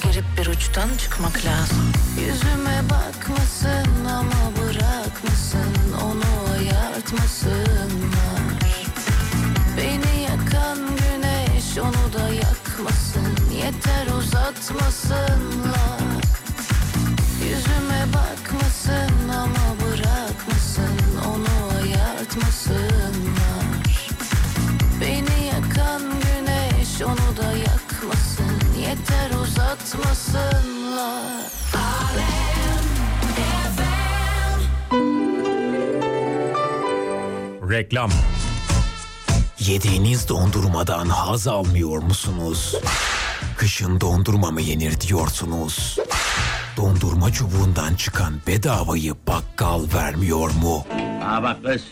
Speaker 13: Girip bir uçtan çıkmak lazım Yüzüme bakmasın ama bırakmasın Onu ayartmasınlar Beni yakan güneş onu da yakmasın Yeter uzatmasınlar Yüzüme bakmasın ama bırakmasın Onu ayartmasınlar Beni yakan güneş onu da yakmasın Yeter uzatmasınlar
Speaker 14: Reklam. Yediğiniz dondurmadan haz almıyor musunuz? Kışın dondurma mı yenir diyorsunuz? Dondurma çubuğundan çıkan bedavayı bakkal vermiyor mu?
Speaker 15: Aa bak kız.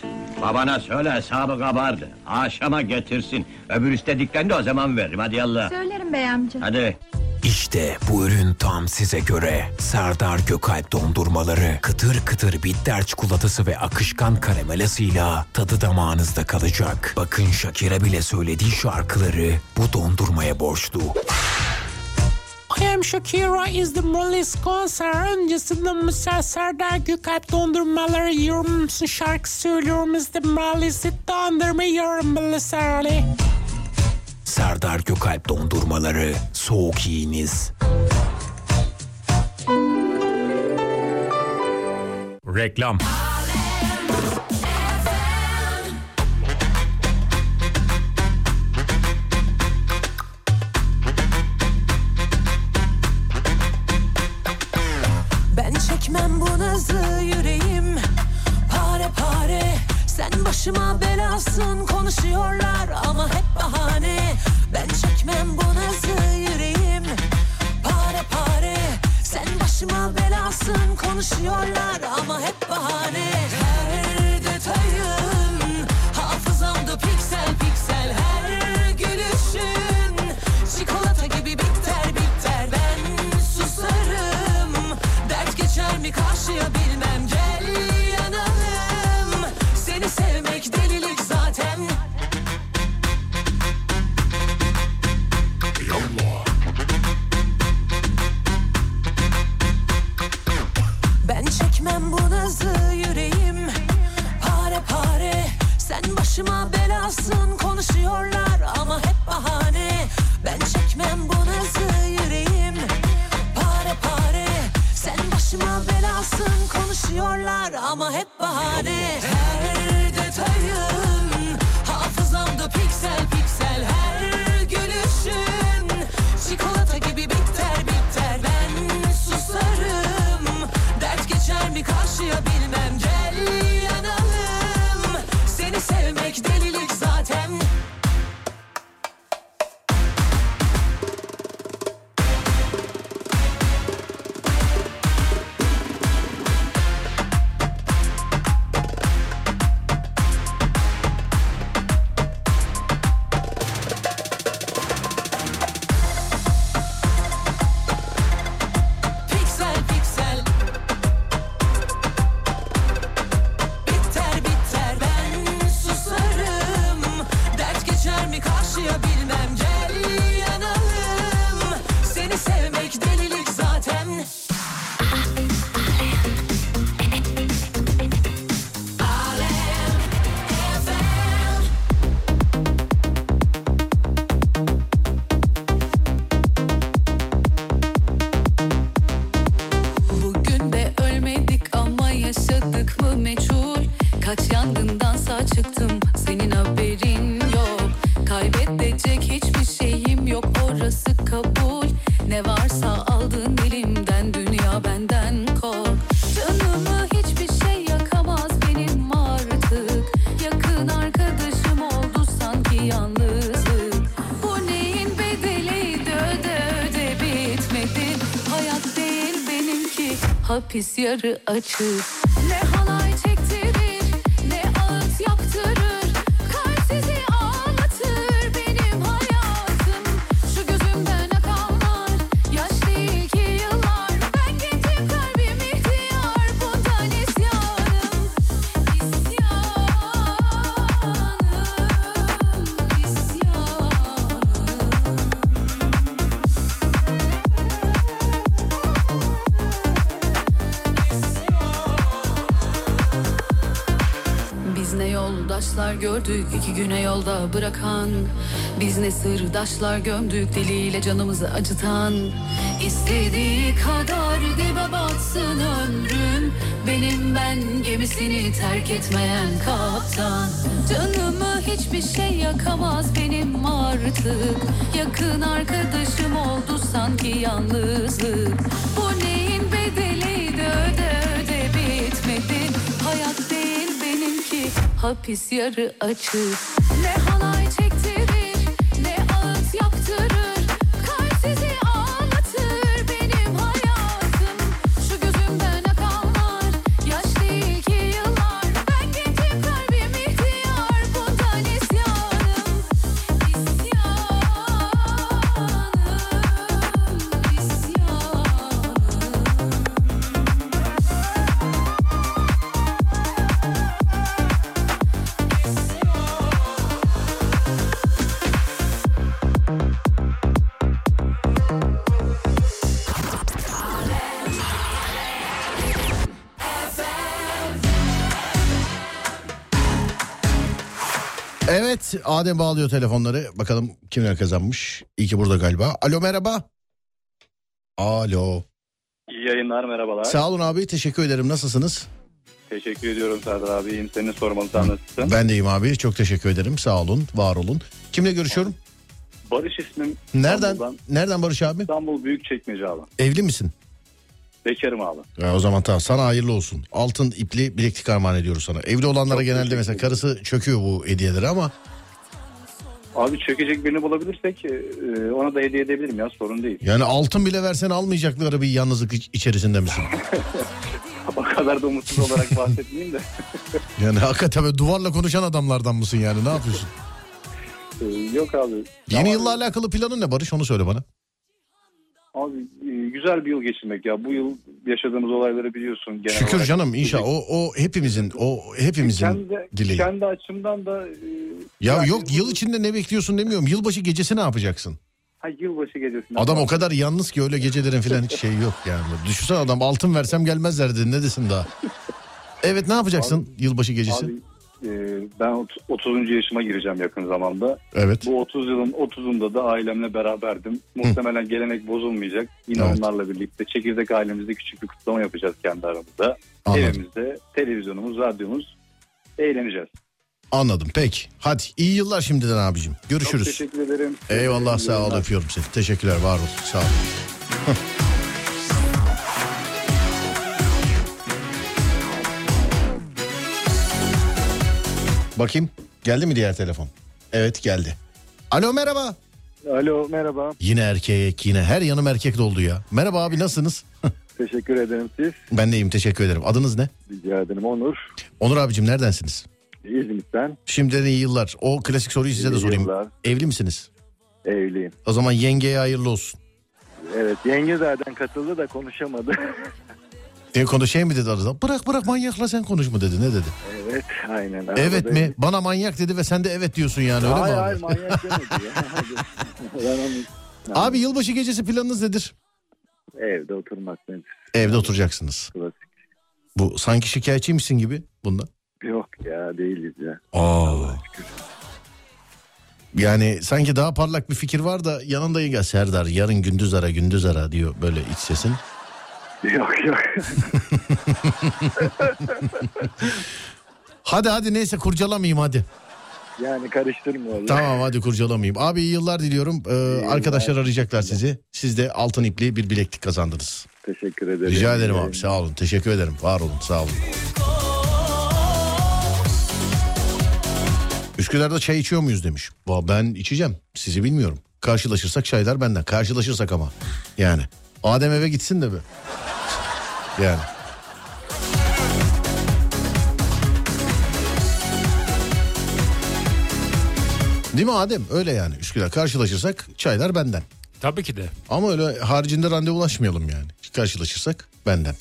Speaker 15: Babana söyle hesabı kabardı. Akşama getirsin. Öbür istediklerini de o zaman veririm. Hadi yallah.
Speaker 12: Söylerim bey amca.
Speaker 15: Hadi.
Speaker 14: İşte bu ürün tam size göre. Serdar Gökalp dondurmaları kıtır kıtır bitter çikolatası ve akışkan karamelasıyla tadı damağınızda kalacak. Bakın Shakira bile söylediği şarkıları bu dondurmaya borçlu.
Speaker 16: I am Shakira is the Molly's konser öncesinde Mısır Serdar Gökalp dondurmaları yiyorum şarkı söylüyorum is the Molly's dondurma yiyorum Mısır Ali.
Speaker 14: Serdar Gökalp dondurmaları soğuk yiyiniz. Reklam.
Speaker 11: Ben çekmem bu nazı yüreğim Pare pare Sen başıma belasın konuşuyorlar ama hep bahane Ben çekmem bu nazı yüreğim Pare pare Sen başıma belasın konuşuyorlar ama hep bahane Her detayın hafızamda piksel piksel Her gülüşün çikolata gibi biter biter Ben susarım Dert geçer mi karşıya bilmem Gel yanalım Seni sevmek delilik zaten Ben çekmem bu nazı yüreğim Pare pare Sen başıma belasın konuşuyorlar ama hep bahane Ben çekmem bu nazı yüreğim Pare pare Sen başıma belasın konuşuyorlar ama hep bahane Her detayın hafızamda piksel piksel Her gülüşün çikolata gibi biter biter Ben susarım Dert geçer mi karşıya bilmem Gel yanalım Seni sevmek delilik zaten Piksel piksel Biter biter ben susarım Dert geçer mi karşıya bilmem Gel yanalım Seni sevmek delilik zaten Alem FM
Speaker 13: Bugün de ölmedik ama yaşadık mı meçhul Kaç yangından sağ çıktım senin haberin yok Kaybedecek hiçbir
Speaker 17: kabul Ne varsa aldın elimden dünya benden kork Canımı hiçbir şey yakamaz benim artık Yakın arkadaşım oldu sanki yalnızlık Bu neyin bedeliydi öde öde bitmedi Hayat değil benimki hapis yarı açık Ne halay çektirir ne ağıt yaktırır Kalsizi ağlatır benim hayatım Şu gözümden akanlar yaş değil ki yıllar Ben gittim kalbim ihtiyar bundan isyanım İsyanım, isyanım Biz ne yoldaşlar gördük iki güne yolda bırakan Biz ne sırdaşlar gömdük diliyle canımızı acıtan İstediği kadar dibe batsın ömrüm Benim ben gemisini terk etmeyen kaptan Canımı hiçbir şey yakamaz benim artık Yakın arkadaşım oldu sanki yalnızlık Bu neyin bedeli de öde öde bitmedi Hayat değil benimki hapis yarı açık Ne halay çektirir ne ağıt yaktırır Kalsizi ağlatır benim hayatım Şu gözümden akanlar yaş değil ki yıllar Ben gittim kalbim ihtiyar bundan isyanım İsyanım, isyanım
Speaker 6: Evet Adem bağlıyor telefonları. Bakalım kimler kazanmış. İyi ki burada galiba. Alo merhaba. Alo.
Speaker 18: İyi yayınlar merhabalar.
Speaker 6: Sağ olun abi teşekkür ederim. Nasılsınız?
Speaker 18: Teşekkür ediyorum Serdar abi. İyiyim seni sormalı sen nasılsın?
Speaker 6: Ben deyim abi. Çok teşekkür ederim. Sağ olun. Var olun. Kimle görüşüyorum?
Speaker 18: Barış ismim.
Speaker 6: Nereden?
Speaker 18: İstanbul'dan.
Speaker 6: Nereden Barış abi?
Speaker 18: İstanbul Büyükçekmece abi.
Speaker 6: Evli misin?
Speaker 18: Bekarım abi.
Speaker 6: Ya o zaman tamam sana hayırlı olsun. Altın ipli bileklik armağan ediyoruz sana. Evli olanlara genelde mesela karısı çöküyor bu hediyeleri ama
Speaker 18: Abi çökecek birini bulabilirsek e, ona da hediye edebilirim ya sorun değil.
Speaker 6: yani altın bile versen almayacakları bir yalnızlık iç- içerisinde misin?
Speaker 18: o kadar da umutsuz olarak bahsetmeyeyim de.
Speaker 6: Yani hakikaten böyle duvarla konuşan adamlardan mısın yani ne yapıyorsun?
Speaker 18: E, Yok abi.
Speaker 6: Yeni yılla alakalı planın ne Barış onu söyle bana.
Speaker 18: Abi e, güzel bir yıl geçirmek ya. Bu yıl yaşadığımız olayları biliyorsun genel
Speaker 6: Şükür
Speaker 18: olarak.
Speaker 6: canım inşallah o, o hepimizin o hepimizin
Speaker 18: Kendi,
Speaker 6: dileği.
Speaker 18: kendi açımdan da e,
Speaker 6: ya yok yıl içinde ne bekliyorsun demiyorum. Yılbaşı gecesi ne yapacaksın?
Speaker 18: ha, yılbaşı gecesinde.
Speaker 6: Adam o kadar yalnız ki öyle gecelerin falan hiç şey yok yani. Düşünsene adam altın versem gelmezler dedi ne desin daha. Evet ne yapacaksın yılbaşı gecesi?
Speaker 18: Abi, e, ben ot- 30. yaşıma gireceğim yakın zamanda.
Speaker 6: Evet.
Speaker 18: Bu 30 yılın 30'unda da ailemle beraberdim. Muhtemelen gelenek bozulmayacak. Yine
Speaker 6: Evet.
Speaker 18: onlarla birlikte çekirdek ailemizde küçük bir kutlama yapacağız kendi aramızda.
Speaker 6: Anladım.
Speaker 18: Evimizde televizyonumuz, radyomuz eğleneceğiz.
Speaker 6: Anladım peki. Hadi iyi yıllar şimdiden abicim. Görüşürüz.
Speaker 18: Çok teşekkür ederim.
Speaker 6: Eyvallah sağ ol öpüyorum seni. Teşekkürler var ol sağ ol. Bakayım geldi mi diğer telefon? Evet geldi. Alo merhaba.
Speaker 19: Alo merhaba.
Speaker 6: Yine erkek yine her yanım erkek doldu ya. Merhaba abi nasılsınız?
Speaker 19: Teşekkür ederim siz.
Speaker 6: ben de iyiyim teşekkür ederim. Adınız ne?
Speaker 19: Rica ederim Onur.
Speaker 6: Onur abicim neredensiniz?
Speaker 19: İzmit'ten
Speaker 6: Şimdiden iyi yıllar. O klasik soruyu size de
Speaker 19: İyi
Speaker 6: sorayım.
Speaker 19: yıllar.
Speaker 6: Evli misiniz?
Speaker 19: evliyim.
Speaker 6: O zaman yengeye hayırlı olsun.
Speaker 19: Evet yenge zaten katıldı da konuşamadı.
Speaker 6: Diye konu şey mi dedi arada? Bırak bırak manyakla sen konuşma dedi. Ne dedi?
Speaker 19: evet aynen.
Speaker 6: evet
Speaker 19: Arabadayım.
Speaker 6: mi? Bana manyak dedi ve sen de evet diyorsun yani öyle
Speaker 19: hayır
Speaker 6: mi?
Speaker 19: hayır
Speaker 6: abi?
Speaker 19: manyak demedi ya. Ben onu-
Speaker 6: Abi yılbaşı gecesi planınız nedir?
Speaker 19: Evde oturmak nedir?
Speaker 6: Evde oturacaksınız. Bu sanki şikayetçiymişsin gibi bunda.
Speaker 19: Yok ya değiliz ya.
Speaker 6: Aa. Yani sanki daha parlak bir fikir var da yanında ya Serdar yarın gündüz ara gündüz ara diyor böyle iç sesin.
Speaker 19: Yok yok.
Speaker 6: hadi hadi neyse kurcalamayayım hadi.
Speaker 19: Yani karıştırmıyorlar.
Speaker 6: Tamam hadi kurcalamayayım. Abi iyi yıllar diliyorum. Ee, arkadaşlar arayacaklar sizi. Siz de altın ipliği bir bileklik kazandınız.
Speaker 19: Teşekkür ederim.
Speaker 6: Rica ederim abi sağ olun. Teşekkür ederim. Var olun sağ olun. Üsküdar'da çay içiyor muyuz demiş. Va, Ben içeceğim. Sizi bilmiyorum. Karşılaşırsak çaylar benden. Karşılaşırsak ama. Yani. Adem eve gitsin de be. Yani. Değil mi Adem? Öyle yani. Üsküdar karşılaşırsak çaylar benden.
Speaker 7: Tabii ki de.
Speaker 6: Ama öyle haricinde randevulaşmayalım yani. Karşılaşırsak benden.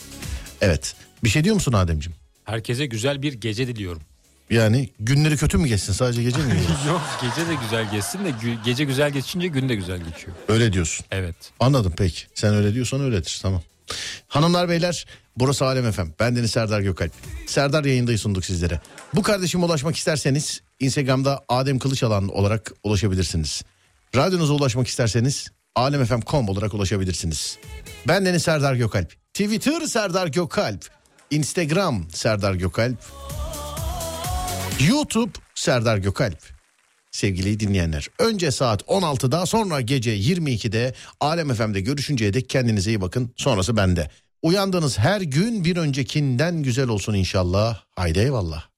Speaker 6: Evet. Bir şey diyor musun Ademciğim?
Speaker 7: Herkese güzel bir gece diliyorum.
Speaker 6: Yani günleri kötü mü geçsin sadece gece mi? geçsin?
Speaker 7: Yok gece de güzel geçsin de gü- gece güzel geçince gün de güzel geçiyor.
Speaker 6: öyle diyorsun.
Speaker 7: Evet.
Speaker 6: Anladım peki. Sen öyle diyorsan öyledir tamam. Hanımlar beyler burası Alem Efem. Ben Deniz Serdar Gökalp. Serdar yayındayı sunduk sizlere. Bu kardeşime ulaşmak isterseniz Instagram'da Adem Kılıçalan olarak ulaşabilirsiniz. Radyonuza ulaşmak isterseniz alemfm.com olarak ulaşabilirsiniz. Ben Deniz Serdar Gökalp. Twitter Serdar Gökalp. Instagram Serdar Gökalp. YouTube Serdar Gökalp sevgili dinleyenler. Önce saat 16'da sonra gece 22'de Alem FM'de görüşünceye dek kendinize iyi bakın. Sonrası bende. Uyandığınız her gün bir öncekinden güzel olsun inşallah. Haydi eyvallah.